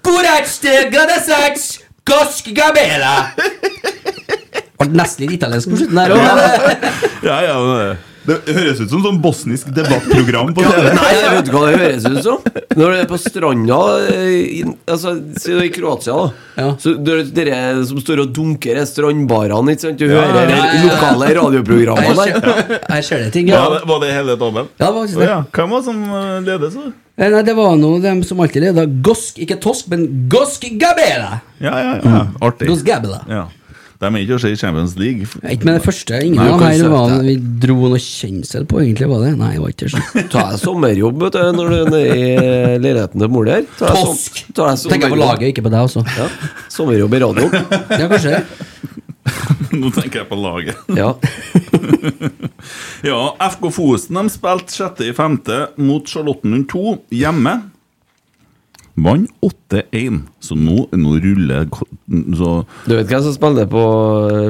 Speaker 6: Kuracte, Gradasac, Kosk Gabela. Ble nesten litt italiensk på slutten der. og-
Speaker 4: ja, eh. ja, det-
Speaker 7: Det høres ut som sånn bosnisk debattprogram på TV.
Speaker 5: Nei, jeg vet ikke hva det høres ut som. Når du er på stranda eh, i, altså, si det er i Kroatia, da. Så det er dere som står og dunker i strandbarene, ikke sant? Du
Speaker 7: Ja,
Speaker 5: hører
Speaker 7: ja,
Speaker 5: de
Speaker 7: ja.
Speaker 5: lokale radioprogrammene
Speaker 6: Jeg
Speaker 5: der.
Speaker 6: skjer- jeg skjer det ting,
Speaker 7: Var, det, var det hele dommen?
Speaker 6: Ja, det var faktisk det.
Speaker 7: Å ja. Hvem var det som eh, ledet, så?
Speaker 6: Nei, nei, det var nå dem som alltid leda Gosk, ikke Tosk, men Gosk Gabela!
Speaker 4: Ja, ja, ja. Artig.
Speaker 6: Dos Gabela.
Speaker 4: Ja. De er ikke å se i Champions League.
Speaker 6: Ikke med det første. Ingen
Speaker 4: Nei,
Speaker 6: av dem her
Speaker 4: konsert,
Speaker 6: var vi dro noe kjensel på, egentlig, var det? Nei, det var ikke sånn.
Speaker 5: Ta deg sommerjobb vet du, når du er nede i leiligheten til mor der. Ta deg som- ta sånn
Speaker 6: Tenker jeg på
Speaker 5: deg sommerjobb.
Speaker 6: laget, ikke på deg også.
Speaker 5: Ja. Sommerjobb i radioen.
Speaker 6: Ja, kanskje det.
Speaker 4: Nå tenker jeg på laget.
Speaker 5: Ja.
Speaker 4: ja, FK Fosen de spilte 6.5. mot Charlottenlund 2 hjemme. Vant 8-1, så nå, nå ruller ko- så,
Speaker 5: Du vet hvem som spiller på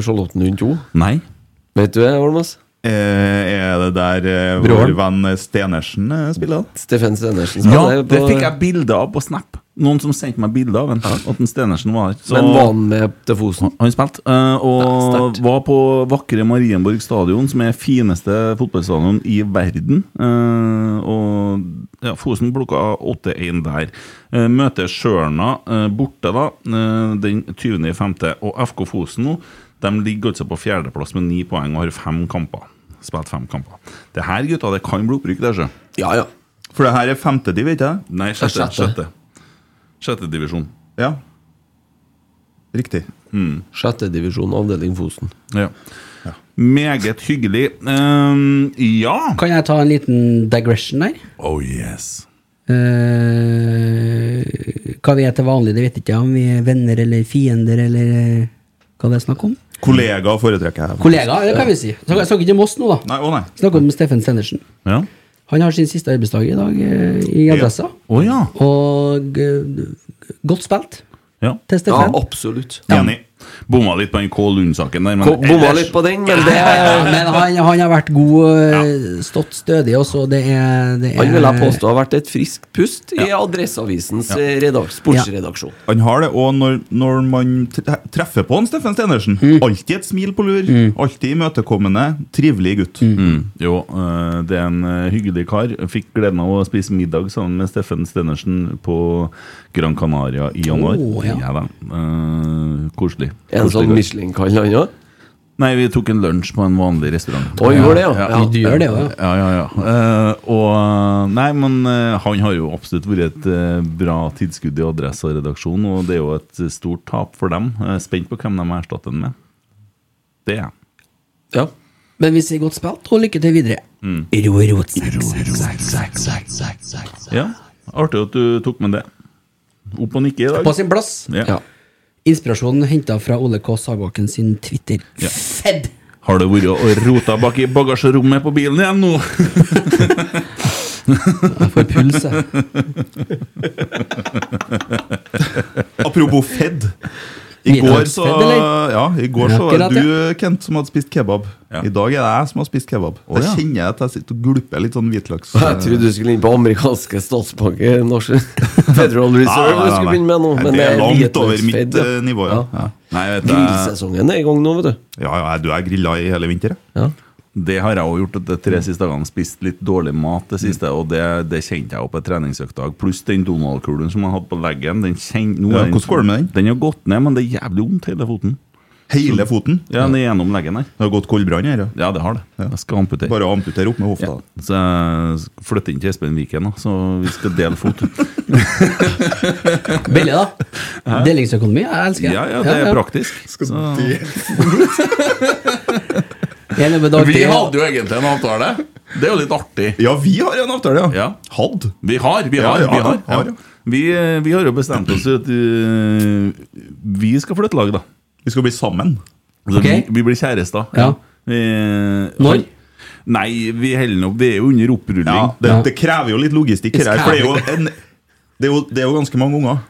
Speaker 5: Charlottenlund 2?
Speaker 4: Nei. Eh,
Speaker 5: Vet du det, Holmås?
Speaker 7: er det der eh, vår
Speaker 4: Broren.
Speaker 7: venn Stenersen eh, spiller?
Speaker 5: Steffen Stenersen
Speaker 4: Ja, det fikk jeg bilde av på Snap. Noen som sendte meg bilde av en, at en Stenersen var der. Så-
Speaker 5: Men var han med til Fosen?
Speaker 4: Han spilte, eh, og var på vakre Marienborg stadion, som er fineste fotballstadion i verden. Eh, og ja, Fosen plukka 8-1 der. Eh, møter Sjørna eh, borte da, eh, den 20.5. Og FK Fosen nå, de ligger altså på fjerdeplass med ni poeng og har fem kamper. Spilt fem kamper. Det her, gutta, det kan bli opprykk der, sjø.
Speaker 5: Ja, ja.
Speaker 7: For det her er femtediv, ikke sant?
Speaker 4: Nei, sjette.
Speaker 7: Ja, sjette.
Speaker 4: Sjette, sjette divisjon.
Speaker 7: Ja. Riktig.
Speaker 4: Mm.
Speaker 5: Sjette divisjon, avdeling Fosen.
Speaker 4: Ja. Meget hyggelig. Ehm, ja
Speaker 6: Kan jeg ta en liten digression der?
Speaker 4: Oh yes.
Speaker 6: Eh, hva vi er til vanlig, det vet ikke jeg om vi er venner eller fiender eller eh, hva det er snakk om.
Speaker 7: Kollega foretrekker jeg.
Speaker 6: Kollega, det kan vi si. Snakker snakker ikke om oss nå, da.
Speaker 7: Nei, å nei.
Speaker 6: Snakker om Steffen Sendersen.
Speaker 4: Ja.
Speaker 6: Han har sin siste arbeidsdag i dag eh, i Adressa.
Speaker 4: Å ja.
Speaker 6: Og eh, godt spilt
Speaker 4: Ja.
Speaker 6: til Steffen.
Speaker 5: absolutt.
Speaker 4: Enig. Bomma litt på den K. Lund-saken der, men
Speaker 5: Ko- bomma litt på den, men det
Speaker 6: Ja, Men han, han har vært god, eh, stått stødig også. Det er, det er
Speaker 5: Han vil jeg påstå har vært et friskt pust i Adresseavisens
Speaker 7: Ja.
Speaker 5: eh, redak- sportsredaksjon.
Speaker 7: Han har det, og når, når man tre- treffer på han, Steffen Stenersen
Speaker 5: Mm.
Speaker 7: Alltid et smil på lur. Alltid imøtekommende. Trivelig gutt.
Speaker 5: Mm.
Speaker 4: Mm. Jo, eh, det er en eh, hyggelig kar. Fikk gleden av å spise middag sammen med Steffen Stenersen på Gran Canaria i januar.
Speaker 5: Å, ja.
Speaker 4: da. Eh, koselig.
Speaker 5: Er han sånn
Speaker 4: Koselig.
Speaker 5: Michelin-kall, han òg?
Speaker 4: Nei, vi tok en lunsj på en vanlig restaurant.
Speaker 5: Å, gjorde det, ja. Ja, du gjør det,
Speaker 4: ja.
Speaker 5: ja.
Speaker 4: Ja, ja, ja. Eh, og Nei, men eh, han har jo absolutt vært et eh, bra tilskudd i Adressa-redaksjonen, og det er jo et stort tap for dem. Jeg er spent på hvem de erstatter den med. Det er jeg.
Speaker 6: Men vi sier godt spilt, og lykke til videre.
Speaker 4: Mm.
Speaker 6: Ro, ro, sak,
Speaker 4: Ja, artig at du tok med det. Opp og nikke i dag.
Speaker 6: På sin plass.
Speaker 4: Ja.
Speaker 6: Inspirasjonen henta fra Ole K. Sagbakken sin Twitter.
Speaker 4: Ja.
Speaker 6: Fed!
Speaker 4: Har det vært og rota bak i bagasjerommet på bilen igjen nå?
Speaker 6: Jeg får puls, jeg.
Speaker 7: Apropos Fed. I går så,
Speaker 6: Middagsfed, eller?
Speaker 7: ja, i går så var
Speaker 6: Akkurat,
Speaker 7: det
Speaker 6: ja.
Speaker 7: du, Kent, som hadde spist kebab. I dag er det jeg som har spist kebab.
Speaker 5: Å, ja.
Speaker 7: Jeg kjenner jeg at jeg sitter og glupper litt sånn hvitløks.
Speaker 5: Jeg trodde du skulle inn på amerikanske statsbanker. Norsk Federal Reserve
Speaker 7: Nei, nei,
Speaker 5: du skulle
Speaker 7: nei.
Speaker 5: begynne med nå.
Speaker 7: Nei,
Speaker 5: Men
Speaker 7: det er langt
Speaker 5: Vietnams
Speaker 7: over mitt,
Speaker 5: Fed, ja.
Speaker 7: eh, nivå, ja. Ja. Nei, jeg vet det.
Speaker 5: Grillsesongen er i gang nå, vet du.
Speaker 7: Ja, ja, jeg- du er grilla i hele vinter, jeg.
Speaker 4: Det har jeg òg gjort de tre siste dagene. Spist litt dårlig mat det siste,
Speaker 7: Mm.
Speaker 4: og det, det kjente jeg opp på treningsøktdag. Pluss den Donald-kulen som jeg hadde på leggen. Den kjen, nå
Speaker 7: Ja,
Speaker 4: er den,
Speaker 7: hvordan går det med den?
Speaker 4: Den har gått ned, men det er jævlig vondt hele foten.
Speaker 7: Hele
Speaker 4: Så-
Speaker 7: foten?
Speaker 4: Ja, den er gjennom leggen her.
Speaker 7: Det har gått koldbrann her, ja.
Speaker 4: Ja, det har det. Jeg skal amputere.
Speaker 7: Bare amputere opp med hofta.
Speaker 4: Ja, så jeg skal flytte inn til Espen Viken, da, så vi skal dele fot.
Speaker 6: Billig, da. Delingsøkonomi, jeg elsker
Speaker 4: Ja, ja, det er praktisk. Skal
Speaker 6: Gjennom en dag
Speaker 4: Vi
Speaker 6: til.
Speaker 4: hadde jo egentlig en avtale. Det er jo litt artig.
Speaker 7: Ja, vi har en avtale, ja. Hadd.
Speaker 4: Vi har, vi
Speaker 7: Ja,
Speaker 4: har.
Speaker 7: ja,
Speaker 4: vi, har,
Speaker 7: ja, har, ja.
Speaker 4: ja. Vi, eh, vi har jo bestemt oss for at eh, vi skal flytte lag, da.
Speaker 7: Vi skal bli sammen.
Speaker 4: Altså,
Speaker 7: Ok.
Speaker 4: vi, vi blir kjærester.
Speaker 7: Ja.
Speaker 4: Når? Nei, vi holder nå Vi er jo under opprulling.
Speaker 7: Ja, det, det krever jo litt logistikk her, for det er jo en det er, jo, det er jo ganske mange unger.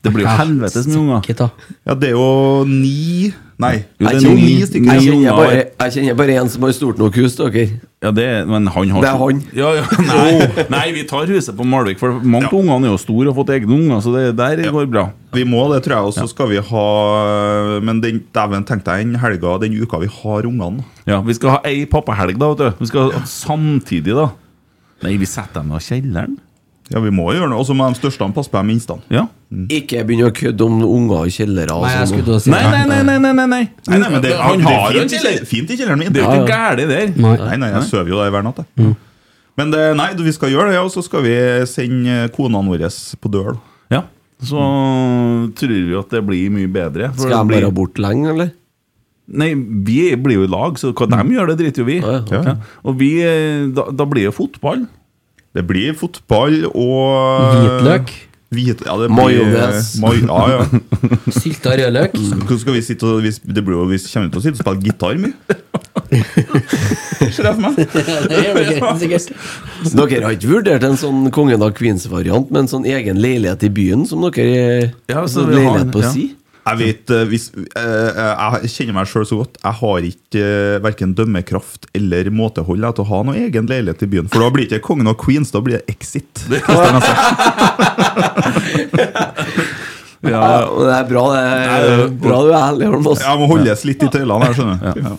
Speaker 4: Det blir jo helvetes mye unger.
Speaker 7: Ja, det er jo ni Nei.
Speaker 4: Jo, det
Speaker 5: Jeg
Speaker 4: er ni-
Speaker 5: kjenner-
Speaker 4: ni
Speaker 5: jeg kjenner
Speaker 4: unger.
Speaker 5: bare- jeg kjenner bare en som har stort nok hus, dere.
Speaker 4: Ja, det, men han har
Speaker 5: Det er
Speaker 4: ikke-
Speaker 5: han.
Speaker 4: Ja, ja, nei, nei, vi tar huset på Malvik, for mange av ungene er jo store og har fått egne unger, så det der går bra.
Speaker 7: Vi må det, tror jeg. Og så skal vi ha Men den, dæven, tenk deg den helga, den uka vi har ungene.
Speaker 4: Ja, Vi skal ha ei pappahelg, da. vet du Vi skal ha samtidig, da. Nei, vi setter dem i kjelleren.
Speaker 7: Ja, vi må gjøre noe. Og så må de største passe på de minste.
Speaker 4: Ja.
Speaker 5: Ikke begynne å kødde om unger i kjellere. og
Speaker 7: Nei, jeg
Speaker 5: sånn.
Speaker 7: skulle til å si Nei, det. nei, nei, nei,
Speaker 4: nei, nei.
Speaker 7: Nei, nei, men det,
Speaker 5: Han
Speaker 7: det er
Speaker 5: har
Speaker 7: fint
Speaker 5: jo en
Speaker 7: i kjeller- Fint i kjelleren min.
Speaker 5: Det er jo ikke Ja,
Speaker 4: gærlig der.
Speaker 7: Nei,
Speaker 4: Nei.
Speaker 7: nei,
Speaker 4: Nei.
Speaker 7: jeg sover jo der hver natt. jeg. Men det, nei, vi skal gjøre det, og så skal vi sende konene våre på dør.
Speaker 4: Ja. Så tror vi at det blir mye bedre.
Speaker 7: Skal de
Speaker 4: blir...
Speaker 7: være
Speaker 5: bort lenge, eller?
Speaker 4: Nei, vi blir jo i lag, så hva de gjør, det driter jo vi i. Ja. Og vi, eh, da, da blir det fotball.
Speaker 7: Det blir fotball og Hvit, ja, det blir-
Speaker 5: Majones.
Speaker 7: Maj- Ja, ja.
Speaker 6: Sylta rødløk.
Speaker 7: Så skal vi sitte og vi, Det blir jo, vi kommer til å sitte og spille gitar mye. Ser jeg for meg.
Speaker 5: Så Dere har ikke vurdert en sånn Kongen av Queens-variant med en sånn egen leilighet i byen som dere
Speaker 7: Ja,
Speaker 5: sånn Leilighet på si?
Speaker 7: Jeg vet, eh, hvis, eh, jeg kjenner meg sjøl så godt. Jeg har ikke uh, verken dømmekraft eller måtehold jeg, til å ha noen egen leilighet i byen. For da blir det ikke Kongen av Queens, da blir det Exit.
Speaker 5: Ja, men det er bra, det. er bra du er ærlig, Holm. ass.
Speaker 7: Jeg må holdes litt i tøylene her, skjønner du.
Speaker 4: Ja.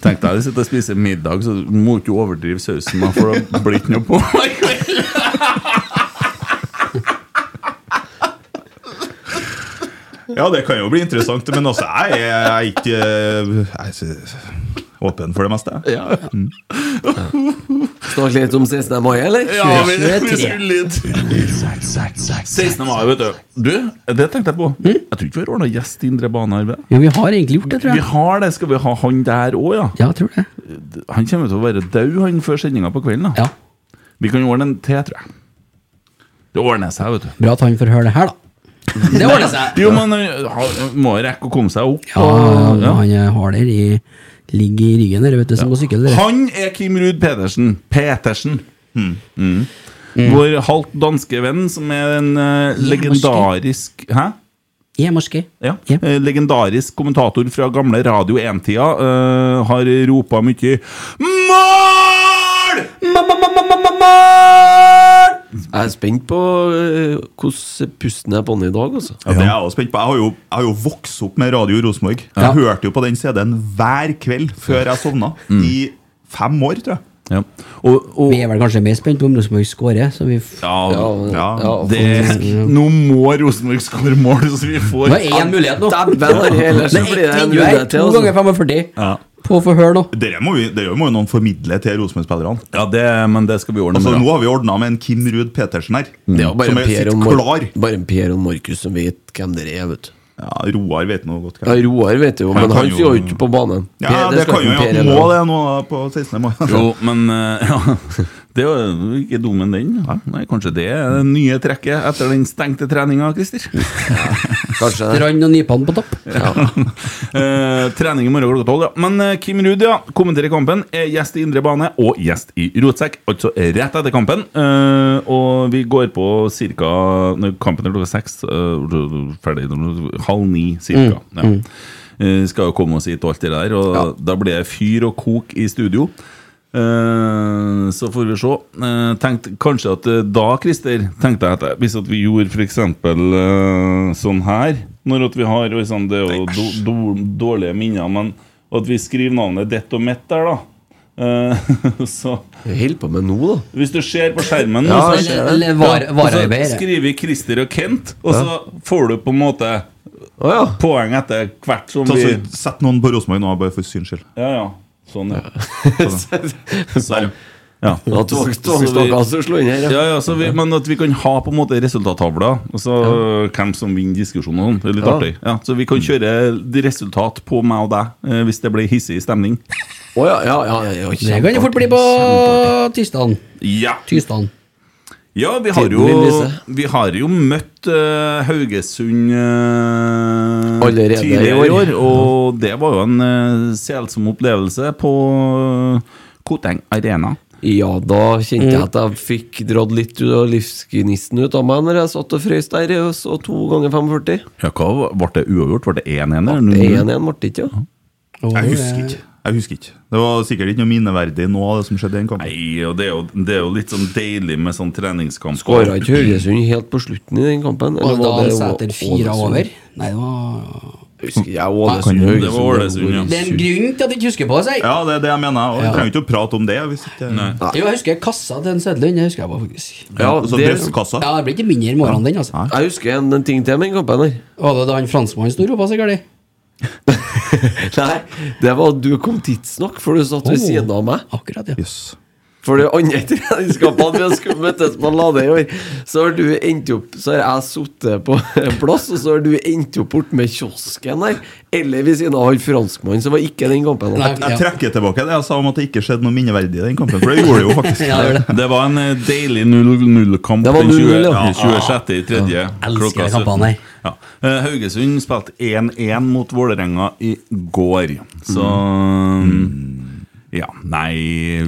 Speaker 4: Tenk deg, du sitter og spiser middag, så du må ikke overdrive sausen, da, for det blir ikke noe på.
Speaker 7: Ja, det kan jo bli interessant, men altså, jeg er jeg er ikke eh, jeg er så åpen for det meste. jeg. Mm.
Speaker 5: Snakke litt om 16. mai, eller?
Speaker 4: Ja, vi- vi skulle litt 16. mai, vet du. Du, det tenkte jeg på. Jeg tror ikke vi har ordna gjest i Indre Bane. Arve.
Speaker 10: Ja, vi har egentlig gjort det, tror jeg.
Speaker 4: Vi har Hm? det. Skal vi ha han der òg, ja?
Speaker 10: Ja, jeg tror det.
Speaker 4: Han kommer til å være død han før sendinga på kvelden. da Vi kan ordne en til, tror jeg. Det ordner seg, vet du.
Speaker 10: Bra at han får høre det her, da. Det ordner seg.
Speaker 4: Jo, men han han må jo rekke å komme seg opp.
Speaker 10: Ja,
Speaker 4: og- ja.
Speaker 10: Han eh, har der i Ligger i ryggen der, vet du, som på sykkel. Der.
Speaker 4: Han er Kim Ruud Pedersen. Petersen. Mm. Vår halvt danske venn, som er en eh, legendarisk Hæ? Ja. Eh, legendarisk kommentator fra gamle Radio 1-tida eh, har ropa mye Mål!
Speaker 5: Jeg er spent på eh, hvordan pusten er på den i dag, altså.
Speaker 7: Ja, det er jeg også spent på. Jeg har jo, jeg har jo vokst opp med Radio Rosenborg. Jeg
Speaker 5: Ja.
Speaker 7: hørte jo på den CD-en hver kveld før jeg sovna.
Speaker 4: Mm.
Speaker 7: I fem år, tror jeg.
Speaker 10: vi er vel kanskje mer spent på om Rosenborg scorer, så vi f
Speaker 4: Ja,
Speaker 7: ja,
Speaker 4: det, nå må Rosenborg skåre mål, så vi får
Speaker 10: Det er én mulighet nå.
Speaker 5: Dæven, ellers så blir det en
Speaker 10: Det er
Speaker 5: runde til.
Speaker 10: to
Speaker 5: altså.
Speaker 10: ganger 45
Speaker 4: Ja.
Speaker 10: på å få høre nå.
Speaker 7: Dere må, jo- dere må jo noen formidle til Rosenborg-spillerne.
Speaker 4: Ja, men det skal vi ordne Mm.
Speaker 7: altså,
Speaker 5: med, da.
Speaker 7: Nå har vi ordna med en Kim Ruud Petersen her.
Speaker 5: Det er jo bare
Speaker 7: som
Speaker 5: en
Speaker 7: er
Speaker 5: Per
Speaker 7: sitt
Speaker 5: og
Speaker 7: klar.
Speaker 5: Mar- bare en Per og Markus som vet hvem dere er, vet du.
Speaker 7: Ja, Roar vet nå godt
Speaker 5: Ja, Roar vet jo, men han står jo ikke på banen.
Speaker 7: Ja,
Speaker 5: Per-
Speaker 7: det,
Speaker 5: skal
Speaker 7: kan jo
Speaker 5: ikke
Speaker 7: være
Speaker 5: Per
Speaker 7: at må
Speaker 5: heller.
Speaker 7: det nå da, på 16. mai.
Speaker 4: Jo, men eh, ja, Det er jo ikke dum enn den. Nei, kanskje det er det nye trekket etter den stengte treninga, Christer.
Speaker 5: Kanskje
Speaker 10: Strand og Nypan på topp.
Speaker 4: Eh, trening i morgen klokka tolv, ja. Men eh, Kim Ruud ja, kommenterer kampen, er gjest i Indre Bane og gjest i Rotsekk. Altså rett etter kampen. Eh, og vi går på cirka når Kampen er klokka seks, eh, ferdig halv ni cirka.
Speaker 14: Mm,
Speaker 4: Ja.
Speaker 14: mm.
Speaker 4: Eh, skal jo komme oss hit og alt det der, og da blir det fyr og kok i studio. Eh, så får vi se. Eh, tenkt, kanskje at eh, da, Christer, tenkte jeg at jeg- hvis at vi gjorde f.eks. Uh, sånn her Når at vi har og sånn, Det er jo do, do, dårlige minner, men at vi skriver navnet ditt og mitt der, da. Eh, så
Speaker 5: Hold på med nå, da.
Speaker 4: Hvis du ser på skjermen nå,
Speaker 5: Ja,
Speaker 4: så-
Speaker 5: jeg ser det. Eller var-
Speaker 4: Ja,
Speaker 5: varearbeider.
Speaker 4: og så skriver Christer og Kent, og så får du på en måte poeng etter hvert som
Speaker 7: Ta,
Speaker 4: vi
Speaker 7: så, sett noen på Rosenborg nå, bare for syns skyld.
Speaker 4: Ja, ja. Sånn, ja.
Speaker 7: Sånn. Ja,
Speaker 4: Ja. Så-
Speaker 7: tvang-
Speaker 4: så vi-
Speaker 7: tvangstanker som slår inn her, ja.
Speaker 4: ja, ja, så vi, Men at vi kan ha på en måte resultattavla, og så hvem som vinner diskusjonen og sånn. Det er litt
Speaker 7: Ja.
Speaker 4: artig. Ja, så vi kan kjøre de resultat på meg og deg, eh, hvis det blir hissig stemning.
Speaker 5: Å ja, ja, ja, ja,
Speaker 10: Det kan det fort bli på tirsdagen.
Speaker 4: Ja.
Speaker 10: Tirsdagen.
Speaker 4: Ja, vi har
Speaker 10: Tiden
Speaker 4: jo,
Speaker 10: vil vise.
Speaker 4: vi har jo møtt eh, Haugesund eh,
Speaker 5: Allerede i
Speaker 4: tidligere i
Speaker 5: år.
Speaker 4: år, og det var jo en eh, selsom opplevelse på eh, Koteng Arena.
Speaker 5: Ja, da kjente jeg
Speaker 6: Mm.
Speaker 5: at jeg fikk dratt litt ut av livsgnisten ut av meg når jeg satt og frøs der, og så to ganger 45.
Speaker 10: Mm.
Speaker 4: Ja, hva Ble det uavgjort? Ble det 1-1? eller
Speaker 5: Det
Speaker 4: 0-0?
Speaker 5: er 1-1, ble det ikke? Ja.
Speaker 7: Jeg husker ikke. Jeg husker ikke. Det var sikkert ikke noe minneverdig nå av det som skjedde i den kampen.
Speaker 4: Nei, og det er, jo, det er jo litt sånn deilig med sånn treningskamp.
Speaker 5: Skåra ikke Haugesund helt på slutten i den kampen?
Speaker 10: Og da
Speaker 5: det
Speaker 10: satt
Speaker 5: Å-
Speaker 10: etter fire
Speaker 5: Ålesund?
Speaker 10: over. Nei, det var
Speaker 5: Husker jeg
Speaker 7: Kan
Speaker 5: Ålesund
Speaker 7: jo-
Speaker 5: Haugesund,
Speaker 7: det var Ålesund, ja.
Speaker 10: Det er en grunn til at jeg ikke husker på det, sier jeg.
Speaker 7: Ja, det er det jeg mener. Og vi
Speaker 10: Ja.
Speaker 7: trenger ikke å prate om det. Hvis ikke,
Speaker 10: Jo, jeg husker kassa til en Sødlund. Det husker jeg bare, faktisk.
Speaker 7: Ja, altså
Speaker 5: det-
Speaker 7: brystkassa.
Speaker 10: Ja, det blir ikke mindre i morgen, den, altså.
Speaker 5: Jeg husker en, en ting til med den kampen der.
Speaker 10: Var det da han franskmannen sto og ropa, sikkert? det?
Speaker 5: Nei, det var du kom tidsnok, for du satt ved
Speaker 10: Oh,
Speaker 5: siden av meg.
Speaker 10: Akkurat, ja.
Speaker 5: For det andre treningskampene vi har skulle møttes på Lade i år, så har du endt opp Så har jeg sittet på en plass, og så har du endt opp bort med kiosken der, eller ved siden av han franskmannen, som var ikke den kampen.
Speaker 7: Jeg, jeg trekker tilbake det jeg sa om at det ikke skjedde noe minneverdig i den kampen, for det gjorde det jo faktisk.
Speaker 5: Ja, det gjorde
Speaker 4: det. var en eh, deilig 0-0-kamp
Speaker 7: Det var
Speaker 4: den 20
Speaker 7: 0-0, ja.
Speaker 4: ja, 26. i tredje.
Speaker 7: elsker
Speaker 4: klokka
Speaker 7: de kampene
Speaker 4: 17.
Speaker 7: her.
Speaker 4: Ja. Eh, Haugesund spilte 1-1 mot Vålerenga i går, så mm. Ja, nei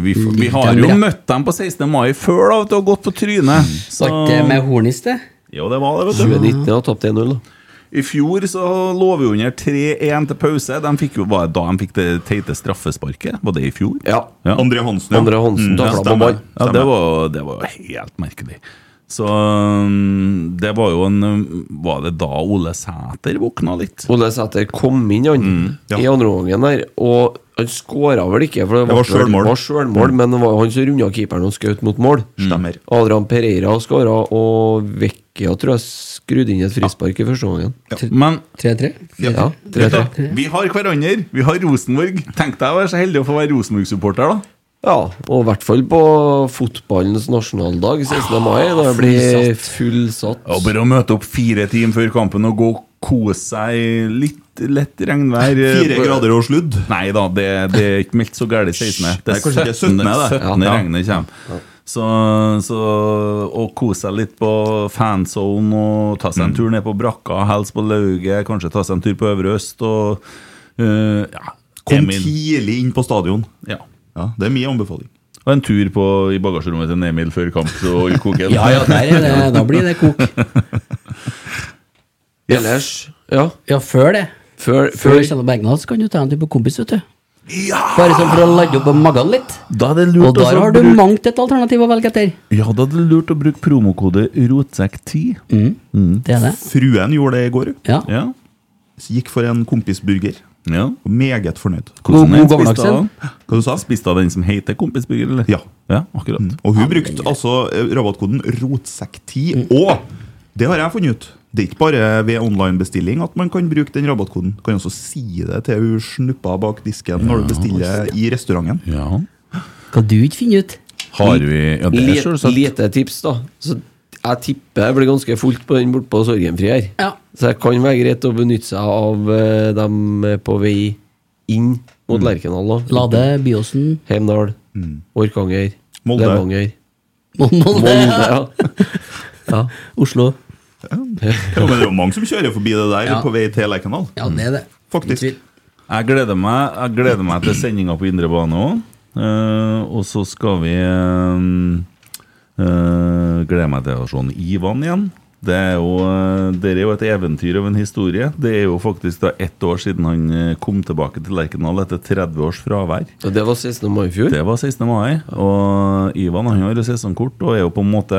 Speaker 4: vi, får- vi har jo
Speaker 10: Litt
Speaker 4: møtt dem på 16. mai før, da, vet du, og gått på trynet.
Speaker 10: Var ikke
Speaker 6: eh,
Speaker 10: det med Hornis, det?
Speaker 4: Jo, det var det, vet du.
Speaker 5: 2019 og tapte 1-0, da.
Speaker 4: I fjor så lå vi under 3-1 til pause. De fikk jo, var det da de fikk det teite straffesparket? Var det i fjor?
Speaker 5: Ja.
Speaker 7: André Hansen, ja.
Speaker 5: André Hansen
Speaker 4: ja,
Speaker 5: tafla på
Speaker 4: stemmer.
Speaker 5: ball.
Speaker 4: Ja, det
Speaker 5: Stemmer.
Speaker 4: var, det var helt merkelig. Så um, det var jo en um, Var det da Ole Sæter våkna litt?
Speaker 5: Ole Sæter kom inn han, i andre omgangen der, og han skåra vel ikke, for det,
Speaker 4: Det
Speaker 5: ble
Speaker 4: var
Speaker 5: vel-
Speaker 4: selvmål.
Speaker 5: var selvmål, men det var jo han som runda keeperen og skjøt mot mål. Mm.
Speaker 7: Stemmer.
Speaker 5: Adrian Pereira skåra, og Vecchia tror jeg skrudde inn et frispark i første omgangen.
Speaker 4: Men
Speaker 10: 3-3?
Speaker 5: Ja, 3-3.
Speaker 4: Vi har hverandre, vi har Rosenborg. Tenk deg å være så heldig å få være Rosenborg-supporter, da.
Speaker 5: Ja, og i hvert fall på fotballens nasjonaldag 16. mai, da det blir fullsatt.
Speaker 4: Ah, Ja, bare å møte opp fire timer før kampen og gå og kose seg i litt lett regnvær. eh,
Speaker 7: Fire grader og sludd?
Speaker 4: Nei da, det, det er ikke meldt så gærent 16.
Speaker 7: Nei, kanskje det er 17, det.
Speaker 4: 17.
Speaker 7: Ja.
Speaker 4: regnet kommer. Så, så å kose seg litt på fanzone og ta seg
Speaker 7: Mm.
Speaker 4: en tur ned på brakka, helst på lauget, kanskje ta seg en tur på Øvre Øst og eh, ja,
Speaker 7: Kom
Speaker 4: Emil.
Speaker 7: tidlig inn på stadion.
Speaker 4: Ja.
Speaker 7: det er min anbefaling.
Speaker 4: Og en tur på, i bagasjerommet til Emil før kamp. Så i koken.
Speaker 10: Ja, ja, der er det, da blir det kok.
Speaker 5: Ellers, ja.
Speaker 10: Ja, før det.
Speaker 5: Før,
Speaker 10: før Kjell Bergnad så kan du ta en tur på kompis, vet du.
Speaker 4: Ja!
Speaker 10: Bare sånn for å lade opp magen litt.
Speaker 4: Da er det
Speaker 10: Og
Speaker 4: lurt også
Speaker 10: der
Speaker 4: å
Speaker 10: har du
Speaker 4: bruke-
Speaker 10: mangt et alternativ å velge etter.
Speaker 4: Ja, da er det lurt å bruke promokode ROTSEK10.
Speaker 10: Det er det.
Speaker 7: Fruen gjorde det i går.
Speaker 10: Ja.
Speaker 7: Gikk for en kompisburger.
Speaker 4: Ja.
Speaker 7: Og meget fornøyd.
Speaker 4: Hvordan er den spist av?
Speaker 7: Hva du sa?
Speaker 4: Spiste av den som heter kompisburger, eller?
Speaker 7: Ja. Mm.
Speaker 4: akkurat.
Speaker 7: Og hun brukte altså eh, rabattkoden ROTSEK10. Og det har jeg funnet ut. Det er ikke bare ved online-bestilling at man kan bruke den rabattkoden. Du kan også si det til hun snuppa bak disken når du bestiller i restauranten.
Speaker 4: Ja.
Speaker 10: Kan du ikke finne ut?
Speaker 4: Har vi ja, det er
Speaker 5: Lite-
Speaker 4: selvsagt.
Speaker 5: Lite tips, da. Så jeg tipper det blir ganske fullt på den borte på Sorgenfri her.
Speaker 10: Ja.
Speaker 5: Så det kan være greit å benytte seg av eh, dem eh, på vei inn
Speaker 4: Mm.
Speaker 5: mot Lerkendal. da.
Speaker 10: Lade, Byåsen
Speaker 5: Heimdal, Orkanger,
Speaker 7: Molde.
Speaker 5: Levanger.
Speaker 10: Molde,
Speaker 5: ja. ja.
Speaker 10: Oslo.
Speaker 7: Ja, men det er jo mange som kjører forbi det der
Speaker 10: Ja.
Speaker 7: på vei til Lerkendal.
Speaker 10: Ja, det er det.
Speaker 7: Faktisk.
Speaker 4: Jeg gleder meg, jeg gleder meg til sendinga på Indre bane òg. og så skal vi eh, eh, Gleder meg til å se han Ivan igjen. Det er jo, eh, det er jo et eventyr av en historie. Det er jo faktisk da ett år siden han eh, kom tilbake til Lerkendal etter 30 års fravær.
Speaker 5: Og det var 16. mai i fjor?
Speaker 4: Det var 16. mai. Og Ivan han har jo sesongkort og er jo på en måte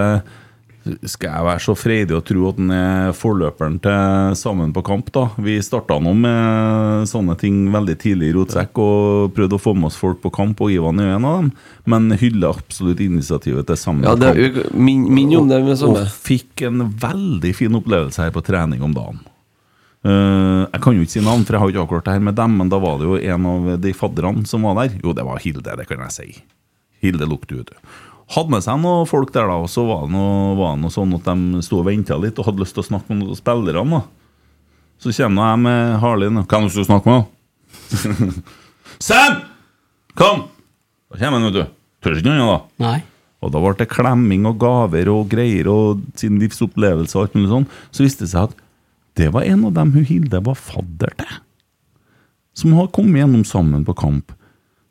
Speaker 4: skal jeg være så freidig å tro at han er forløperen til Sammen på kamp, da? Vi starta nå med sånne ting veldig tidlig i Rotsekk og prøvde å få med oss folk på kamp, og Ivan er jo en av dem. Men hyller absolutt initiativet til Sammen
Speaker 5: Ja,
Speaker 4: på
Speaker 5: det
Speaker 4: kamp.
Speaker 5: er jo min, min om det med samme.
Speaker 4: Og fikk en veldig fin opplevelse her på trening om dagen. Eh, jeg kan jo ikke si navn, for jeg har jo ikke avklart det her med dem, men da var det jo en av de fadderne som var der. Jo, det var Hilde, det kan jeg si. Hilde lukter ute. Hadde med seg noen folk der, da, og så var det noe, var det noe sånn at de sto og venta litt og hadde lyst til å snakke med noen av spillerne. da. Så kommer jeg med Harlin. Hva er det du skal snakke med? da? Sam! Kom! Da kommer han, vet du. Tør ikke noe annet, da.
Speaker 10: Nei.
Speaker 4: Og da ble det klemming og gaver og greier og sin livsopplevelse og alt mulig sånn. Så viste det seg at det var en av dem hun Hilde var fadder til. Som har kommet gjennom sammen på kamp.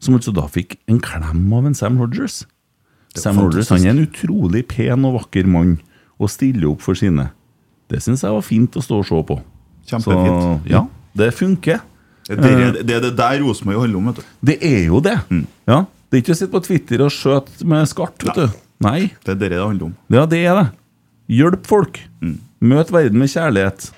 Speaker 4: Som altså da fikk en klem av en Sam Rogers. Sam Rogers han er en utrolig pen og vakker mann, og stiller opp for sine. Det syns jeg var fint å stå og se på.
Speaker 7: Kjempefint.
Speaker 4: Så, ja, det funker. Eh,
Speaker 7: Det er det, er det der Rosenborg holder om, vet du.
Speaker 4: Det er jo det.
Speaker 7: Mm.
Speaker 4: Ja, Det er ikke å sitte på Twitter og skjøte med skarpt, vet du. Nei.
Speaker 7: Det er det det handler om. Mm.
Speaker 4: Ja, det er det. Hjelp folk. Møt verden med kjærlighet.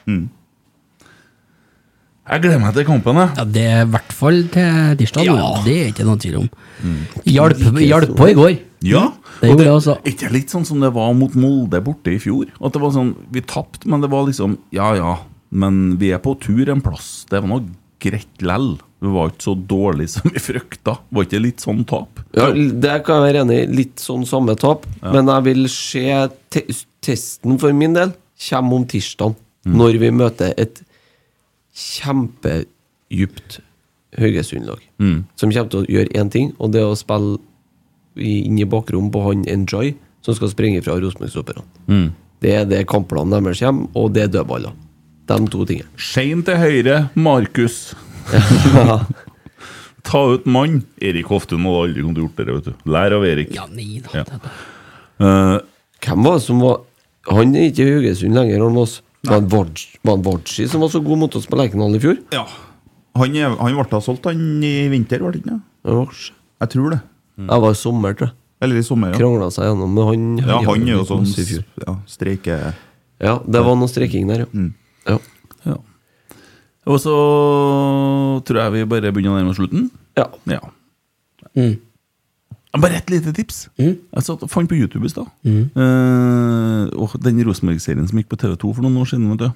Speaker 4: Jeg gleder meg til kampen, jeg.
Speaker 10: Ja, det er i hvert fall til tirsdag. nå. Det er ikke noen tvil om. Hjalp, hjalp på i går.
Speaker 4: Ja.
Speaker 10: Det
Speaker 4: og
Speaker 10: gjorde jeg
Speaker 4: det, er ikke det litt sånn som det var mot Molde borte i fjor? At det var sånn, Vi tapte, men det var liksom Ja ja, men vi er på tur en plass. Det var nå greit lell. Vi var ikke så dårlig som vi frykta. Var ikke litt sånn tap?
Speaker 5: Ja, det kan jeg være enig i. Litt sånn samme tap. Men jeg vil se te testen for min del kommer om tirsdag,
Speaker 4: Mm.
Speaker 5: når vi møter et kjempedypt Haugesund-lag.
Speaker 4: Mm.
Speaker 5: Som kommer til å gjøre én ting, og det er å spille i- inn i bakrom på han Enjoy, som skal springe fra Rosenborg-stopperne.
Speaker 4: Mm.
Speaker 5: Det er det kampplanen deres kommer, og det er dødballer. De to tingene.
Speaker 4: Shane til høyre, Markus. Ta ut mann. Erik Hoftun hadde aldri kommet til å gjort det, vet du. Lær av Erik.
Speaker 10: Ja, nei da.
Speaker 7: Eh,
Speaker 5: Hvem var det som var Han er ikke i Haugesund lenger, han Moss. Var det Vaj- var det Vaji som var så god mot oss på Lerkendal i fjor?
Speaker 7: Ja. Han, er, han ble da solgt han i vinter, var det ikke det? Jeg tror det.
Speaker 5: Jeg var i sommer, tror jeg.
Speaker 7: Eller i sommer, Mm. ja.
Speaker 5: Krangla seg gjennom med han.
Speaker 7: Ja, han er jo
Speaker 5: mot
Speaker 7: sånn
Speaker 5: oss i fjor.
Speaker 7: ja, streike...
Speaker 5: Ja, det var noe streiking der, ja.
Speaker 7: Mm.
Speaker 5: ja.
Speaker 4: Og så tror jeg vi bare begynner å nærme oss slutten.
Speaker 5: Ja.
Speaker 4: Mm. Bare et lite tips. Jeg satt, fant på YouTube i stad.
Speaker 10: Mm.
Speaker 4: Eh, og den Rosenborg-serien som gikk på TV2 for noen år siden. Vet du.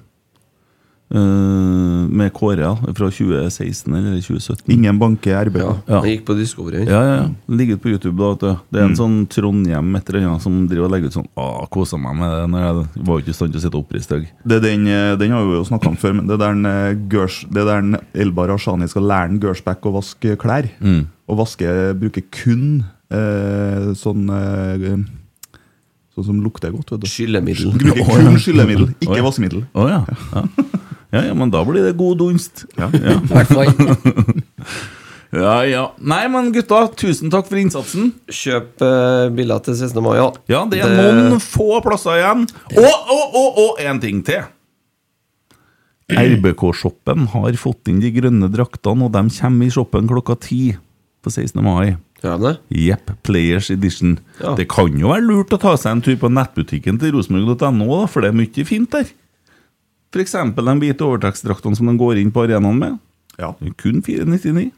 Speaker 4: Eh, med Kåre ja, fra 2016 eller 2017.
Speaker 7: Ingen banke RB.
Speaker 4: Ja.
Speaker 5: Han gikk på Discovery. han.
Speaker 4: Ja, ja, ja. Ligger ute på YouTube. da, vet du. Det er en
Speaker 5: Mm.
Speaker 4: sånn Trondhjem et eller annet som driver og legger ut sånn Å, kosa meg med det når jeg var ikke i stand til å sitte oppreist i dag.
Speaker 7: Det er den, eh, den har vi jo snakka om før, men det er der, en, eh, Gers- det er der en Elbar Ashani skal lære en Gersbæk å vaske klær.
Speaker 4: Mm.
Speaker 7: Og vaske bruker kun eh, sånn eh, Sånn som lukter godt. vet du
Speaker 5: Skyllemiddel.
Speaker 7: Bruker
Speaker 4: Å, ja.
Speaker 7: kun skyllemiddel,
Speaker 4: Å,
Speaker 7: ikke
Speaker 4: ja.
Speaker 7: vaskemiddel.
Speaker 4: Å ja. Ja. ja, ja, men da blir det god dunst. Ja, ja, ja. Nei, men gutta, tusen takk for innsatsen.
Speaker 5: Kjøp uh, billett til 16. mai, ja.
Speaker 4: Ja, det er noen få plasser igjen. Og, og, og, og en ting til. RBK-shoppen har fått inn de grønne draktene, og de kommer i shoppen klokka ti på 16. mai. Jepp. Players Edition.
Speaker 5: Ja.
Speaker 4: Det kan jo være lurt å ta seg en tur på nettbutikken til rosenborg.no, da, for det er mye fint der. F.eks. de hvite overtekstdraktene som de går inn på arenaen med. Kun 499.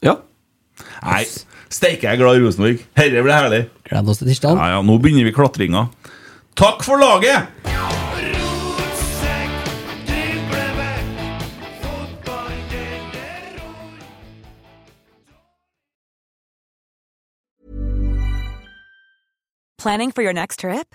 Speaker 5: Ja.
Speaker 4: Nei, steike, jeg er glad i Rosenborg. Herre blir herlig.
Speaker 10: Gleder oss til tirsdag.
Speaker 4: Ja, ja, nå begynner vi klatringa. Takk for laget!
Speaker 9: Planning for your next trip?